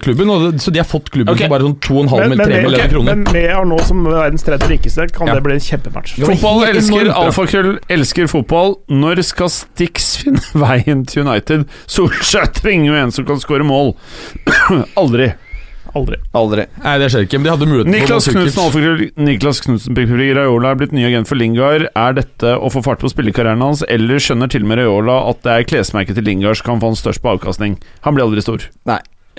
Speaker 2: klubben. Og det, så de har fått klubben
Speaker 4: Ok.
Speaker 2: for bare sånn 2,5
Speaker 5: Men, men,
Speaker 2: eller 3
Speaker 5: med,
Speaker 2: milliarder
Speaker 5: okay,
Speaker 2: kroner.
Speaker 5: men med Arnault som verdens tredje rikeste, kan
Speaker 2: Ja.
Speaker 5: det bli en kjempematch.
Speaker 2: Ja.
Speaker 4: Fotball
Speaker 2: Helt
Speaker 4: elsker
Speaker 2: enormt bra.
Speaker 4: alfakrøll, elsker fotball. Når skal Stix finne veien til United? Solskjær trenger jo en som kan skåre mål. Aldri.
Speaker 5: Aldri.
Speaker 3: Aldri.
Speaker 2: Nei, det skjer ikke, men de hadde muligheten
Speaker 4: Niklas
Speaker 2: på
Speaker 4: Knutsen Alfakrøll- Niklas Knutsen Pikfri Raiola er blitt ny agent for Lingard. Er dette å få fart på spillekarrieren hans, eller skjønner til og med Raiola at det er klesmerket til Lingard som kan få han størst på avkastning? Han blir aldri stor.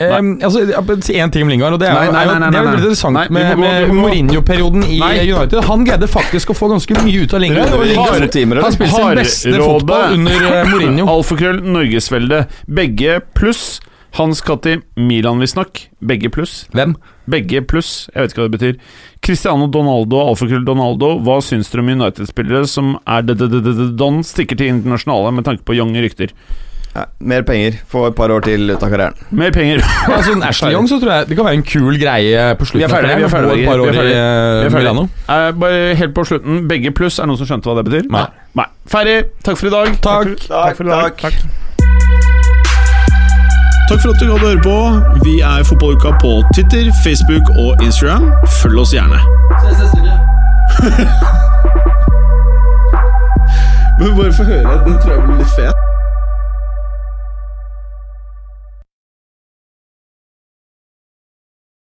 Speaker 2: Um, altså, ja, bare si én ting om Lingard, og det er
Speaker 4: Nei,
Speaker 2: jo-
Speaker 4: nei,
Speaker 2: er jo-
Speaker 4: nei, nei,
Speaker 2: det er jo
Speaker 4: nei.
Speaker 2: veldig interessant
Speaker 4: Nei, vi må
Speaker 2: med,
Speaker 4: gå- vi
Speaker 2: med
Speaker 4: må-
Speaker 2: Mourinho-perioden i
Speaker 4: Nei.
Speaker 2: United. Han greide faktisk å få ganske mye ut av Lingard. Og
Speaker 3: To
Speaker 2: Lingard
Speaker 3: timer,
Speaker 2: han
Speaker 3: eller?
Speaker 2: spilte sin beste
Speaker 4: Hardråde.
Speaker 2: fotball under eh, Mourinho.
Speaker 4: Alfakrøll, Norgesvelde. Begge pluss. Hans Katti Milan, visstnok. Begge pluss.
Speaker 2: Hvem?
Speaker 4: Begge pluss. Jeg vet ikke hva det betyr. Cristiano Donaldo og Alfakrøll Donaldo. Hva syns dere om United-spillere som er d-d-d-don, stikker til internasjonale med tanke på younge rykter?
Speaker 3: Ja, mer penger. Få et par år til ut av karrieren.
Speaker 4: Mer penger.
Speaker 2: Altså, en Ashley Young så tror jeg det kan være en kul greie på
Speaker 4: Vi er
Speaker 2: slutten.
Speaker 4: ferdige, vi er
Speaker 2: ferdige,
Speaker 4: ferdige,
Speaker 2: Et par
Speaker 4: vi er
Speaker 2: år i
Speaker 4: Vi er
Speaker 2: eh,
Speaker 4: ferdig.
Speaker 2: Milano.
Speaker 4: Eh, bare helt på slutten. Begge pluss. Er det noen som skjønte hva det betyr?
Speaker 2: Nei.
Speaker 4: Nei. Ferdig. Takk for i dag.
Speaker 2: Takk.
Speaker 5: Takk for i dag. Takk.
Speaker 1: Takk for at du gadd å høre på. Vi er Fotballuka på Twitter, Facebook og Instagram. Følg oss gjerne. Men bare få høre. Den tror jeg blir litt fet.